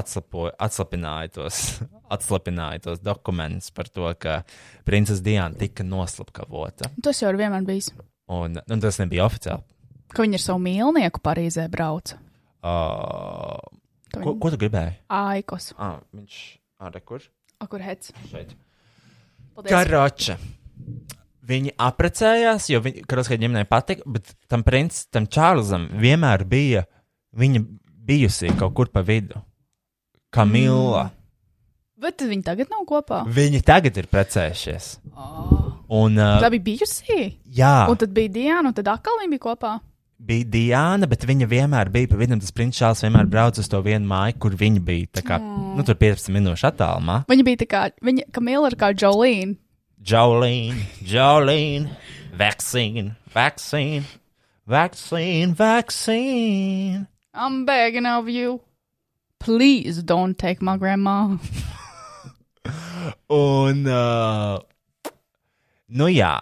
[SPEAKER 2] atslapināja *laughs* tos, atslapināja tos dokumentus par to, ka princese Diana tika noslapkavota.
[SPEAKER 3] Un Tas jau ir vienmēr bijis.
[SPEAKER 2] Un, nu, tas nebija oficiāli.
[SPEAKER 3] Ka viņa ar savu mīlnieku Parīzē brauca.
[SPEAKER 2] Uh,
[SPEAKER 3] To
[SPEAKER 2] ko,
[SPEAKER 3] viņa-
[SPEAKER 2] ko tu gribēji?
[SPEAKER 3] Aikos.
[SPEAKER 2] Ah, viņš arī kur?
[SPEAKER 3] A, Kur hec?
[SPEAKER 2] Šeit.
[SPEAKER 3] Paldies.
[SPEAKER 2] Karoča. Viņi apprecējās, jo viņa karaliskajai ģimenei patika, bet tam princam, tam Čārlzam, vienmēr bija viņa bijusī kaut kur pa vidu. Kamila. Mm.
[SPEAKER 3] Bet tad viņi tagad nav kopā.
[SPEAKER 2] Viņi tagad ir precējušies.
[SPEAKER 3] Oh.
[SPEAKER 2] Un, uh,
[SPEAKER 3] Tā bija bijusī.
[SPEAKER 2] jā,
[SPEAKER 3] Un tad bija Diana, un tad atkal viņi bija kopā.
[SPEAKER 2] bija Diana, bet viņa vienmēr bija pa vidu. un Tas princis Čāls vienmēr brauca uz to vienu māju, kur viņa bija. Tā kā, nu, tur 15 minūšu attālumā.
[SPEAKER 3] Viņa bija tā kā, viņa, Kamila ir kā Jolīna.
[SPEAKER 2] Jolīna, Jolīna, vaccīna, vaccīna, vaccīna, vaccīna.
[SPEAKER 3] I'm begging of you. Please don't take my grandma.
[SPEAKER 2] Un, uh, nu jā,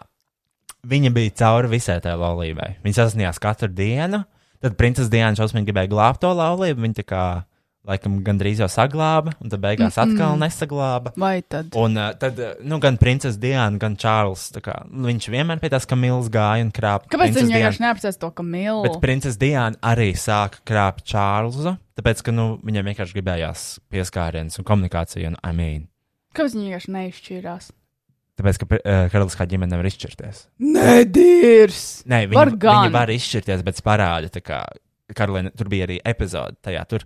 [SPEAKER 2] viņa bija cauri visai tajā laulībai. Viņa sasniedzās katru dienu. Tad princese Diana šausmīgi gribēja glābt to laulību. Viņa tā kā laikam gandrīz jau saglāba, un tad beigās mm -mm. atkal nesaglāba.
[SPEAKER 3] Vai tad?
[SPEAKER 2] Un uh, tad, uh, nu, gan princese Diana, gan Čārlis. tā Kā, nu, viņš vienmēr pie tās kamīlas gāja un krāpa.
[SPEAKER 3] Kāpēc
[SPEAKER 2] princesi
[SPEAKER 3] viņi
[SPEAKER 2] Dianu.
[SPEAKER 3] vienkārši neapsēs to Kamilu?
[SPEAKER 2] Bet princese Diana arī sāka krāpt Čārlza, tāpēc, ka nu, viņam vienkārši gribējās pieskārienas un komunikācija, un I mean.
[SPEAKER 3] Kāpēc viņi vienkārši neizšķīrās?
[SPEAKER 2] Tāpēc, ka uh, karaliskā ģimene nevar izšķirties.
[SPEAKER 3] Nedīrs!
[SPEAKER 2] Nē, viņi
[SPEAKER 3] Var
[SPEAKER 2] var,
[SPEAKER 3] gan.
[SPEAKER 2] viņi var izšķirties, bet tas parāda, tā kā Karolīna, tur bija arī epizode tajā. Tur,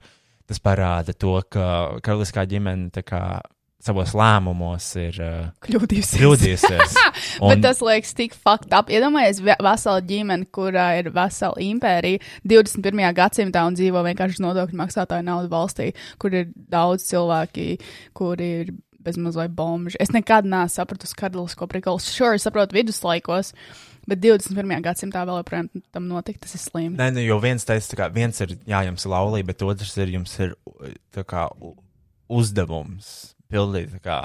[SPEAKER 2] tas parāda to, ka karaliskā ģimene tā kā, savos lēmumos ir uh,
[SPEAKER 3] Kļūdījusies.
[SPEAKER 2] kļūdījusies.
[SPEAKER 3] Un... *laughs* Bet
[SPEAKER 2] Un-
[SPEAKER 3] tas liekas tik fucked up. Iedomājieties, ve- vesela ģimene, kurā ir vesela impērija 21. gadsimtā un dzīvo vienkārši uz nodokļu maksātāju naudu valstī, kur ir daudz cilvēki, kuri ir bezmazliet bomži. Es nekad nesapratu karalisko prikolu. Sure, es saprotu viduslaikos, bet 21. gadsimtā vēl joprojām tam notika. Tas ir slikti.
[SPEAKER 2] Nē, nu, jo viens teica, tā kā viens ir, jā, jums ir laulība, bet otrs ir, jums ir u- tā kā u- uzdevums pildīt tā kā,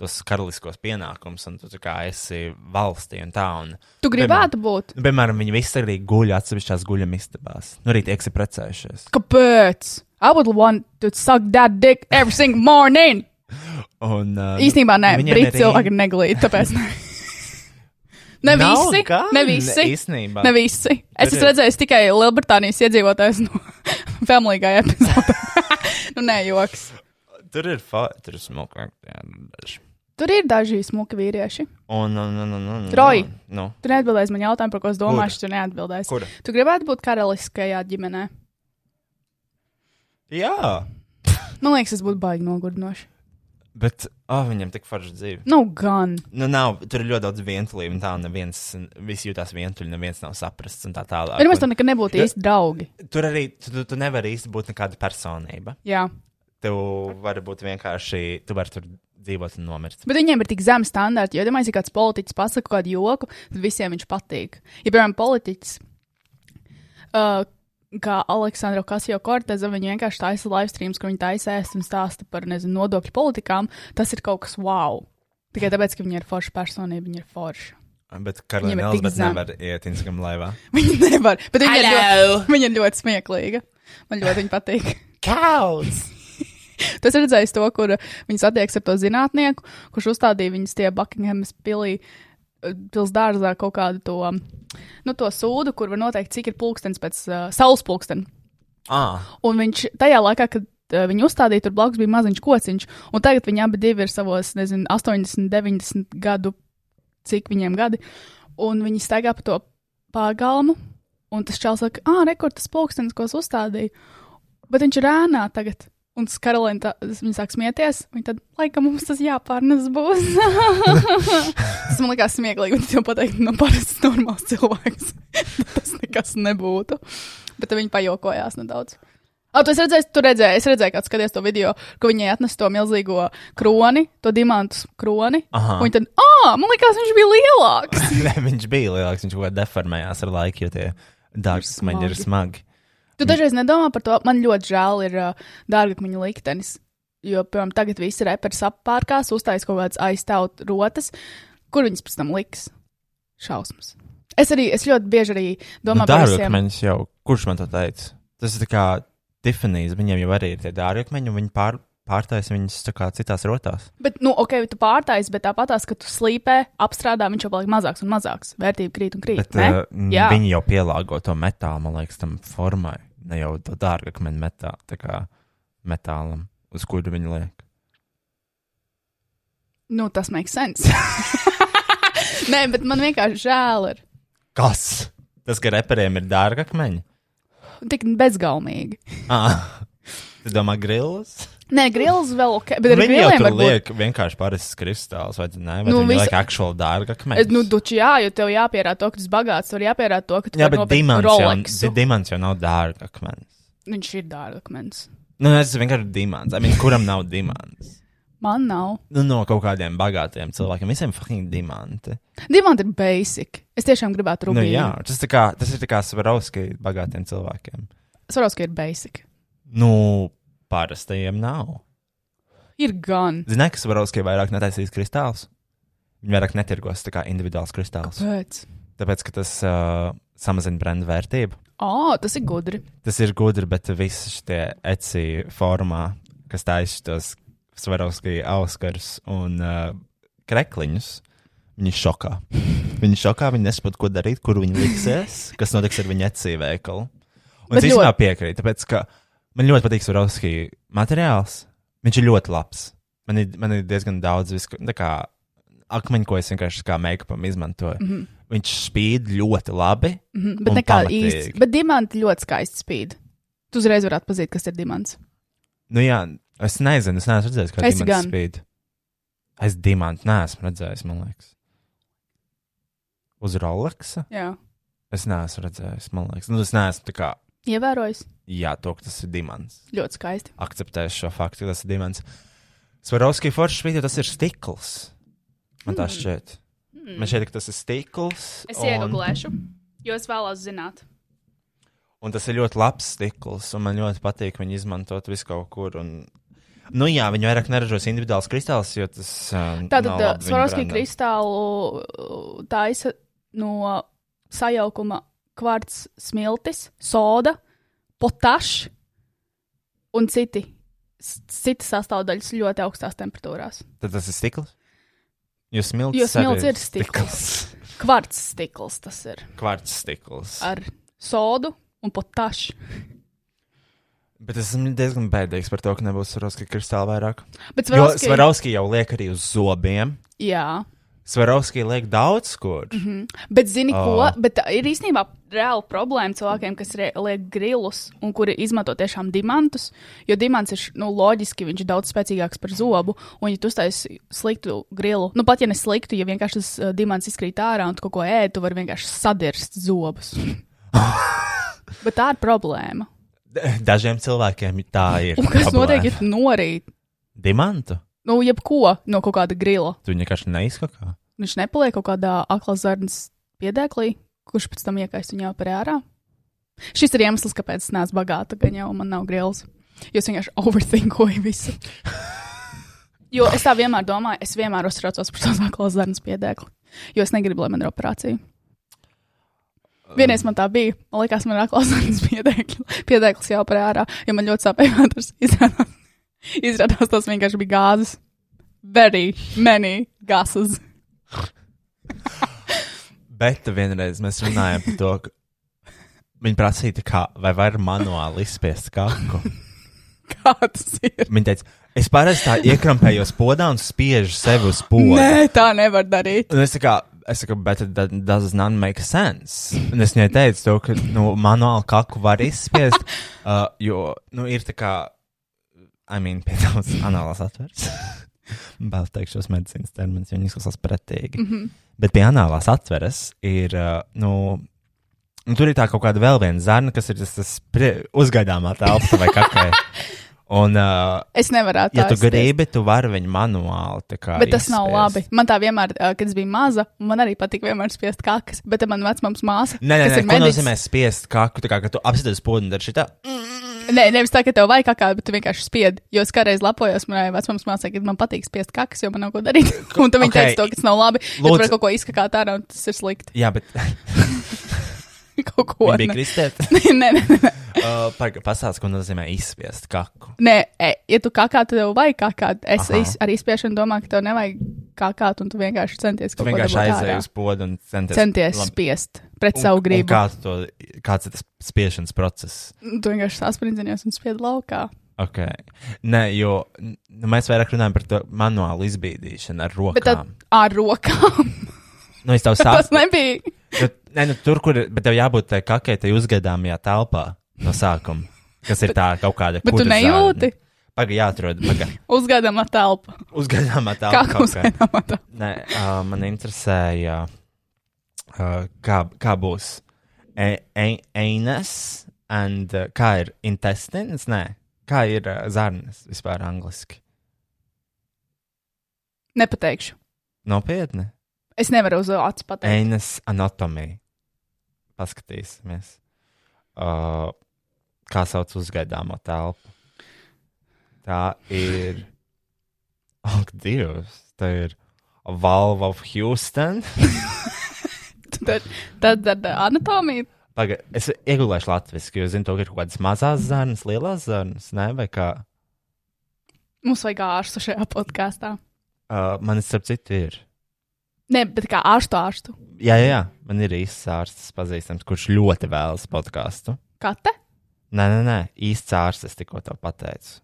[SPEAKER 2] tos karaliskos pienākumus, un tu tā kā esi valstī un tā. Un,
[SPEAKER 3] Tu gribētu būt?
[SPEAKER 2] Nu, piemēram, viņi visi arī guļ atsevišķās guļamistabās. Nu, arī tiek si precējušies.
[SPEAKER 3] Kāpēc? I would want to suck that dick every single morning.
[SPEAKER 2] Un, uh,
[SPEAKER 3] Īstenībā nē,
[SPEAKER 2] viņiem
[SPEAKER 3] brīvs
[SPEAKER 2] arī-
[SPEAKER 3] cilvēki ir neglīti,
[SPEAKER 2] *laughs*
[SPEAKER 3] tāpēc ne. Ne
[SPEAKER 2] Nav
[SPEAKER 3] visi,
[SPEAKER 2] gan,
[SPEAKER 3] ne visi,
[SPEAKER 2] Īstenībā.
[SPEAKER 3] ne visi. Es
[SPEAKER 2] Tur
[SPEAKER 3] esmu
[SPEAKER 2] ir-
[SPEAKER 3] redzējis tikai Lielbritānijas iedzīvotājus no *laughs* Family Guy epizodē. *laughs* nu, nē, joks.
[SPEAKER 2] Tur ir fāri, smukāk. jā, daži.
[SPEAKER 3] Tur ir daži smuki vīrieši.
[SPEAKER 2] Un, un, un, un, un.
[SPEAKER 3] Troji.
[SPEAKER 2] Nu,
[SPEAKER 3] Tu neatbildēsi man jautājumu, par ko es domāju, tu neatbildēsi.
[SPEAKER 2] Kura?
[SPEAKER 3] Tu gribētu būt karaliskajā ģimenē?
[SPEAKER 2] jā.
[SPEAKER 3] Man liekas, tas būtu baigi nogurdinoši.
[SPEAKER 2] Bet, ah, oh, viņam tik farša dzīve.
[SPEAKER 3] Nu, gan.
[SPEAKER 2] Nu, nav, tur ir ļoti daudz vientulība, un tā, un neviens, visi jūtās vientuļi, neviens nav saprasts, un tā tālāk.
[SPEAKER 3] Pirmais, tam
[SPEAKER 2] un,
[SPEAKER 3] nekad nebūtu
[SPEAKER 2] Ja-
[SPEAKER 3] īsti draugi.
[SPEAKER 2] tur arī, tu, tu, tu nevari īsti būt nekāda personība.
[SPEAKER 3] Jā.
[SPEAKER 2] Tu vari būt vienkārši, tu vari tur dzīvot un nomirt.
[SPEAKER 3] Bet viņiem ir tik zemi standarti. Jo, domāju, ja kāds politiķis pasakā kādu joku, tad visiem viņš patīk. Ja, piemēram, politiķis uh, kā Aleksandra Kasio Korteza, viņa vienkārši taisa live streams, kur viņa taisa ēst un stāsta par, nezinu, nodokļu politikām. Tas ir kaut kas wow. Tikai tāpēc, ka viņa ir forša personība, viņa ir forša.
[SPEAKER 5] Bet
[SPEAKER 3] Viņam ir
[SPEAKER 5] Karolīna
[SPEAKER 3] tik
[SPEAKER 5] Elizabete
[SPEAKER 3] zem.
[SPEAKER 5] nevar iet Instagram laivā.
[SPEAKER 3] Viņa nevar, bet viņa ir,
[SPEAKER 6] Hello!
[SPEAKER 3] ļoti, viņa ir ļoti smieklīga. Man ļoti viņa patīk.
[SPEAKER 6] Cows!
[SPEAKER 3] *laughs* Tas redzējis to, kur viņi satiekas ar to zinātnieku, kurš uzstādīja viņus tie Buckinghamas pilī. eh, Pilsdārzā kaut kādu to, nu, to sūdu, kur var noteikt, cik ir pulkstenis pēc uh, saules pulkstena.
[SPEAKER 5] Ah,
[SPEAKER 3] Un viņš tajā laikā, kad uh, viņu uzstādīja, tur blakus bija maziņš kociņš. Un tagad viņi abi divi ir savos, nezinu, 80, 90 gadu, cik viņiem gadi. Un viņi staigā pa to pagalmu. Un tas čels saka, ah, rekord tas pulkstenis, ko es uzstādīju. Bet viņš ir ēnā tagad. Un Karolīna, tā- viņa sāk smieties. Viņa tad, laikam, mums tas jāpārnes būs. *laughs* tas man likās smieklīgi. Viņa jau pateikt, no parasts normāls cilvēks. *laughs* tas nekas nebūtu. Bet tad viņa pajokojās nedaudz. Ah, tu esi redzējis, tu redzēji, es redzēju, kad skaties to video, ka viņai atnes to milzīgo kroni, to dimantu kroni.
[SPEAKER 2] Aha.
[SPEAKER 3] Un viņa tad, ah, man liekas, viņš bija lielāks.
[SPEAKER 2] *laughs* Nē, viņš bija lielāks, viņš kaut kā deformējās ar laiku, jo tie dārsts maņi ir smagi.
[SPEAKER 3] Tu dažreiz nedomā par to, man ļoti žēl ir uh, dārgakmeņa liktenis. Jo, piemēram, tagad visi reperi apārkās, uztais kaut kādas aizstāvot rotas, kur viņas pēc tam liks. Šausmas. Es arī, es ļoti bieži arī
[SPEAKER 2] Nu,
[SPEAKER 3] domāju par visiem.
[SPEAKER 2] Dārgakmeņus jau, kurš man to teica? Tas ir tā kā Tifanijas, viņiem jau arī ir tie dārgakmeņi, un viņi pār, pārtaisa viņus tā kā citās rotās.
[SPEAKER 3] Bet, nu, ok, tu pārtais, bet tāpatās, ka tu slīpē, apstrādā, viņš jau paliek mazāks un mazāks. Vērtība krīt un krīt.
[SPEAKER 2] Bet
[SPEAKER 3] ne?
[SPEAKER 2] uh,
[SPEAKER 3] Jā.
[SPEAKER 2] viņi jau pielāgo to metālu, man liekas, tam formai, ne jau to dārgakmeni metā, tā kā metālam, uz kuru viņi liek.
[SPEAKER 3] Nu, tas makes sense. *laughs* Nē, bet man vienkārši žēl ir.
[SPEAKER 2] Kas? Tas, ka reperiem ir dārgakmeņi?
[SPEAKER 3] Tik bezgalīgi.
[SPEAKER 2] Ah, *laughs* tu domā grilus?
[SPEAKER 3] Nē, grills vēl ok, bet ar
[SPEAKER 2] Viņi jau
[SPEAKER 3] griliem
[SPEAKER 2] tur
[SPEAKER 3] var būt.
[SPEAKER 2] liek vienkārši parasts kristāls, vai ne? Vai
[SPEAKER 3] Nu,
[SPEAKER 2] nu, viņi
[SPEAKER 3] visu-
[SPEAKER 2] liek aktuāli
[SPEAKER 3] Es,
[SPEAKER 2] dārgakmeņi?
[SPEAKER 3] Nu, duči, jā, jo tev jāpierāda to, ka tu esi bagāts, tev ir jāpierāda to, ka tu
[SPEAKER 2] Jā,
[SPEAKER 3] vari
[SPEAKER 2] bet
[SPEAKER 3] nopirkt
[SPEAKER 2] dimants
[SPEAKER 3] Rolexu.
[SPEAKER 2] jau, dimants jau nav dārgakmenis.
[SPEAKER 3] Viņš ir dārgakmens.
[SPEAKER 2] Nu, es vienkārši dimants. I mean, kuram nav dimants?
[SPEAKER 3] Man nav.
[SPEAKER 2] Nu, no kaut kādiem bagātiem cilvēkiem. Visiem fucking dimanti.
[SPEAKER 3] Dimanti ir basic. Es tiešām gribētu
[SPEAKER 2] Nu,
[SPEAKER 3] rubīnu.
[SPEAKER 2] jā, tas, tā kā, tas ir tā kā svarovski bagātiem cilvēkiem.
[SPEAKER 3] Svaros, ka ir basic.
[SPEAKER 2] Nu, parastajiem nav.
[SPEAKER 3] Ir gan.
[SPEAKER 2] Zini, ka svarovski vairāk netaisīs kristāls? Viņi vairāk netirgos tā kā individuāls kristāls.
[SPEAKER 3] Pēc.
[SPEAKER 2] Tāpēc, ka tas uh, samazina brendu vērtību.
[SPEAKER 3] Ā, tas ir gudri.
[SPEAKER 2] tas ir gudri, bet visi šie eci formā, kas taisa tos svarovskija auskars un uh, krekliņus, viņi šokā. Viņi šokā, viņi nesaprot, ko darīt, kur viņi liksies, kas notiks ar viņu eci veikalu. Un
[SPEAKER 3] Bet
[SPEAKER 2] es īstenībā piekrītu, tāpēc, ka man ļoti patīk svarovskija materiāls. Viņš ir ļoti labs. Man ir, man ir diezgan daudz viska, tā kā akmeņu, ko es vienkārši kā make-upam izmantoju. Mm -hmm. Viņš spīd ļoti labi.
[SPEAKER 3] Mhm, Bet
[SPEAKER 2] Un
[SPEAKER 3] nekā
[SPEAKER 2] pamatīgi.
[SPEAKER 3] īsti. Bet dimanti ļoti skaisti spīd. Tu uzreiz vari atpazīt, kas ir dimants.
[SPEAKER 2] Nu, jā, es nezinu, es neesmu redzējis, kāda
[SPEAKER 3] Es
[SPEAKER 2] ir tā
[SPEAKER 3] gan.
[SPEAKER 2] līnija. Es dimantu neesmu redzējis, man liekas. Uz Rolexa?
[SPEAKER 3] Jā.
[SPEAKER 2] Es neesmu redzējis, man liekas. Nu, es neesmu tā kā,
[SPEAKER 3] Ievērojis.
[SPEAKER 2] jā, to, ka tas ir dimants.
[SPEAKER 3] Ļoti skaisti.
[SPEAKER 2] Akceptēšu šo faktu, ka tas ir dimants. Svarovski foršs spīd, jo tas ir stikls. Man tā šķiet. Man šķiet, ka tas ir stikls.
[SPEAKER 3] Mm. Es
[SPEAKER 2] un-
[SPEAKER 3] iegūlēšu, jo es vēlos zināt.
[SPEAKER 2] Un tas ir ļoti labs stikls, un man ļoti patīk viņu izmantot visu kaut kur. Un... Nu, jā, viņi vairāk neražos individuāls kristāls, jo tas. Um, nav
[SPEAKER 3] Tātad
[SPEAKER 2] labi viņu
[SPEAKER 3] Svarovskija
[SPEAKER 2] brendam.
[SPEAKER 3] eh, kristālu uh, taisa no sajaukuma kvarts smiltis, soda, potašs un citi. s- Citas sastāvdaļas ļoti augstās temperatūrās.
[SPEAKER 2] Tad tas ir stikls. Jo smilts,
[SPEAKER 3] Jo smilts
[SPEAKER 2] arī
[SPEAKER 3] ir stikls. Kvarts stikls tas ir
[SPEAKER 2] *laughs* Kvarts stikls.
[SPEAKER 3] ar sodu un potašu.
[SPEAKER 2] Bet es esmu diezgan bēdīgs par to, ka nebūs svarovski kristāli vairāk.
[SPEAKER 3] Bet
[SPEAKER 2] Jo
[SPEAKER 3] Svarovskija-
[SPEAKER 2] svarovski jau liek arī uz zobiem.
[SPEAKER 3] Jā.
[SPEAKER 2] Svarovski liek daudz kur. Mm
[SPEAKER 3] Mhm.
[SPEAKER 2] -hmm.
[SPEAKER 3] Bet, zini, ko?
[SPEAKER 2] Ā.
[SPEAKER 3] Bet tā ir īstenībā reāla problēma cilvēkiem, kas re- liek grilus un kuri izmanto tiešām dimantus. Jo dimants ir š- nu, loģiski, viņš ir daudz spēcīgāks par zobu. Un, ja tu uztaisīji sliktu grilu, nu pat ja ne sliktu, ja vienkārši tas uh, dimants izkrīt ārā un tu kaut ko ēd, tu vari vienkārši sadirst zobus. bet tā ir problēma.
[SPEAKER 2] Dažiem cilvēkiem tā ir.
[SPEAKER 3] Un kas
[SPEAKER 2] problēma.
[SPEAKER 3] notiek, ja tu norīt?
[SPEAKER 2] Dimantu?
[SPEAKER 3] Nu, jebko no kaut kāda grila.
[SPEAKER 2] Tu viņu vienkārši neizskakā.
[SPEAKER 3] Viņš nepaliek kaut kādā akla zarnas piedēklī, kurš pēc tam iekaist viņu apērā. Šis ir iemesls, kāpēc es neesmu bagāta, gan jau man nav grils. Jo es vienkārši overthinkoju visu. Jo es tā vienmēr domāju, es vienmēr uztraucos par to zvaigznes zarnas piedēkli. Jo es negribu, lai man ir operācija. Vienreiz man tā bija. Man liekas, man ir aklās zarnas *laughs* piedēkli. piedēklis jāoperē ārā, jo man ļoti sāpēja vētras. *laughs* Izrādās, izrādās tas vienkārši bija gāzes. Very many gases.
[SPEAKER 2] Bet vienreiz mēs runājām par to, ka viņi prasīja, tā kā, vai var manuāli izspiest kaku.
[SPEAKER 3] Kā tas ir?
[SPEAKER 2] Viņa teica, es parasti tā iekrampējos podā un spiežu sevi uz podu.
[SPEAKER 3] Nē, tā nevar darīt.
[SPEAKER 2] Un es tā kā, es saku, bet that does not make sense. Un es viņai teicu, to, ka nu, manuāli kaku var izspiest,
[SPEAKER 3] *laughs*
[SPEAKER 2] uh, jo, nu, ir tā kā, I mean, pie tavas anālās *laughs* atvers. Bēl teikšos medicīnas termins, jo viņi izklausās pretīgi. Mm
[SPEAKER 3] Mhm.
[SPEAKER 2] -hmm. Bet pie anālās atveres ir, uh, nu, nu, tur ir tā kaut kāda vēl viena zarna, kas ir tas, tas prie- uzgaidāmā telpa vai
[SPEAKER 3] *laughs*
[SPEAKER 2] kakai. Un, uh,
[SPEAKER 3] Es nevaru
[SPEAKER 2] ja tu
[SPEAKER 3] atrast.
[SPEAKER 2] gribi, tu vari viņu manuāli. tā kā
[SPEAKER 3] Bet tas nav
[SPEAKER 2] izspiest.
[SPEAKER 3] labi. Man tā vienmēr, ā, kad es biju maza, man arī patika vienmēr spiest kakas. Bet te man vecmāmas māsa.
[SPEAKER 2] Nē, nē,
[SPEAKER 3] kas
[SPEAKER 2] nē
[SPEAKER 3] ir
[SPEAKER 2] ko
[SPEAKER 3] mediķis-
[SPEAKER 2] nozīmē spiest kaku? Tā kā ka tu apsēdies podu un dari šitā.
[SPEAKER 3] Nē, nevis tā, ka tev vajag kakā, bet tu vienkārši spied. Jo es kādreiz lapojos, manai vecmāmas māsai, ka man patīk spiest kakas, jo man nav ko darīt. *laughs* un tad viņa teica,
[SPEAKER 2] Okay.
[SPEAKER 3] to, ka tas nav labi. Lūdzu.
[SPEAKER 2] Lūdzu.
[SPEAKER 3] Tu vari kaut ko izkakāt ārā, un tas ir slikti. *laughs*
[SPEAKER 2] Jā, bet
[SPEAKER 3] kaut ko. *laughs*
[SPEAKER 2] viņi bija
[SPEAKER 3] ne.
[SPEAKER 2] kristēti. *laughs*
[SPEAKER 3] nē, nē, nē.
[SPEAKER 2] Uh, paga- Pasāc, ko nozīmē izspiest kaku.
[SPEAKER 3] nē e, ja tu kakā, tad tev vajag kakāt. Es iz, ar izspiešanu domāju, ka tev nevajag kakāt, un tu vienkārši centies
[SPEAKER 2] Tu
[SPEAKER 3] kaut ko
[SPEAKER 2] vienkārši
[SPEAKER 3] dabūt
[SPEAKER 2] aizēji
[SPEAKER 3] ārā.
[SPEAKER 2] uz podu un centies.
[SPEAKER 3] Centies
[SPEAKER 2] Labi.
[SPEAKER 3] spiest pret
[SPEAKER 2] Un-
[SPEAKER 3] savu
[SPEAKER 2] un
[SPEAKER 3] gribu.
[SPEAKER 2] Kā tu to, kāds ir tas spiešanas process?
[SPEAKER 3] Nu, Tu vienkārši sasprindzinājos un spied laukā.
[SPEAKER 2] Okay. Nē, jo n- nu, mēs vairāk runājam par to manuālu izbīdīšanu ar rokām.
[SPEAKER 3] Bet tad ar rokām
[SPEAKER 2] nu,
[SPEAKER 3] *laughs*
[SPEAKER 2] es tev
[SPEAKER 3] tas
[SPEAKER 2] saprotu.
[SPEAKER 3] nebija.
[SPEAKER 2] Nē, nu, tur, kur ir- bet tev jābūt tai kakai, tai uzgaidāmajā telpā no sākuma. Kas ir tā kaut kāda.
[SPEAKER 3] Bet tu
[SPEAKER 2] kurzāne.
[SPEAKER 3] nejūti
[SPEAKER 2] Pagaidi, jāatrod. Pagaidi.
[SPEAKER 3] uzgādama telpa.
[SPEAKER 2] Uzgaidāmā telpa.
[SPEAKER 3] Kā
[SPEAKER 2] kaut
[SPEAKER 3] mums vienamā telpa?
[SPEAKER 2] Nē, uh, man interesēja, uh, kā, kā būs e e anus and uh, kā ir intestines. Nē, kā ir uh, zarnas vispār angliski?
[SPEAKER 3] Nepateikšu.
[SPEAKER 2] Nopietni.
[SPEAKER 3] Es nevaru uz acu pateikt.
[SPEAKER 2] Anus anatomija. Paskatīsimies. Uh, kā sauc uzgaidāmo telpu? Tā ir. *laughs* Ak, Dievs! Tā ir Valve of Houston.
[SPEAKER 3] Tad, tad, tad eh, anatomija.
[SPEAKER 2] Paga, es iegulēšu latviešu, jo zinu, to, ka ir kaut kādas mazas zarnas, lielas zarnas, ne? vai kā.
[SPEAKER 3] Mums vajag ārstu šajā podkāstā.
[SPEAKER 2] Uh, man ir, starp citu, ir.
[SPEAKER 3] Nē, bet kā ārstu ārstu.
[SPEAKER 2] Jā, jā, jā, man ir īsts ārsts pazīstams, kurš ļoti vēlas podkāstu.
[SPEAKER 3] Kate?
[SPEAKER 2] Nē, nē, nē, īsts ārsts, es tikko to pateicu.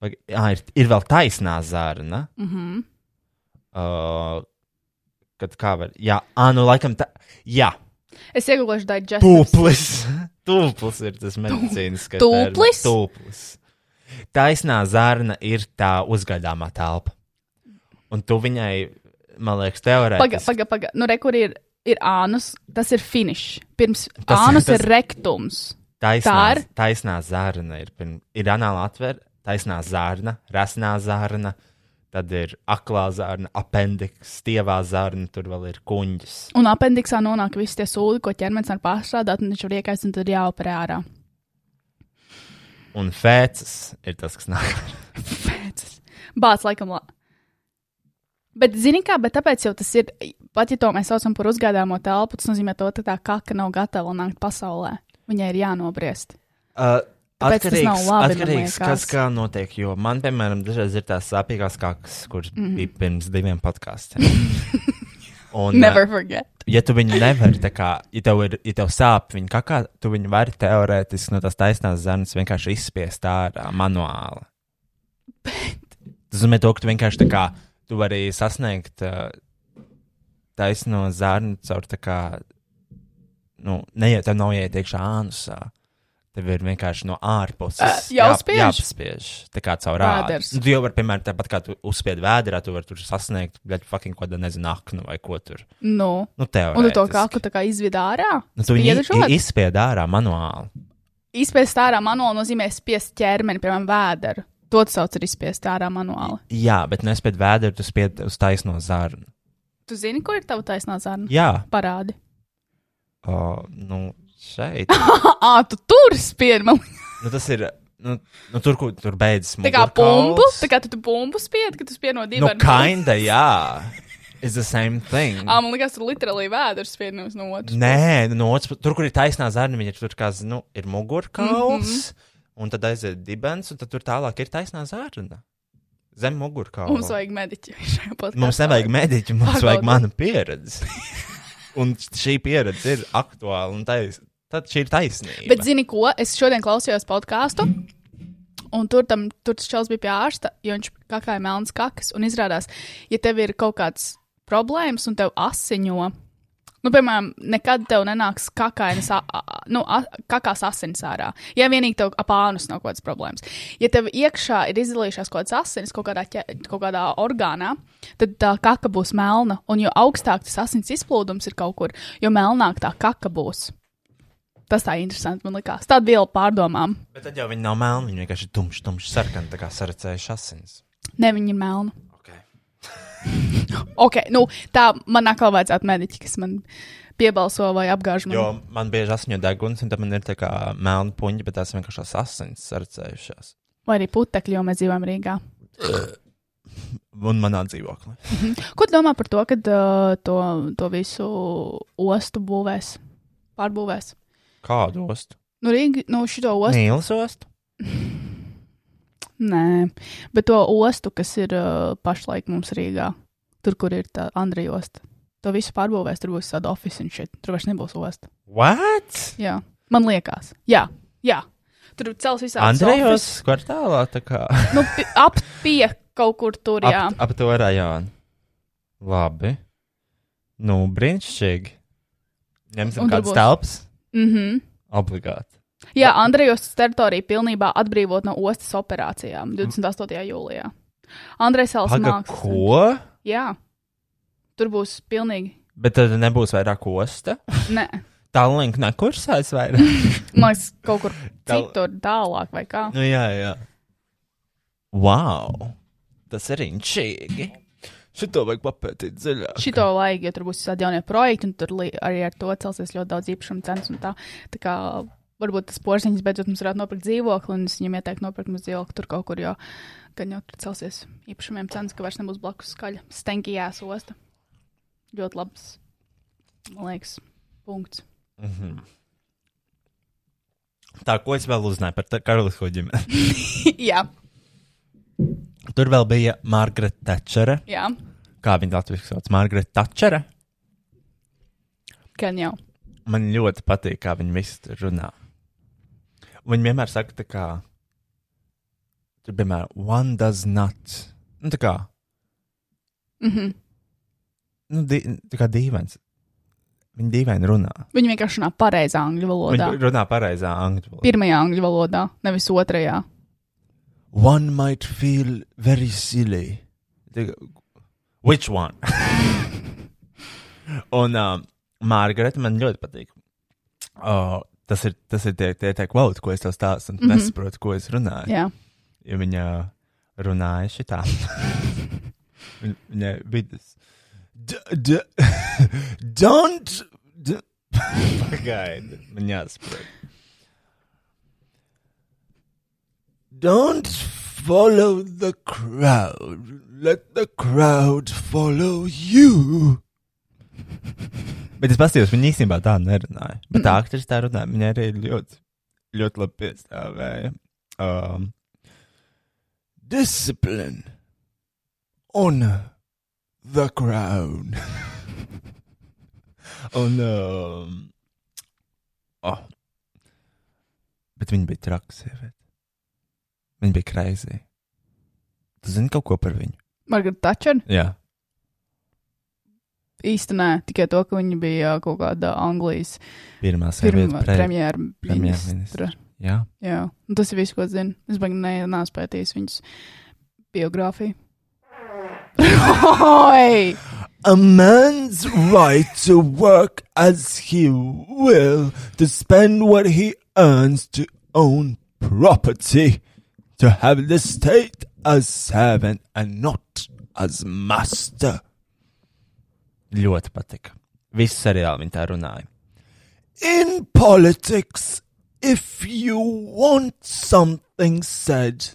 [SPEAKER 2] Paga, jā, ir, ir vēl taisnā zarna.
[SPEAKER 3] Mhm.
[SPEAKER 2] Uh, kad kā var. Jā, ā, nu, laikam, tā. Jā,
[SPEAKER 3] Es iegūšu digestīvu.
[SPEAKER 2] Tūplis. *laughs* Tūplis ir tas medicīniskais.
[SPEAKER 3] Tūplis?
[SPEAKER 2] termins. Tūplis. Taisnā zārna ir tā uzgaidāmā telpa. Un tu viņai, man liekas,
[SPEAKER 3] Paga,
[SPEAKER 2] teorētiski.
[SPEAKER 3] paga, paga. Nu, re, kur ir, ir ānus, tas ir finišs. Pirms
[SPEAKER 2] Tas ir-
[SPEAKER 3] ānus
[SPEAKER 2] tas-
[SPEAKER 3] ir rektums. tā
[SPEAKER 2] Taisnā,
[SPEAKER 3] ir?
[SPEAKER 2] taisnā zārna ir, pirm, ir anāla atver, taisnā zārna, rasnā zārna, tad ir aklā zārna, apendiks, stievā zārna, tur vēl ir kuņģis.
[SPEAKER 3] Un apendiksā nonāk visi tie sūdi, ko ķermenis var pārstrādāt, un viņš var iekaist, un tad ir jāoperē ārā. *laughs*
[SPEAKER 2] Un fēcis ir tas, kas nāk.
[SPEAKER 3] Pēcas. Bācis laikam. La... Bet, zini, kā, bet tāpēc jau tas ir. Pat ja to mēs saucam par uzgādāmo telpu, tas nozīmē, to, ka tā kaka nav gatava nākt pasaulē. Viņai ir jānobriest.
[SPEAKER 2] Uh,
[SPEAKER 3] Tāpēc tas nav labi,
[SPEAKER 2] Atkarīgs,
[SPEAKER 3] man
[SPEAKER 2] atkarīgs
[SPEAKER 3] liekas.
[SPEAKER 2] kas kā notiek. Jo man, piemēram, dažreiz ir tās sāpīgās kākas, kuras mm -hmm.
[SPEAKER 3] Mhm.
[SPEAKER 2] bija pirms diviem
[SPEAKER 3] *laughs*
[SPEAKER 2] podkāstiem. Un,
[SPEAKER 3] Never
[SPEAKER 2] uh,
[SPEAKER 3] forget.
[SPEAKER 2] ja tu viņu nevari, tā kā, ja tev, ir, ja tev sāp viņa kakā, tu viņu vari teorētiski no tās taisnās zarnas vienkārši izspiest ārā manuāli. Tas nozīmē, to, ka tu vienkārši tā kā, tu vari sasniegt uh, taisno zarnu caur tā kā, nu, neiet, tev nav jāiet iekšā ānusā. Tev ir vienkārši no ārpuses
[SPEAKER 3] Ā, jāuzspiež?
[SPEAKER 2] jā, jāapspiež. Tā kā caur
[SPEAKER 3] Vēders.
[SPEAKER 2] rādu. Nu, tu jau vari, piemēram, tāpat kā tu uzspied vēdā, tu vari tur sasniegt, bet fucking ko tādu nezinu, aknu vai ko tur.
[SPEAKER 3] Nu.
[SPEAKER 2] Nu, tev.
[SPEAKER 3] Un tu to kaku tā kā izvid ārā?
[SPEAKER 2] Nu, tu viņu
[SPEAKER 3] spiedušot?
[SPEAKER 2] i- i- izspied ārā manuāli.
[SPEAKER 3] Izspiest ārā manuāli nozīmē spiest ķermeni, piemēram, vēderu. To tu sauc par izspiest ārā manuāli.
[SPEAKER 2] Jā, bet nu, nespied vēdā, tu spied uz taisno zarnu.
[SPEAKER 3] Tu zini, kur ir tava taisnā zarna?
[SPEAKER 2] Jā,
[SPEAKER 3] Parādi.
[SPEAKER 2] o, nu, Šeit.
[SPEAKER 3] *laughs* Ā, tu tur spiedi man.
[SPEAKER 2] Nu, tas ir. Nu, nu, tur, kur tur beidzas.
[SPEAKER 3] Tā kā pumpu, tā kā tu tu pumpu spiedi, ka tu spiedi no
[SPEAKER 2] Nu,
[SPEAKER 3] divām.
[SPEAKER 2] kinda, jā. It's the same thing.
[SPEAKER 3] Ā, man liekas, tur literāli vēders spiedi no no otras.
[SPEAKER 2] Nē, nu, no otras puses, tur, kur ir taisnā zarna, viņa tur kā, z- nu, ir mugurkauls,
[SPEAKER 3] Mhm.
[SPEAKER 2] un tad aiziet dibens, un tad tur tālāk ir taisnā zarna. Zem mugurkaula.
[SPEAKER 3] Mums vajag mediķi šajā podkāstā.
[SPEAKER 2] mums nevajag mediķi, mums
[SPEAKER 3] Pagaidi.
[SPEAKER 2] vajag mana pieredze. *laughs* un šī pieredze ir aktuāla, un tais, tad šī ir taisnība.
[SPEAKER 3] Bet zini ko? Es šodien klausījos podkāstu. Un tur, tam, tur tas čels bija pie ārsta, jo viņš kakāja melnas kakas. Un izrādās, ja tev ir kaut kāds problēmas un tev asiņo, nu, piemēram, nekad tev nenāks kakainas, a- a- nu, a- kakās asins ārā. Ja vienīgi tev ap ānus nav kaut kādas problēmas. Ja tev iekšā ir izdalījušās kaut kādas asins kaut kādā, ķe- kaut kādā orgānā, tad tā kaka būs melna. Un jo augstāk tas asins izplūdums ir kaut kur, jo melnāk tā kaka būs. Tas tā interesanti man likās. Tāda viela pārdomām.
[SPEAKER 2] Bet tad jau viņi nav melni, viņi vienkārši ir tumši, tumši sarkani, tā kā saracējuši asins.
[SPEAKER 3] Ne, viņi ir melni. *laughs*
[SPEAKER 2] Okay.
[SPEAKER 3] Okay, nu, tā man atkal vajadzētu mediķi, kas man piebalso vai apgāž mani.
[SPEAKER 2] Jo man bieži asņo deguns, un tad man ir tā kā melna puņa, bet tās ir vienkārši asins saracējušās.
[SPEAKER 3] Vai arī putekļi, jo mēs dzīvojam Rīgā.
[SPEAKER 2] Un manā dzīvoklī.
[SPEAKER 3] Ko tu domā par to, kad uh, to, to visu ostu būvēs? Pārbūvēs.
[SPEAKER 2] Kādu ostu?
[SPEAKER 3] Nu, Rīga, nu, šito ostu.
[SPEAKER 2] Nīlas ostu.
[SPEAKER 3] *laughs* Nē, bet to ostu, kas ir uh, pašlaik mums Rīgā, tur, kur ir tā Andrija osta. To visu pārbūvēs, tur būs tāda oficiāla un šeit. Tur vairs nebūs osta.
[SPEAKER 2] What?
[SPEAKER 3] Jā, man liekas. Jā, jā. Tur cels visādi.
[SPEAKER 2] Andrejos kvartālā tā kā
[SPEAKER 3] Nu, pi- ap pie kaut kur tur, jā.
[SPEAKER 2] ap, ap to rajonu. Labi. Nu, brīnišķīgi. Ņemsim
[SPEAKER 3] Un tur
[SPEAKER 2] kādas
[SPEAKER 3] būs.
[SPEAKER 2] telpas?
[SPEAKER 3] Mhm.
[SPEAKER 2] Obligāti.
[SPEAKER 3] Jā, Andrejos teritorija pilnībā atbrīvot no ostas operācijām 28. jūlijā. Andrejs Elsa
[SPEAKER 2] Mhm. Paga,
[SPEAKER 3] mākslas.
[SPEAKER 2] ko?
[SPEAKER 3] Jā, tur būs pilnīgi.
[SPEAKER 2] Bet tad nebūs vairāk osta.
[SPEAKER 3] Nē,
[SPEAKER 2] Tālāk nekursēs vairāk.
[SPEAKER 3] *laughs* man liekas, kaut kur
[SPEAKER 2] Tal-
[SPEAKER 3] citur tālāk vai kā.
[SPEAKER 2] nu, jā, jā. Wow! Tas ir inčīgi.
[SPEAKER 5] Šito vajag papētīt dziļāk.
[SPEAKER 3] Šito vajag, jo tur būs visādi jaunie projekti, un tur li- arī ar to celsies ļoti daudz īpašumu cenas. un Tā. tā kā varbūt tas porziņš beidzot mums varētu nopirkt dzīvokli, un es viņam ieteiktu nopirkt mums dzīvokli tur kaut kur, jo gan jau tur celsies īpašumiem cenas, ka vairs nebūs blakus skaļa stenkijās osta. Ļoti labs, man liekas, punkts. *laughs*
[SPEAKER 2] Tā, ko es vēl uzzināju par tā- karalisko ģimeni? *laughs*
[SPEAKER 3] jā,
[SPEAKER 2] Tur vēl bija Margarita Thatchera.
[SPEAKER 3] jā,
[SPEAKER 2] Kā viņa latviešu sauc? Margarita Thatchera.
[SPEAKER 3] gan jau.
[SPEAKER 2] man ļoti patīk, kā viņi visi tur runā. Viņi vienmēr saka, tā kā, tur piemēram, one does not. Nu, tā kā,
[SPEAKER 3] Mm -hmm.
[SPEAKER 2] nu, di, tā kā dīvains. Viņi dīvaini runā.
[SPEAKER 3] Viņi vienkārši runā pareizā angļu valodā.
[SPEAKER 2] Viņi runā pareizā angļu valodā.
[SPEAKER 3] Pirmajā angļu valodā, nevis otrajā.
[SPEAKER 2] One might feel very silly. Tā kā, Which one? *laughs* Un um, Margarita man ļoti patīk. Oh, tas ir, tas ir tie, tie, tie kvalitāti, ko es tev stāstu, un tu
[SPEAKER 3] Mhm.
[SPEAKER 2] nesaprotu, ko es runāju.
[SPEAKER 3] Jā,
[SPEAKER 2] ja viņa runāja *laughs* šitā. Viņ- Viņa bija tas. D- d- *laughs* Don't! *laughs* d- Pagaidi, man jāsaprot. Don't follow the crowd. Let the crowd follow you. *laughs* Bet es paskatījos, viņa īstenībā tā nerunāja. Bet tā aktrise tā runāja. Viņa arī ļoti, ļoti labi piestāvēja. Um,
[SPEAKER 5] Discipline. Honor. The
[SPEAKER 2] *laughs*
[SPEAKER 5] crown.
[SPEAKER 2] Un, um, oh. Bet viņa bija traka sieviete. Viņa bija krāzī. Tu zini kaut ko par viņu?
[SPEAKER 3] Margarita Thatcher.
[SPEAKER 2] Jā,
[SPEAKER 3] īstenībā tikai to, ka viņi bija kaut kāda Anglijas
[SPEAKER 2] pirmā
[SPEAKER 3] pirmā
[SPEAKER 2] sieviete. Pre...
[SPEAKER 3] premjerministra.
[SPEAKER 2] premjerministra. Jā,
[SPEAKER 3] Jā, un tas ir viss, ko es zinu. Es baigi ne, neesmu pētījis viņas biogrāfiju. Oi!
[SPEAKER 5] A man's right to work as he will, to spend what he earns, to own property, to have the state as servant and not as master.
[SPEAKER 2] ļoti patika. Viss seriāli viņa tā runāja.
[SPEAKER 6] In politics, if you want something said,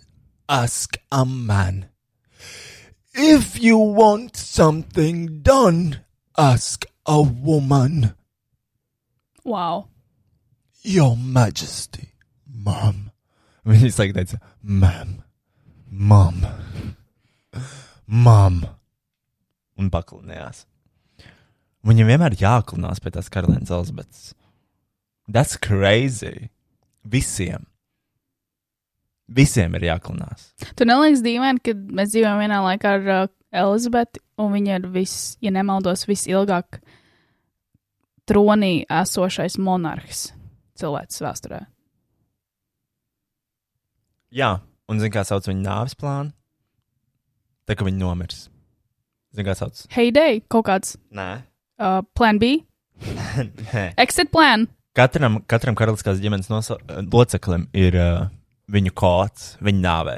[SPEAKER 6] ask a man. If you want something done, ask a woman.
[SPEAKER 3] Wow.
[SPEAKER 6] Your Majesty, Mom. He's like that's Ma'am, Mom, Mom.
[SPEAKER 2] un paklinājās. Viņam vienmēr jāklinās pie tās karalienes Elizabetes. That's crazy. Visiem. Visiem ir jāklinās.
[SPEAKER 3] Tu neliekas dīvaini, ka mēs dzīvojam vienā laikā ar uh, Elizabeti, un viņa ir vis, ja nemaldos, visilgāk tronī esošais monarhs cilvēks vēsturē.
[SPEAKER 2] Jā, un zini, kā sauc viņa nāves plānu? Tā kā viņa nomirs. Zini, kā sauc?
[SPEAKER 3] Heyday, kaut kāds
[SPEAKER 2] Nē.
[SPEAKER 3] uh, plan B,
[SPEAKER 2] *laughs* Nē.
[SPEAKER 3] exit plan.
[SPEAKER 2] Katram, katram karaliskās ģimenes nosa- loceklim ir uh, viņu kods, viņa nāvē.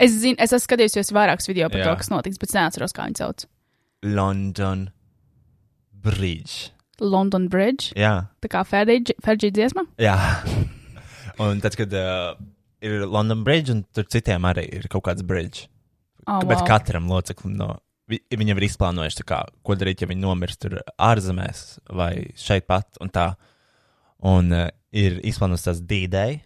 [SPEAKER 3] Es zinu, es esmu skatījusies vairākus video par
[SPEAKER 2] Jā.
[SPEAKER 3] Jā. to, kas notiks, bet es neatceros, kā viņu sauc.
[SPEAKER 2] London Bridge.
[SPEAKER 3] London Bridge,
[SPEAKER 2] Jā.
[SPEAKER 3] tā kā Ferģija dziesma.
[SPEAKER 2] Jā. *laughs* Un tad, kad uh, ir London Bridge, un tur citiem arī ir kaut kāds bridge.
[SPEAKER 3] Oh,
[SPEAKER 2] Bet katram loceklim no vi- viņiem ir izplānojuši, tā kā, ko darīt, ja viņi nomirst tur ārzemēs vai šeit pat. Un, tā. un uh, ir izplānots tas D-Day,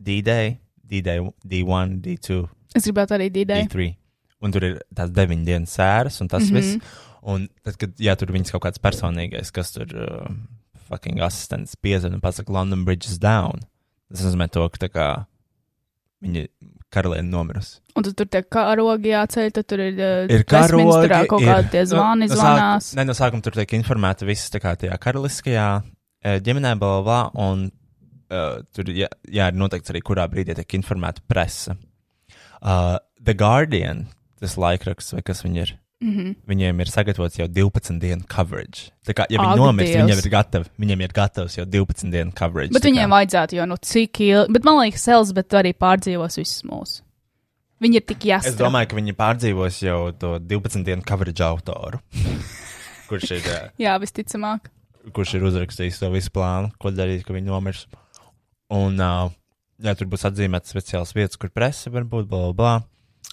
[SPEAKER 2] D-Day, D-Day, D1, D2,
[SPEAKER 3] Es gribētu arī D-Day.
[SPEAKER 2] D3. Un tur ir tās deviņu dienu sēras un tas
[SPEAKER 3] Mhm.
[SPEAKER 2] mm -hmm. viss. Un tad, kad jā, tur viņas kaut kāds personīgais, kas tur uh, fucking asistents piezvanīja un pasakīja, London Bridge is down. Tas nozīmē to, ka tā kā viņa karaliene nomirusi.
[SPEAKER 3] Un tad tur tie karogi jāceļ, tad tur ir, uh,
[SPEAKER 2] Ir karogi,
[SPEAKER 3] Westminsterā kaut
[SPEAKER 2] ir-
[SPEAKER 3] kādi tie zvani zvanās.
[SPEAKER 2] Nē, Nu, no sākuma tur tiek informēta viss tā kā tajā karaliskajā eh, ģimenē, bla, bla, bla. Un uh, tur jā, jā, ir noteikts arī, kurā brīdī tiek informēta presa. Uh, The Guardian, tas laikraksts, vai kas viņi ir?
[SPEAKER 3] Mhm.
[SPEAKER 2] viņiem ir sagatavots jau 12 dienu coverage. Tā kā, ja
[SPEAKER 3] Ak,
[SPEAKER 2] viņi nomirst,
[SPEAKER 3] Dievs.
[SPEAKER 2] viņiem ir, gatavi, viņiem ir gatavs jau 12 dienu coverage.
[SPEAKER 3] Bet
[SPEAKER 2] tā
[SPEAKER 3] viņiem
[SPEAKER 2] kā,
[SPEAKER 3] vajadzētu, jo nu cik ilgi, bet man liekas, Elizabete arī pārdzīvos visus mūsu. Viņi ir tik
[SPEAKER 2] es
[SPEAKER 3] jāsaka.
[SPEAKER 2] domāju, ka viņi pārdzīvos jau to 12 dienu coverage autoru. *laughs* kurš, ir, eh,
[SPEAKER 3] Jā, visticamāk.
[SPEAKER 2] kurš ir uzrakstījis to visu plānu, ko darīt, kad viņi nomirs. Un uh, jā, tur būs atzīmēts speciāls vietas, kur presa var būt, bla, bla, bla.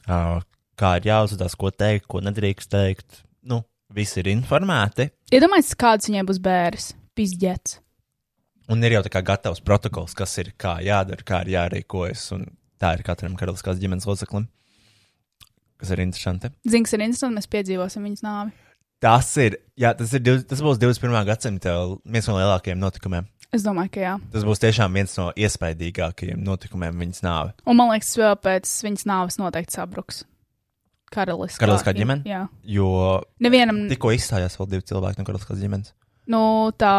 [SPEAKER 2] Uh, kā ir jāuzvedās, ko teikt, ko nedrīkst teikt. Nu, visi ir informēti.
[SPEAKER 3] Iedomājieties, kāds viņai būs bērns. Pizģets.
[SPEAKER 2] Un ir jau tā kā gatavs protokols, kas ir kā jādara, kā ir jārīkojas. Un tā ir katram karaliskās ģimenes loceklim. Kas ir interesanti.
[SPEAKER 3] Zini, kas ir interesanti, mēs piedzīvosim viņas nāvi.
[SPEAKER 2] Tas ir, jā, tas, ir div- tas būs 21. gadsimta viens no lielākajiem notikumiem.
[SPEAKER 3] Es domāju, ka jā.
[SPEAKER 2] Tas būs tiešām viens no iespaidīgākajiem notikumiem viņas nāve.
[SPEAKER 3] Un man liekas, vēl pēc viņas nāves noteikti sabruks. Karaliskā,
[SPEAKER 2] Karaliskā ģimene?
[SPEAKER 3] Jā.
[SPEAKER 2] Jo
[SPEAKER 3] Nevienam, tik...
[SPEAKER 2] tikko izstājās vēl divi cilvēki no karaliskās ģimenes.
[SPEAKER 3] nu, tā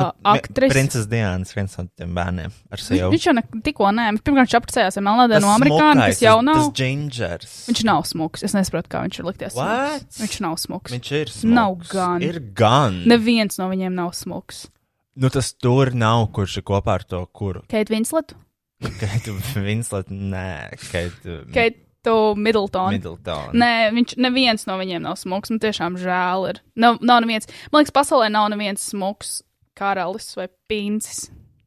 [SPEAKER 3] nu, aktrise.
[SPEAKER 2] Princesa Dienas, viens no tiem bērniem ar
[SPEAKER 3] Viņš,
[SPEAKER 2] sievu.
[SPEAKER 3] viņš jau ne, tikko nē, viņš pirmkārt apcēlās ar Melnādu
[SPEAKER 2] Tas
[SPEAKER 3] no Amerikāņu,
[SPEAKER 2] smukais,
[SPEAKER 3] kas jau nav.
[SPEAKER 2] Tas gingers.
[SPEAKER 3] Viņš nav smūgs. Es nesaprotu, kā viņš ir likties.
[SPEAKER 2] What?
[SPEAKER 3] smuks. Viņš nav smūgs.
[SPEAKER 2] Viņš ir.
[SPEAKER 3] Nav
[SPEAKER 2] smuks.
[SPEAKER 3] gan.
[SPEAKER 2] Ir gan.
[SPEAKER 3] Neviens no viņiem nav smūgs.
[SPEAKER 2] Nu, tas tur nav, kurš ir kopā ar to, kuru.
[SPEAKER 3] Keita Vinslet,
[SPEAKER 2] Keitu Vinslet, nē, Keitu
[SPEAKER 3] Keita Middletona.
[SPEAKER 2] Middleton.
[SPEAKER 3] Nē, viņš neviens no viņiem nav smūgs. Man tiešām žēl ir. Nav, nav neviens. Man liekas, pasaulē nav neviens smūgs karalis vai princis.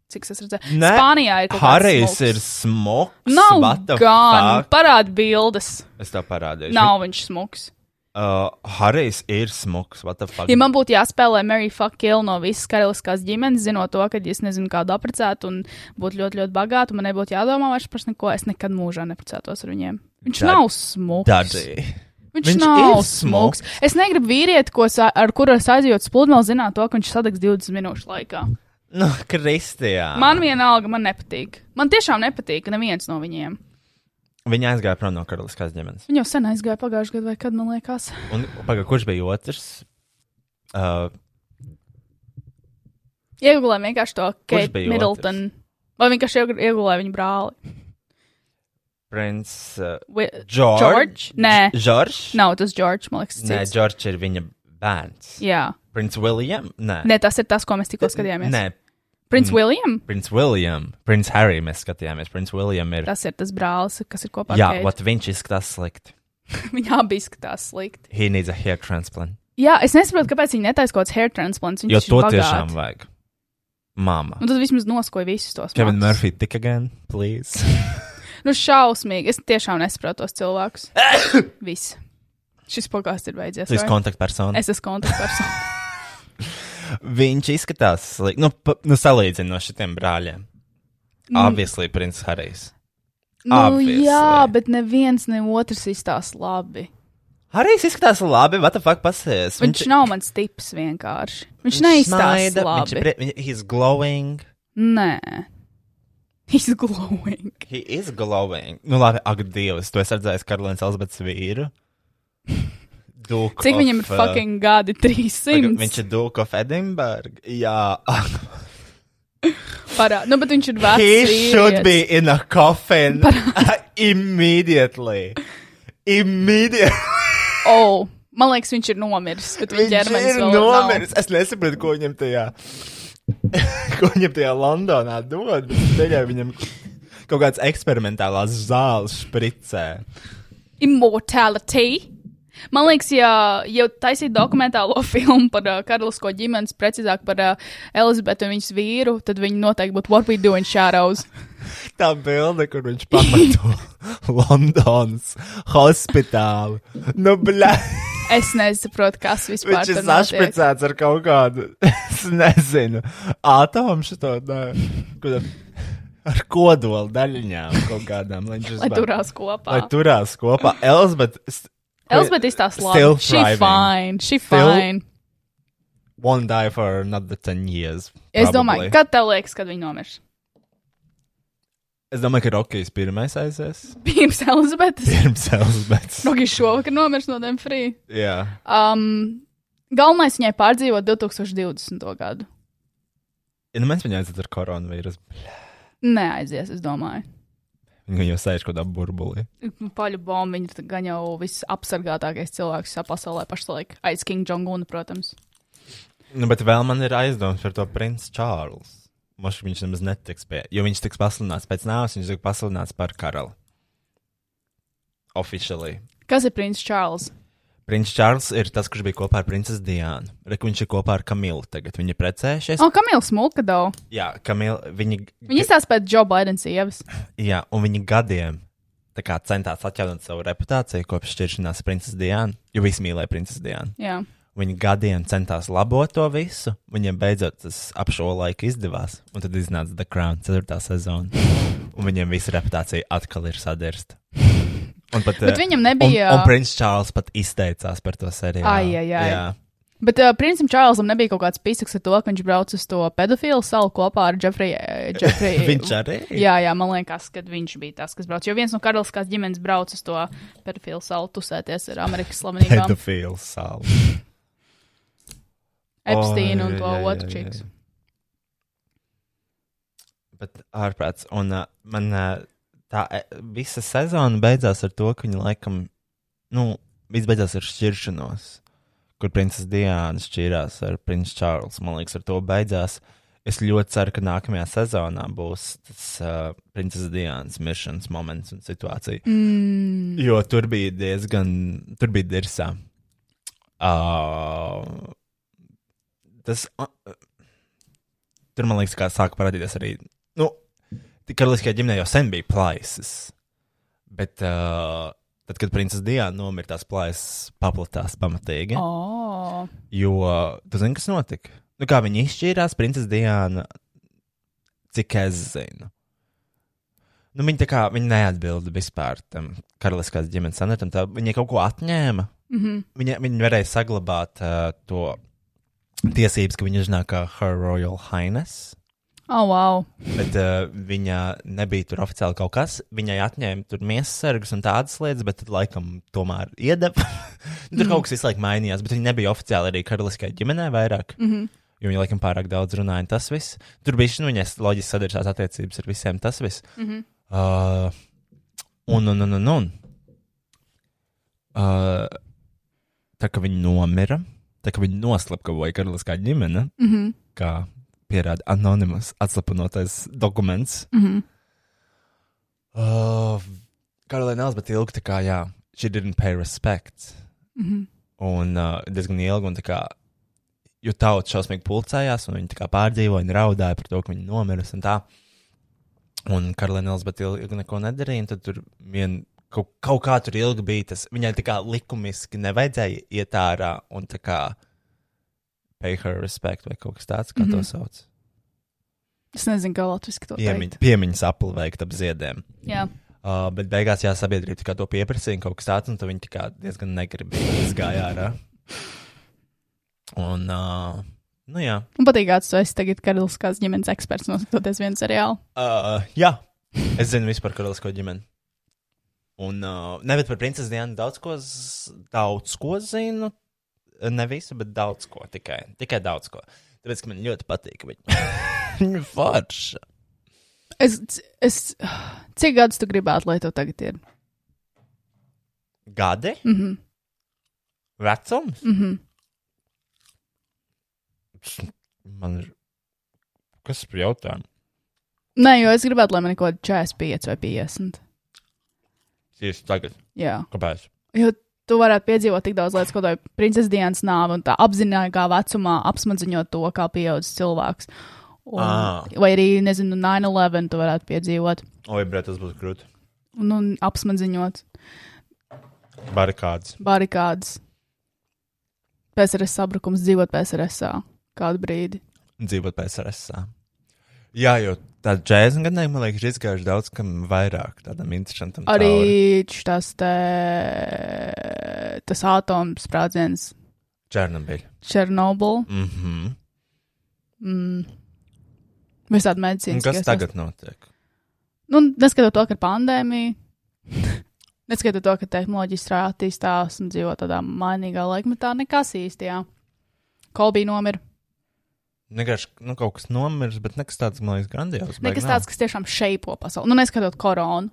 [SPEAKER 3] Cik es redzēju?
[SPEAKER 2] Nē,
[SPEAKER 3] Spānijā ir kaut kāds
[SPEAKER 2] Harijs
[SPEAKER 3] smuks.
[SPEAKER 2] ir smogs.
[SPEAKER 3] Nav
[SPEAKER 2] what the
[SPEAKER 3] gan.
[SPEAKER 2] fuck?
[SPEAKER 3] Parāda bildes.
[SPEAKER 2] Es tev parādīšu.
[SPEAKER 3] Nav viņš smūgs.
[SPEAKER 2] Uh, Harijs ir smogs. What the fuck?
[SPEAKER 3] Ja man būtu jāspēlē Mary Fuck Kill no visas karaliskās ģimenes, zinot to, ka ja es nezinu, kādu apprecēt un būtu ļoti, ļoti bagāta, un man nebūtu jādomā vairs par neko, es nekad mūžā neprecētos ar viņiem. Viņš Dad,
[SPEAKER 2] Dad-
[SPEAKER 3] nav smūgs.
[SPEAKER 2] Dadzi.
[SPEAKER 3] Viņš,
[SPEAKER 2] Viņš
[SPEAKER 3] viņš nav
[SPEAKER 2] ir
[SPEAKER 3] smūgs.
[SPEAKER 2] smuks.
[SPEAKER 3] Es negribu vīrieti, ko sa, ar kuru es aizjūtu spludmali, zināt to, ka viņš sadegs 20 minūšu laikā.
[SPEAKER 2] Nu, Kristijā.
[SPEAKER 3] Man vienalga, man nepatīk. Man tiešām nepatīk neviens no viņiem.
[SPEAKER 2] Viņa aizgāja prom no karaliskās ģimenes.
[SPEAKER 3] Viņi jau sen aizgāja pagājušajā gadā, vai kad man liekas.
[SPEAKER 2] Un, paga, kurš bija otrs? Uh,
[SPEAKER 3] Iegulēja vienkārši to Kate
[SPEAKER 2] bija
[SPEAKER 3] Middleton. Vai vienkārši iegulēja viņu brāli?
[SPEAKER 2] Prince. Uh,
[SPEAKER 3] Vi,
[SPEAKER 2] George?
[SPEAKER 3] George? Nē.
[SPEAKER 2] George?
[SPEAKER 3] Nav tas George, man liekas,
[SPEAKER 2] Nē,
[SPEAKER 3] cits.
[SPEAKER 2] George ir viņa bērns.
[SPEAKER 3] Jā,
[SPEAKER 2] Prince William? Nē.
[SPEAKER 3] Nē, tas ir tas, ko mēs tikko skatījāmies.
[SPEAKER 2] Nē, Mm.
[SPEAKER 3] Prince William,
[SPEAKER 2] Prince William, Prince Harry mēs skatījāmies. Prince William ir.
[SPEAKER 3] tas ir tas brālis, kas ir kopā
[SPEAKER 2] Jā,
[SPEAKER 3] ar Kate.
[SPEAKER 2] vat viņš izskatās slikti.
[SPEAKER 3] *laughs* Viņa abi izskatās slikti.
[SPEAKER 2] He needs a hair transplant.
[SPEAKER 3] Jā, es nesaprotu, kāpēc viņa netaisa kaut kāds hair transplants.
[SPEAKER 2] Jo
[SPEAKER 3] Viņš
[SPEAKER 2] to tiešām vajag. Mama.
[SPEAKER 3] Un tad vismaz noskoja visus tos.
[SPEAKER 2] Kevin
[SPEAKER 3] matus.
[SPEAKER 2] Murphy, tik again, please.
[SPEAKER 3] Nu, šausmīgi. Es tiešām nesaprotu tos
[SPEAKER 2] *coughs*
[SPEAKER 3] cilvēkus. Viss. Šis pogāsts ir beidzies.
[SPEAKER 2] Tu esi
[SPEAKER 3] vai?
[SPEAKER 2] kontaktpersona.
[SPEAKER 3] Es esmu
[SPEAKER 2] *coughs*
[SPEAKER 3] kontaktpersona.
[SPEAKER 2] Viņš izskatās slikti. Nu, pa- nu salīdzinot no šitiem brāļiem.
[SPEAKER 3] Mm.
[SPEAKER 2] Obviously, Prince Harijs.
[SPEAKER 3] nu,
[SPEAKER 2] obviously.
[SPEAKER 3] jā, bet neviens ne otrs izstāsta labi.
[SPEAKER 2] Harijs izskatās labi, what the fuck pasies.
[SPEAKER 3] Viņš, viņš nav mans tips vienkārši. Viņš, viņš neizstāsta
[SPEAKER 2] smaida,
[SPEAKER 3] labi.
[SPEAKER 2] Viņš,
[SPEAKER 3] Pre...
[SPEAKER 2] pre- viņ- he's glowing.
[SPEAKER 3] Nē. He's glowing.
[SPEAKER 2] He is glowing. Nu labi, ak, Dievs, tu esi redzējis Karolīnas Elzbetes vīru.
[SPEAKER 3] *laughs*
[SPEAKER 2] Duke
[SPEAKER 3] Cik
[SPEAKER 2] of,
[SPEAKER 3] viņam ir
[SPEAKER 2] uh,
[SPEAKER 3] fucking gadi?
[SPEAKER 2] Pagad,
[SPEAKER 3] 300.
[SPEAKER 2] Viņš ir Duke of Edinburgh. Jā, *laughs*
[SPEAKER 3] Parā... Nu, bet viņš ir vecs.
[SPEAKER 2] he should
[SPEAKER 3] vīrietis.
[SPEAKER 2] be in a coffin
[SPEAKER 3] Parādi.
[SPEAKER 2] *laughs* immediately. Immediately.
[SPEAKER 3] Oh, man liekas, viņš ir nomiris. Bet viņa
[SPEAKER 2] Viņš
[SPEAKER 3] ķermenis
[SPEAKER 2] ir
[SPEAKER 3] vēl
[SPEAKER 2] nomiris. Es nesaprotu, ko viņam tajā, *laughs* ko viņam tajā Londonā dod. bet Tikai viņam kaut kāds eksperimentālās zāles špricē.
[SPEAKER 3] Nav. Immortality. Man liekas, ja jau taisīja dokumentālo *laughs* filmu par uh, karalisko ģimenes, precīzāk par uh, Elizabeti un viņas vīru, tad viņi noteikti būtu What We Do in Shadows.
[SPEAKER 2] Tā bilde, kur viņš pameto *laughs* Londonas hospitālu. Nu, blē,
[SPEAKER 3] Es nesaprotu, kas vispār
[SPEAKER 2] *laughs* viņš
[SPEAKER 3] tur
[SPEAKER 2] ir
[SPEAKER 3] notiek.
[SPEAKER 2] sašpricēts ar kaut kādu, *laughs* es nezinu, atomu šito, nē, kaut kādu- ar kodolu daļiņām kaut kādām, lai viņš
[SPEAKER 3] Lai
[SPEAKER 2] uzbēg-
[SPEAKER 3] turās kopā.
[SPEAKER 2] Lai turās kopā. Elizabeth
[SPEAKER 3] Elizabete izstāsta labi.
[SPEAKER 2] Still
[SPEAKER 3] She
[SPEAKER 2] thriving.
[SPEAKER 3] fine, she
[SPEAKER 2] Still-
[SPEAKER 3] fine.
[SPEAKER 2] won't die for another 10 years.
[SPEAKER 3] Es
[SPEAKER 2] probably.
[SPEAKER 3] domāju, kad tev liekas, kad viņa nomirs? *laughs*
[SPEAKER 2] es domāju, ka Rukijs pirmais aizies.
[SPEAKER 3] *laughs* Pirms Elizabetes.
[SPEAKER 2] Pirms Elizabetes.
[SPEAKER 3] Nu, viņš šovakar nomirs no Demfrī.
[SPEAKER 2] *laughs* Jā.
[SPEAKER 3] Um, galvenais viņai pārdzīvot 2020. gadu.
[SPEAKER 2] Ja nu mēs viņu aiziet ar koronavīrus,
[SPEAKER 3] Neaizies, es domāju.
[SPEAKER 2] viņi jau sēž kaut kādā burbulī.
[SPEAKER 3] Nu, Paļu bombu viņa ir gan jau visapsargātākais cilvēks visā pasaulē pašlaik. Aiz King Jong-una, protams.
[SPEAKER 2] Nu, bet vēl man ir aizdoms par to princu Čārlzu. Moši viņš nemaz netiks pie, jo viņš tiks pasludināts pēc nāves, viņš tiks pasludināts par karali. Officially.
[SPEAKER 3] Kas ir princis Čārls?
[SPEAKER 2] Princis Čārls ir tas, kurš bija kopā ar princesi Diānu. Reku viņš ir kopā ar Kamilu tagad. Viņi ir precējušies.
[SPEAKER 3] O, Kamila Smulka daudz.
[SPEAKER 2] Jā, Kamila, viņi,
[SPEAKER 3] Viņa izstāsta pēc Džo Baidens sievas.
[SPEAKER 2] Jā, un viņi gadiem tā kā, centās atjaunot savu reputāciju kopš šķiršanās ar princesi Diānu, jo visi mīlēja princesi Diānu.
[SPEAKER 3] Jā.
[SPEAKER 2] Viņi gadiem centās labot to visu, viņiem beidzot tas ap šo laiku izdevās, un tad iznāca The Crown 4. sezona, un viņiem visa reputācija atkal ir sadirsta. Un pat,
[SPEAKER 3] Bet
[SPEAKER 2] eh,
[SPEAKER 3] viņam
[SPEAKER 2] un,
[SPEAKER 3] nebija.
[SPEAKER 2] un princis Čārls pat izteicās par to seriālu.
[SPEAKER 3] Ai, ai, ai.
[SPEAKER 2] Jā.
[SPEAKER 3] Bet uh, princim Čārlzam nebija kaut kāds pisaks ar to, ka viņš brauc uz to pedofilu salu kopā ar Jeffrey. uh,
[SPEAKER 2] *laughs*
[SPEAKER 3] Jeffrey
[SPEAKER 2] Viņš arī.
[SPEAKER 3] Jā, jā, man liekas, ka viņš bija tas, kas brauc. Jo viens no karaliskās ģimenes brauc uz to pedofilu salu tusēties ar Amerikas slavenībām
[SPEAKER 2] Pedofils salu.
[SPEAKER 3] Epsteinu un
[SPEAKER 2] Oi,
[SPEAKER 3] to
[SPEAKER 2] Oh, jā, jā,
[SPEAKER 3] otru
[SPEAKER 2] jā,
[SPEAKER 3] čiks.
[SPEAKER 2] jā. bet ārprāts. Un uh, man uh, tā eh, visa sezona beidzās ar to, ka viņa laikam, nu, viss beidzās ar šķiršanos, kur princese Diana šķirās ar prinču Čārlzu. Man liekas, ar to beidzās. Es ļoti ceru, ka nākamajā sezonā būs tas uh, princese Dianas miršanas moments un situācija.
[SPEAKER 3] Mm,
[SPEAKER 2] Jo tur bija diezgan, tur bija dirsā. Uh, tas, uh, tur man liekas, kā sāka parādīties arī. Nu, tik karaliskajā ģimenē jau sen bija plaisas. Bet uh, tad, kad princese Diana nomira, tās plaisas paplatās pamatīgi.
[SPEAKER 3] oh,
[SPEAKER 2] Jo tu zini, kas notika? Nu, kā viņi izšķīrās, princese Diana, cik es zinu. Nu, viņa tā kā viņa neatbilda vispār tam karaliskās ģimenes sanetam. tā Viņa kaut ko atņēma.
[SPEAKER 3] mm -hmm.
[SPEAKER 2] Viņa, viņa varēja saglabāt uh, to tiesības, ka viņa zināk, ka Her Royal Highness,
[SPEAKER 3] oh wow.
[SPEAKER 2] bet uh, viņa nebija tur oficiāli kaut kas. Viņai atņēma tur miesasargus un tādas lietas, bet tad laikam tomēr iedeva. *laughs* tur kaut kas visu laiku mainījās, bet viņa nebija oficiāli arī karaliskajai ģimenei vairāk.
[SPEAKER 3] Mm -hmm.
[SPEAKER 2] Jo viņi laikam pārāk daudz runāja, un tas viss. Tur bija šis, nu, viņas loģiski sadarbojas attiecības ar visiem, tas viss.
[SPEAKER 3] Mm -hmm.
[SPEAKER 2] Uh, un, un, un, un, un. Uh, tā kā viņi nomira, tā kā viņi noslapkavoja karaliskā ģimene,
[SPEAKER 3] Mm -hmm.
[SPEAKER 2] kā pierāda anonīms, atslapinotais dokuments.
[SPEAKER 3] Mm -hmm.
[SPEAKER 2] Uh, Karolīna Elzbeta ilgi tā kā, jā, she didn't pay respect.
[SPEAKER 3] Mm -hmm.
[SPEAKER 2] Un uh, diezgan ilgi, un tā kā jo tauta šausmīgi pulcējās, un viņi tā kā pārdzīvoja, un raudāja par to, ka viņi nomirusi un tā. Un Karolīna Elizabete ilgi ilgi neko nedarīja, un tad tur vien kaut, kaut kā tur ilgi bija tas. Viņai tā kā likumiski nevajadzēja iet ārā un tā kā pay her respect vai kaut kas tāds, kā mm -hmm. to
[SPEAKER 3] Mhm.
[SPEAKER 2] sauc.
[SPEAKER 3] Es nezinu, kā latviešu to teikt.
[SPEAKER 2] Piemiņ, piemiņas apli veikt ap ziediem.
[SPEAKER 3] Jā,
[SPEAKER 2] Uh, bet beigās, jā, sabiedrība tā kā to pieprasīja, un kaut kas tāds, un tad viņi tā kā diezgan negribīgi izgāja ārā. Un, uh, nu jā,
[SPEAKER 3] man patīk, kā tu esi tagad karaliskās ģimenes eksperts, noskatoties vienu seriālu.
[SPEAKER 2] uh, jā, es zinu vispār karalisko ģimeni. Un, uh, ne, bet par princesi Dienu daudz ko, z- daudz ko zinu. Ne visu, bet daudz ko, tikai, tikai daudz ko. Tāpēc, ka man ļoti patīk viņa. *laughs* Viņa forša.
[SPEAKER 3] Es, es, cik gadus tu gribētu, lai tev tagad ir?
[SPEAKER 2] Gadi?
[SPEAKER 3] Mhm,
[SPEAKER 2] Vecums?
[SPEAKER 3] mhm.
[SPEAKER 2] Man ir. Kas par jautājumu?
[SPEAKER 3] Nē, jo es gribētu, lai man ir kaut kāda 45 vai 50.
[SPEAKER 2] Tieši tagad.
[SPEAKER 3] Jā,
[SPEAKER 2] Kāpēc?
[SPEAKER 3] jo tu varētu piedzīvot tik daudz lietas, ko tai princeses dienas nāve un tā apzināīgā vecumā apsmadziņot to, kā pieaudzis cilvēks. Un,
[SPEAKER 2] Ah.
[SPEAKER 3] Vai arī, nezinu, 9-11 tu varētu piedzīvot
[SPEAKER 2] Oi, brēt, tas būs grūti.
[SPEAKER 3] un, un apsmadziņot
[SPEAKER 2] Barikādas.
[SPEAKER 3] barikādas. PSRS sabrukums dzīvot PSRS kādu brīdi.
[SPEAKER 2] Dzīvot pēc RSA. Jā, jo tādā 40 gadiem, man liekas, ir izgājuši daudz kam vairāk tādam interesantam. cauri.
[SPEAKER 3] Arī tas te, tas atoms sprādziens
[SPEAKER 2] Černobiļa.
[SPEAKER 3] Černobil.
[SPEAKER 2] Mm -hmm.
[SPEAKER 3] Mm. Visādi medicīnas.
[SPEAKER 2] Kas tagad notiek?
[SPEAKER 3] Nu, neskatoties to, ka ir pandēmija, *laughs* neskatoties to, ka tehnoloģija strādā, attīstās un dzīvo tādā mainīgā laikmetā, nekas īstajā. Kolbija nomira.
[SPEAKER 2] Vienkārši nu, kaut kas nomirs, bet nekas tāds, man liekas, grandios.
[SPEAKER 3] Nekas tāds, kas tiešām šeipo pasauli. Nu, neskatot koronu.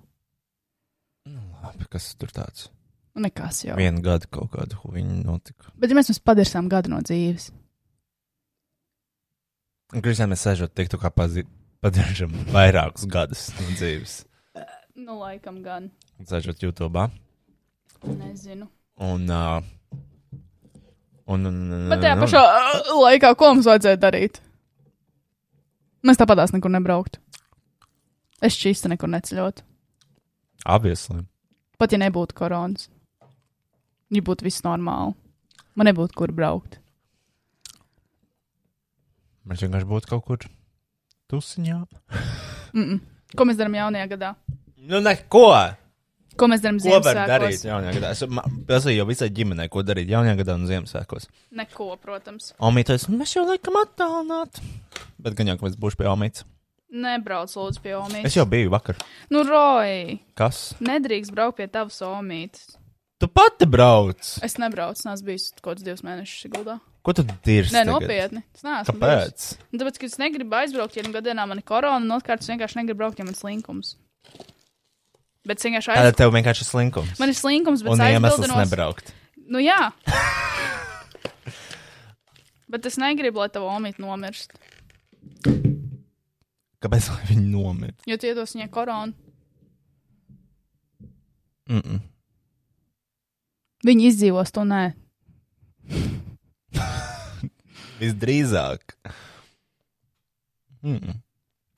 [SPEAKER 2] Nu, Labi, kas tur tāds?
[SPEAKER 3] Nu, Nekas jau.
[SPEAKER 2] Vienu gadu kaut kādu huīņu notika.
[SPEAKER 3] Bet ja mēs jums padarsām gadu no dzīves.
[SPEAKER 2] Un Krisēm es sežot, tiktu kā pazi... padaršam vairākus gadus no dzīves.
[SPEAKER 3] Nu, laikam gan.
[SPEAKER 2] Sežot YouTube.
[SPEAKER 3] Nezinu.
[SPEAKER 2] Un, uh, un, un, un,
[SPEAKER 3] Bet tajā
[SPEAKER 2] un-
[SPEAKER 3] pašā ā, laikā, ko mums vajadzēja darīt? Mēs tāpatās nekur nebrauktu. Es šķīstu nekur neceļot.
[SPEAKER 2] Obviously.
[SPEAKER 3] Pat ja nebūtu koronas. Ja būtu viss normāli. Man nebūtu kur braukt.
[SPEAKER 2] Mēs vienkārši būtu kaut kur tusiņā.
[SPEAKER 3] Mm -mm. Ko mēs darām jaunajā gadā?
[SPEAKER 2] Nu, neko!
[SPEAKER 3] Ko mēs darām
[SPEAKER 2] Ko var darīt
[SPEAKER 3] Ziemassvētkos?
[SPEAKER 2] jaunajā gadā? Es ma- prasīju jau visai ģimenei, ko darīt jaunajā gadā un Ziemassvētkos.
[SPEAKER 3] Neko, protams.
[SPEAKER 2] Omītais, mēs jau laikam attālināt. Bet gan jau, ka mēs būšu pie Omītas.
[SPEAKER 3] Nebrauc lūdzu pie omītes.
[SPEAKER 2] Es jau biju vakar.
[SPEAKER 3] Nu, Roji,
[SPEAKER 2] Kas?
[SPEAKER 3] nedrīkst braukt pie tavas omītes.
[SPEAKER 2] Tu pati brauc!
[SPEAKER 3] Es nebraucu, nes biju kaut kāds divus mēnešus guldā.
[SPEAKER 2] Ko tu dirzi?
[SPEAKER 3] Nē,
[SPEAKER 2] tagad?
[SPEAKER 3] nopietni. Es neesmu. bijusi.
[SPEAKER 2] Kāpēc?
[SPEAKER 3] Nu, Tāpēc, ka es negribu aizbraukt, ja nu gadienā man ir korona, un otrkārt, es vienkārši negribu braukt, ja man ir slinkums. Bet es vienkārši
[SPEAKER 2] Tātad
[SPEAKER 3] aizbraucu.
[SPEAKER 2] tev vienkārši ir slinkums.
[SPEAKER 3] Man ir slinkums, bet
[SPEAKER 2] Un
[SPEAKER 3] es
[SPEAKER 2] iemesls
[SPEAKER 3] aizbraucu.
[SPEAKER 2] nebraukt.
[SPEAKER 3] Nu,
[SPEAKER 2] *laughs*
[SPEAKER 3] jā. bet es negribu, lai tava omīte nomirst.
[SPEAKER 2] Kāpēc lai viņi nomira?
[SPEAKER 3] Jo tu iedos viņai koronu.
[SPEAKER 2] Mm -mm.
[SPEAKER 3] Viņa izdzīvos, tu nē.
[SPEAKER 2] Visdrīzāk. Mm -mm.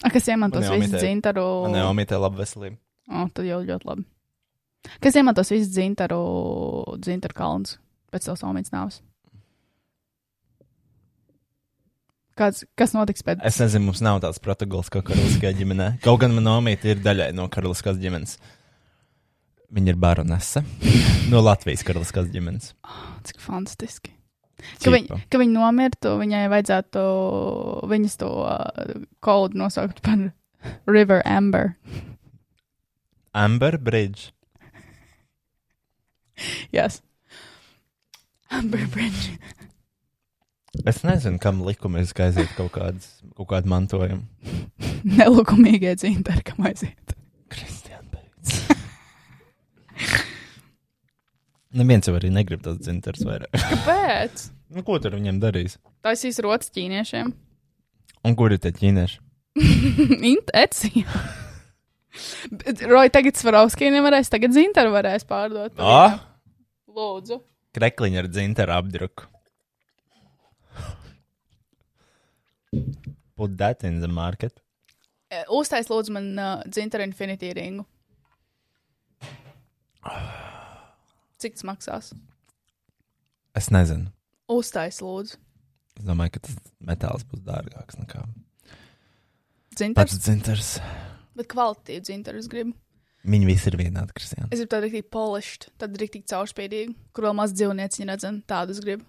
[SPEAKER 3] A, kas iemantos
[SPEAKER 2] Man
[SPEAKER 3] visu
[SPEAKER 2] Omitei-
[SPEAKER 3] dzintaru?
[SPEAKER 2] Man jau mītē laba veselība.
[SPEAKER 3] O, tad jau ļoti labi. Kas iemantos visu dzintaru, dzintaru kalns pēc savas omītes nāves? Kāds, kas notiks pēc
[SPEAKER 2] Es nezinu, mums nav tāds protokols kā karaliskajā ģimenē. Kaut gan manā mītā ir daļai no karaliskās ģimenes. Viņa ir baronese no Latvijas karaliskās ģimenes.
[SPEAKER 3] Cik fantastiski. Ka, viņ, ka viņa nomirtu, viņai vajadzētu viņas to uh, kodu nosaukt par River Amber.
[SPEAKER 2] Amber Bridge.
[SPEAKER 3] Yes. Amber Bridge. *laughs*
[SPEAKER 2] Es nezinu, kam likumiski aiziet kaut, kāds, kaut kādu mantojumu.
[SPEAKER 3] Nelūkumīgie dzintari, kam aiziet.
[SPEAKER 2] Kristiāna Pēc. Neviens jau arī negrib tos dzintars vairāk.
[SPEAKER 3] Kāpēc?
[SPEAKER 2] Nu, ko tur viņiem darīs?
[SPEAKER 3] Taisīs rotas ķīniešiem.
[SPEAKER 2] Un kur ir tie ķīnieši?
[SPEAKER 3] *laughs* Int- Etsijā. *laughs* Bet, Roj, tagad Svarovskī nevarēs, tagad dzintaru varēs pārdot.
[SPEAKER 2] Ah!
[SPEAKER 3] Lūdzu.
[SPEAKER 2] Krekliņa ar dzintaru apdruku. Put that in the market.
[SPEAKER 3] Eh, Uztais lūdzu man uh, dzintaru infinity ringu. Cik tas maksās?
[SPEAKER 2] Es nezinu.
[SPEAKER 3] Uztais lūdzu.
[SPEAKER 2] Es domāju, ka tas metāls būs dārgāks nekā
[SPEAKER 3] Dzintars,
[SPEAKER 2] pats dzintars.
[SPEAKER 3] bet kvalitīvu dzintaru es gribu.
[SPEAKER 2] Viņi visi ir vienādi, Kristija.
[SPEAKER 3] Es gribu tādu rīktīgi polišķu, tādu rīktīgi caurspīdīgu, kur vēl maz dzīvnieciņu redzam. Tādu es gribu.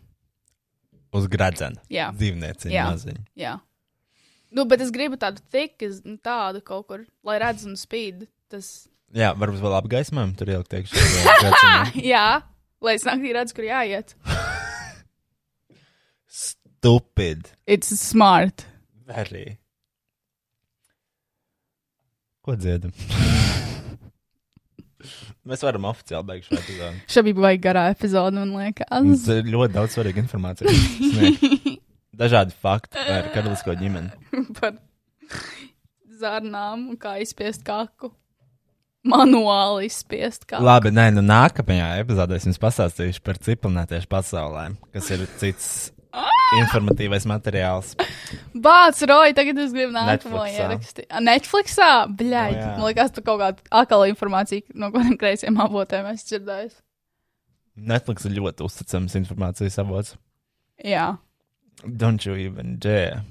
[SPEAKER 2] Uz gradzena.
[SPEAKER 3] Jā,
[SPEAKER 2] Dzīvnieciņa
[SPEAKER 3] Jā.
[SPEAKER 2] maziņa.
[SPEAKER 3] jā. Nu, bet es gribu tādu tiku, es- nu, tādu kaut kur, lai redz un spīd. Tas, *laughs*
[SPEAKER 2] Jā, varbūt vēl apgaismojam, tur ielikt iekšā. *laughs*
[SPEAKER 3] jā, lai es naktī redzu, kur jāiet.
[SPEAKER 2] Stupid.
[SPEAKER 3] It's smart.
[SPEAKER 2] Very. Ko dziedam? *laughs* Mēs varam oficiāli beigt šo epizodi.
[SPEAKER 3] Šā bija baigta garā epizode, man
[SPEAKER 2] Mums
[SPEAKER 3] liekas.
[SPEAKER 2] ir ļoti daudz svarīga informācija. sniegt.
[SPEAKER 3] *laughs*
[SPEAKER 2] Dažādi fakti par karalisko ģimeni.
[SPEAKER 3] Par zarnām un kā izspiest kaku. Manuāli izspiest kaku.
[SPEAKER 2] Labi, nē, nu nākamajā epizodē es jums pastāstīšu par ciprinātiešu pasaulēm, kas ir cits
[SPEAKER 3] Ah!
[SPEAKER 2] informatīvais materiāls.
[SPEAKER 3] Bāc, Roja, tagad es gribu nākamo
[SPEAKER 2] Netflixā.
[SPEAKER 3] ierakstīt. A, Netflixā? Bļaigi,
[SPEAKER 2] Nu, jā.
[SPEAKER 3] man liekas, tu kaut kādu akālu informāciju no kādiem kreisiem avotiem esi dzirdējis.
[SPEAKER 2] Netflix ir ļoti uzticams informācijas avots.
[SPEAKER 3] Jā,
[SPEAKER 2] Don't you even dare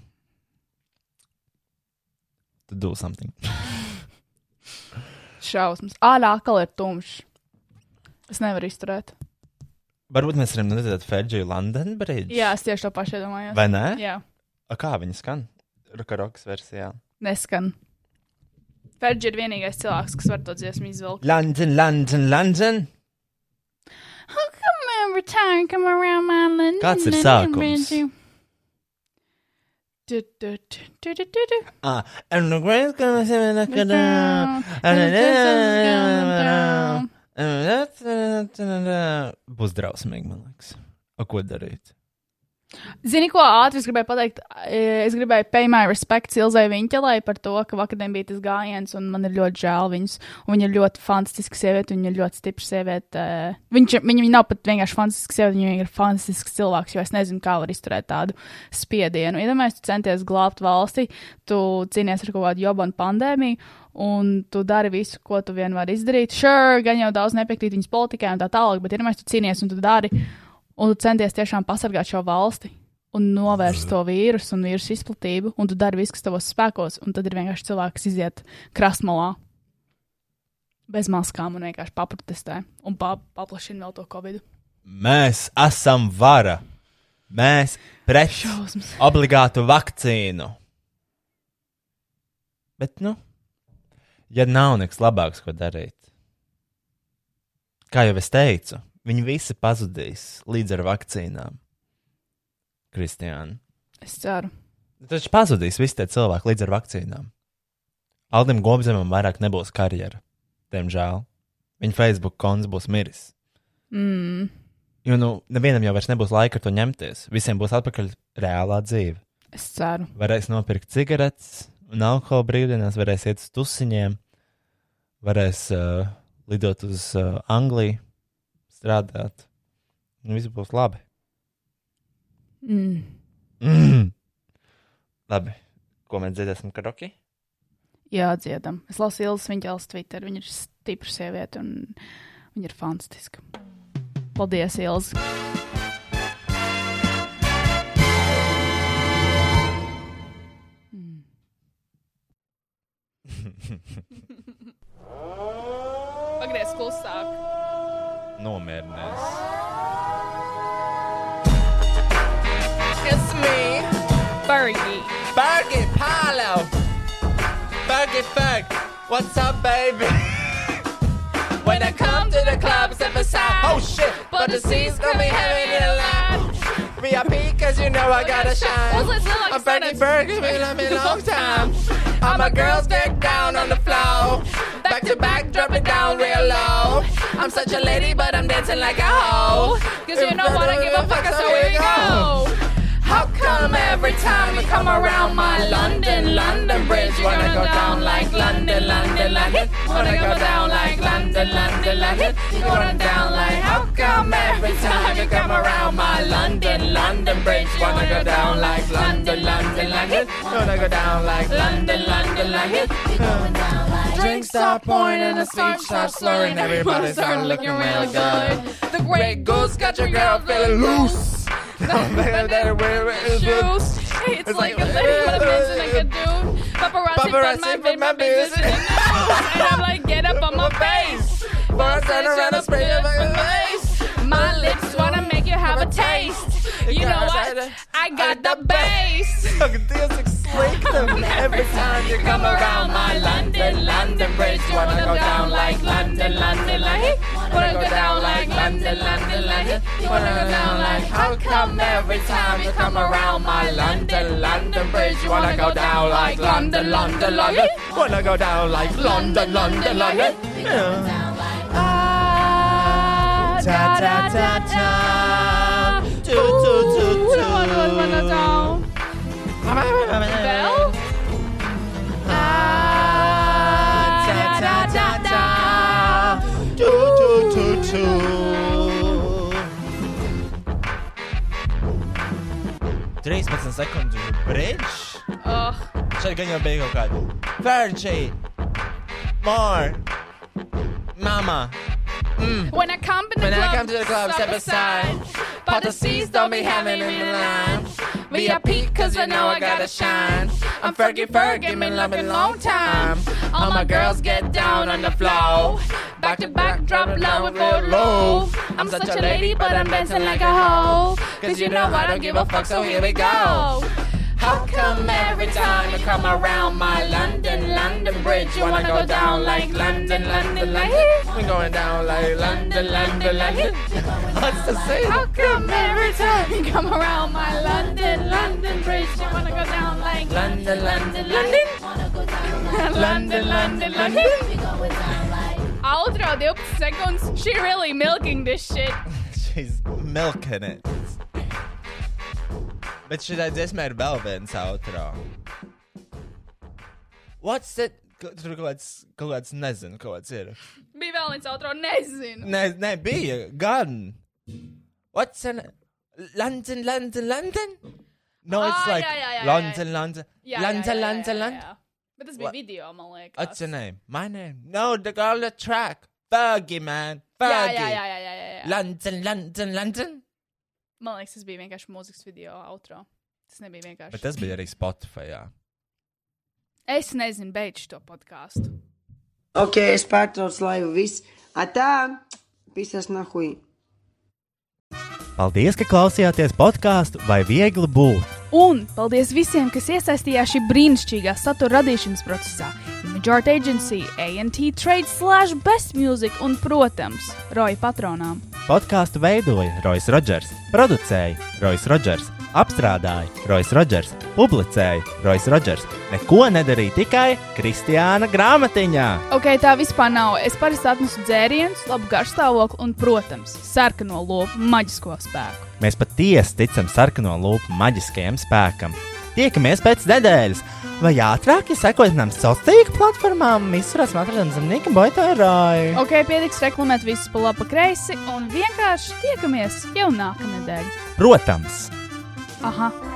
[SPEAKER 2] to do something.
[SPEAKER 3] šausmas. Ārā akāli ir tumšs. Es nevaru izturēt.
[SPEAKER 2] Varbūt mēs varam redzēt Ferģiju London Bridge.
[SPEAKER 3] Jā, es tieši to pašu iedomājos.
[SPEAKER 2] Vai ne?
[SPEAKER 3] Jā,
[SPEAKER 2] A, kā viņa skan? Rukarokas versijā.
[SPEAKER 3] neskan. Ferģi ir vienīgais cilvēks, kas var to dziesmu izvilkt.
[SPEAKER 2] London, London, London.
[SPEAKER 3] How come every time come around my land?
[SPEAKER 2] Kāds ir sākums?
[SPEAKER 3] Du, du, du, du, du, du, du.
[SPEAKER 2] Ah, and the grace comes in like a
[SPEAKER 3] Down.
[SPEAKER 2] Būs drausmīgi, man liekas. O, ko darīt?
[SPEAKER 3] Zini, ko ātri es gribēju pateikt? Eh, Es gribēju pay my respects Ilzai Viņķelai par to, ka vakardien bija tas gājiens, un man ir ļoti žēl viņas. Un Viņa ir ļoti fantastiska sieviete, viņa ir ļoti stipra sieviete. eh. Viņš, viņa, viņa nav pat vienkārši fantastiska sieviete, viņa ir fantastisks cilvēks, jo es nezinu, kā var izturēt tādu spiedienu. Iedomājieties, tu centies glābt valsti, tu cīnies ar kaut kādu jobanu pandēmiju, un tu dari visu, ko tu vien vari izdarīt. Sure, gan jau daudz nepiekrīt viņas politikai un tā tālāk, bet iedomājieties, tu cīnies un tu dari un tu centies tiešām pasargāt šo valsti un novērst to vīrusu un vīrusu izplatību, un tu dari visu, kas tavos spēkos, un tad ir vienkārši cilvēks iziet krasmalā bez maskām un vienkārši paprotestē un pa paplašina vēl to covid.
[SPEAKER 2] Mēs esam vara. Mēs pret
[SPEAKER 3] Šausmas.
[SPEAKER 2] obligātu vakcīnu. Bet, nu, ja nav nekas labāks, ko darīt, kā jau es teicu, viņi visi pazudīs līdz ar vakcīnām. Kristiāna.
[SPEAKER 3] Es ceru.
[SPEAKER 2] Taču pazudīs visi tie cilvēki līdz ar vakcīnām. Aldim Gobzemam vairāk nebūs karjera. Diemžēl. Viņa Facebook konts būs miris.
[SPEAKER 3] Mm.
[SPEAKER 2] Jo nu, nevienam jau vairs nebūs laika ar to ņemties. Visiem būs atpakaļ reālā dzīve.
[SPEAKER 3] Es ceru.
[SPEAKER 2] Varēs nopirkt cigaretes un alkohola brīvdienās, varēs iet uz tusiņiem, varēs uh, lidot uz uh, Angliju, strādāt. Nu, viss būs labi. *clears throat*
[SPEAKER 3] Mm.
[SPEAKER 2] Mm. Labi. Ko mēs dzirdēsim, Karoki? *laughs*
[SPEAKER 3] Jā, dziedam. Es lasu Ilas Viņķels Twitter. Viņa ir stipra sieviete un viņa ir fantastiska. Paldies, Ilas! Mm. Pagriez klusāk.
[SPEAKER 2] Nomierinies.
[SPEAKER 3] It's me, Fergie.
[SPEAKER 2] Fergie, hello! Fergie, Ferg, what's up,
[SPEAKER 7] *laughs*
[SPEAKER 2] baby?
[SPEAKER 3] When I come to the clubs and beside,
[SPEAKER 2] Oh, shit!
[SPEAKER 3] but the seats gonna be heavy in line.
[SPEAKER 2] VIP, cause you know I gotta shine.
[SPEAKER 3] Uzliec lielākas
[SPEAKER 2] I'm
[SPEAKER 3] sarunas.
[SPEAKER 2] Fergie, Ferg, it's been a me long
[SPEAKER 3] *laughs*
[SPEAKER 2] time. All my girls get down on the floor.
[SPEAKER 3] Back to back, drop it down real low. I'm such a lady, but I'm dancing like a hoe. Cause you know what, I give a fuck, so here we go.
[SPEAKER 7] How come every time you come around my London, London bridge, wanna go down like London, London, London, wanna go down like London, London, London, you wanna down like. How come every time you come around my London, London bridge, wanna go down like London, London, London, wanna go down like London, London, London. Drinks stop pouring and the speech starts slurring. Everybody started looking real good. The great goose got your girl feeling loose.
[SPEAKER 3] Oh, juice. Hey, it's, like, a lady with a bitch and like a dude. Paparazzi,
[SPEAKER 7] Paparazzi
[SPEAKER 3] put my,
[SPEAKER 7] put my
[SPEAKER 3] my business in the news. And I'm like, get up on my face.
[SPEAKER 7] But I turn
[SPEAKER 3] Bitch,
[SPEAKER 7] around
[SPEAKER 3] you're
[SPEAKER 7] and spray
[SPEAKER 3] the
[SPEAKER 7] it back in
[SPEAKER 3] bitch.
[SPEAKER 7] the face.
[SPEAKER 3] My lips wanna make you have a taste. You know what? I got the bass.
[SPEAKER 7] Every time you come around my London, London bridge, wanna go down like London, London, like wanna go down like London, London, London, wanna go down like. How come every time you come around my London, London bridge, you wanna go down like London, London, London, wanna go down like London, London, London. Ah, da da da da.
[SPEAKER 3] Tu, tu, tu, tu. Vēl?
[SPEAKER 7] Ah, da da da da.
[SPEAKER 2] sekundžu bridge.
[SPEAKER 3] Oh,
[SPEAKER 2] Šeit gan jau bija kaut kāda Fergie, More, Mama.
[SPEAKER 3] When I come to the
[SPEAKER 7] When I
[SPEAKER 3] club,
[SPEAKER 7] come to the club, step aside.
[SPEAKER 3] Policies don't be having me in line. VIP, cause you know I gotta shine. I'm Fergie Ferg, give me love in a long time. All my girls get down on the floor. Back to back, drop low and for low. I'm such a lady, but I'm dancing like a hoe. Cause you know I don't give a fuck, so here we go.
[SPEAKER 7] How come every time you come around my London, London bridge, you wanna go down like London, London, London? We're going down like London, London, London. What's the same?
[SPEAKER 3] How come every time you come around my London, London bridge, you wanna go down like
[SPEAKER 7] London, London, London.
[SPEAKER 3] London? London, London, London. Outro 12 seconds. She really milking this shit.
[SPEAKER 2] She's milking it. Bet šī dziesmē ir vēl viens outro. What's it? Ka- Tur kaut kāds, kaut kāds nezinu, kaut kāds ir.
[SPEAKER 3] Bija vēl viens outro, nezinu.
[SPEAKER 2] Nē, nē, bija gan. What's in London, London, London? No, it's
[SPEAKER 3] Ah,
[SPEAKER 2] like
[SPEAKER 3] jā, jā, jā, jā, jā.
[SPEAKER 2] London, London, London, London, London.
[SPEAKER 3] Bet tas bija
[SPEAKER 2] What?
[SPEAKER 3] video, man liekas.
[SPEAKER 2] What's your name? My name. No, the girl the track. Fergie, man.
[SPEAKER 3] Jā,
[SPEAKER 2] Fergie.
[SPEAKER 3] jā, jā, jā, jā, jā, jā.
[SPEAKER 2] London, London, London.
[SPEAKER 3] Man liekas, tas bija vienkārši mūzikas video outro. Tas nebija vienkārši.
[SPEAKER 2] Bet tas bija arī Spotify. Jā.
[SPEAKER 3] Es nezinu, beidz šo podkāstu.
[SPEAKER 8] Ok, es pārtraucu laivu viss. Atā, pisas nahuj.
[SPEAKER 2] Paldies, ka klausījāties podkāstu vai viegli būt.
[SPEAKER 3] Un paldies visiem, kas iesaistījās šī brīnišķīgā satura radīšanas procesā. Majority Agency, ANT Trade, Slash, Best Music un, protams, Roja patronām.
[SPEAKER 2] Podkāstu veidoja Rois Rodžers, producēja Rois Rodžers, apstrādāja Rois Rodžers, publicēja Rois Rodžers. Neko nedarīja tikai Kristiāna grāmatiņā.
[SPEAKER 3] Ok, tā vispār nav. Es parasti atnesu dzērienus, labu garšstāvokli un, protams, sarkano lopu maģisko spēku.
[SPEAKER 2] Mēs patiesi ticam sarkano lupu maģiskajam spēkam. Tiekamies pēc nedēļas, vai ātrāk, ja sekojat mums sociālajām tīkla platformām, visurās matradienas zemnieka boitārāju.
[SPEAKER 3] Ok, pietiks reklamēt visus pa labi, pa kreisi un vienkārši tiekamies jau nākamnedēļ.
[SPEAKER 2] Protams!
[SPEAKER 3] Aha!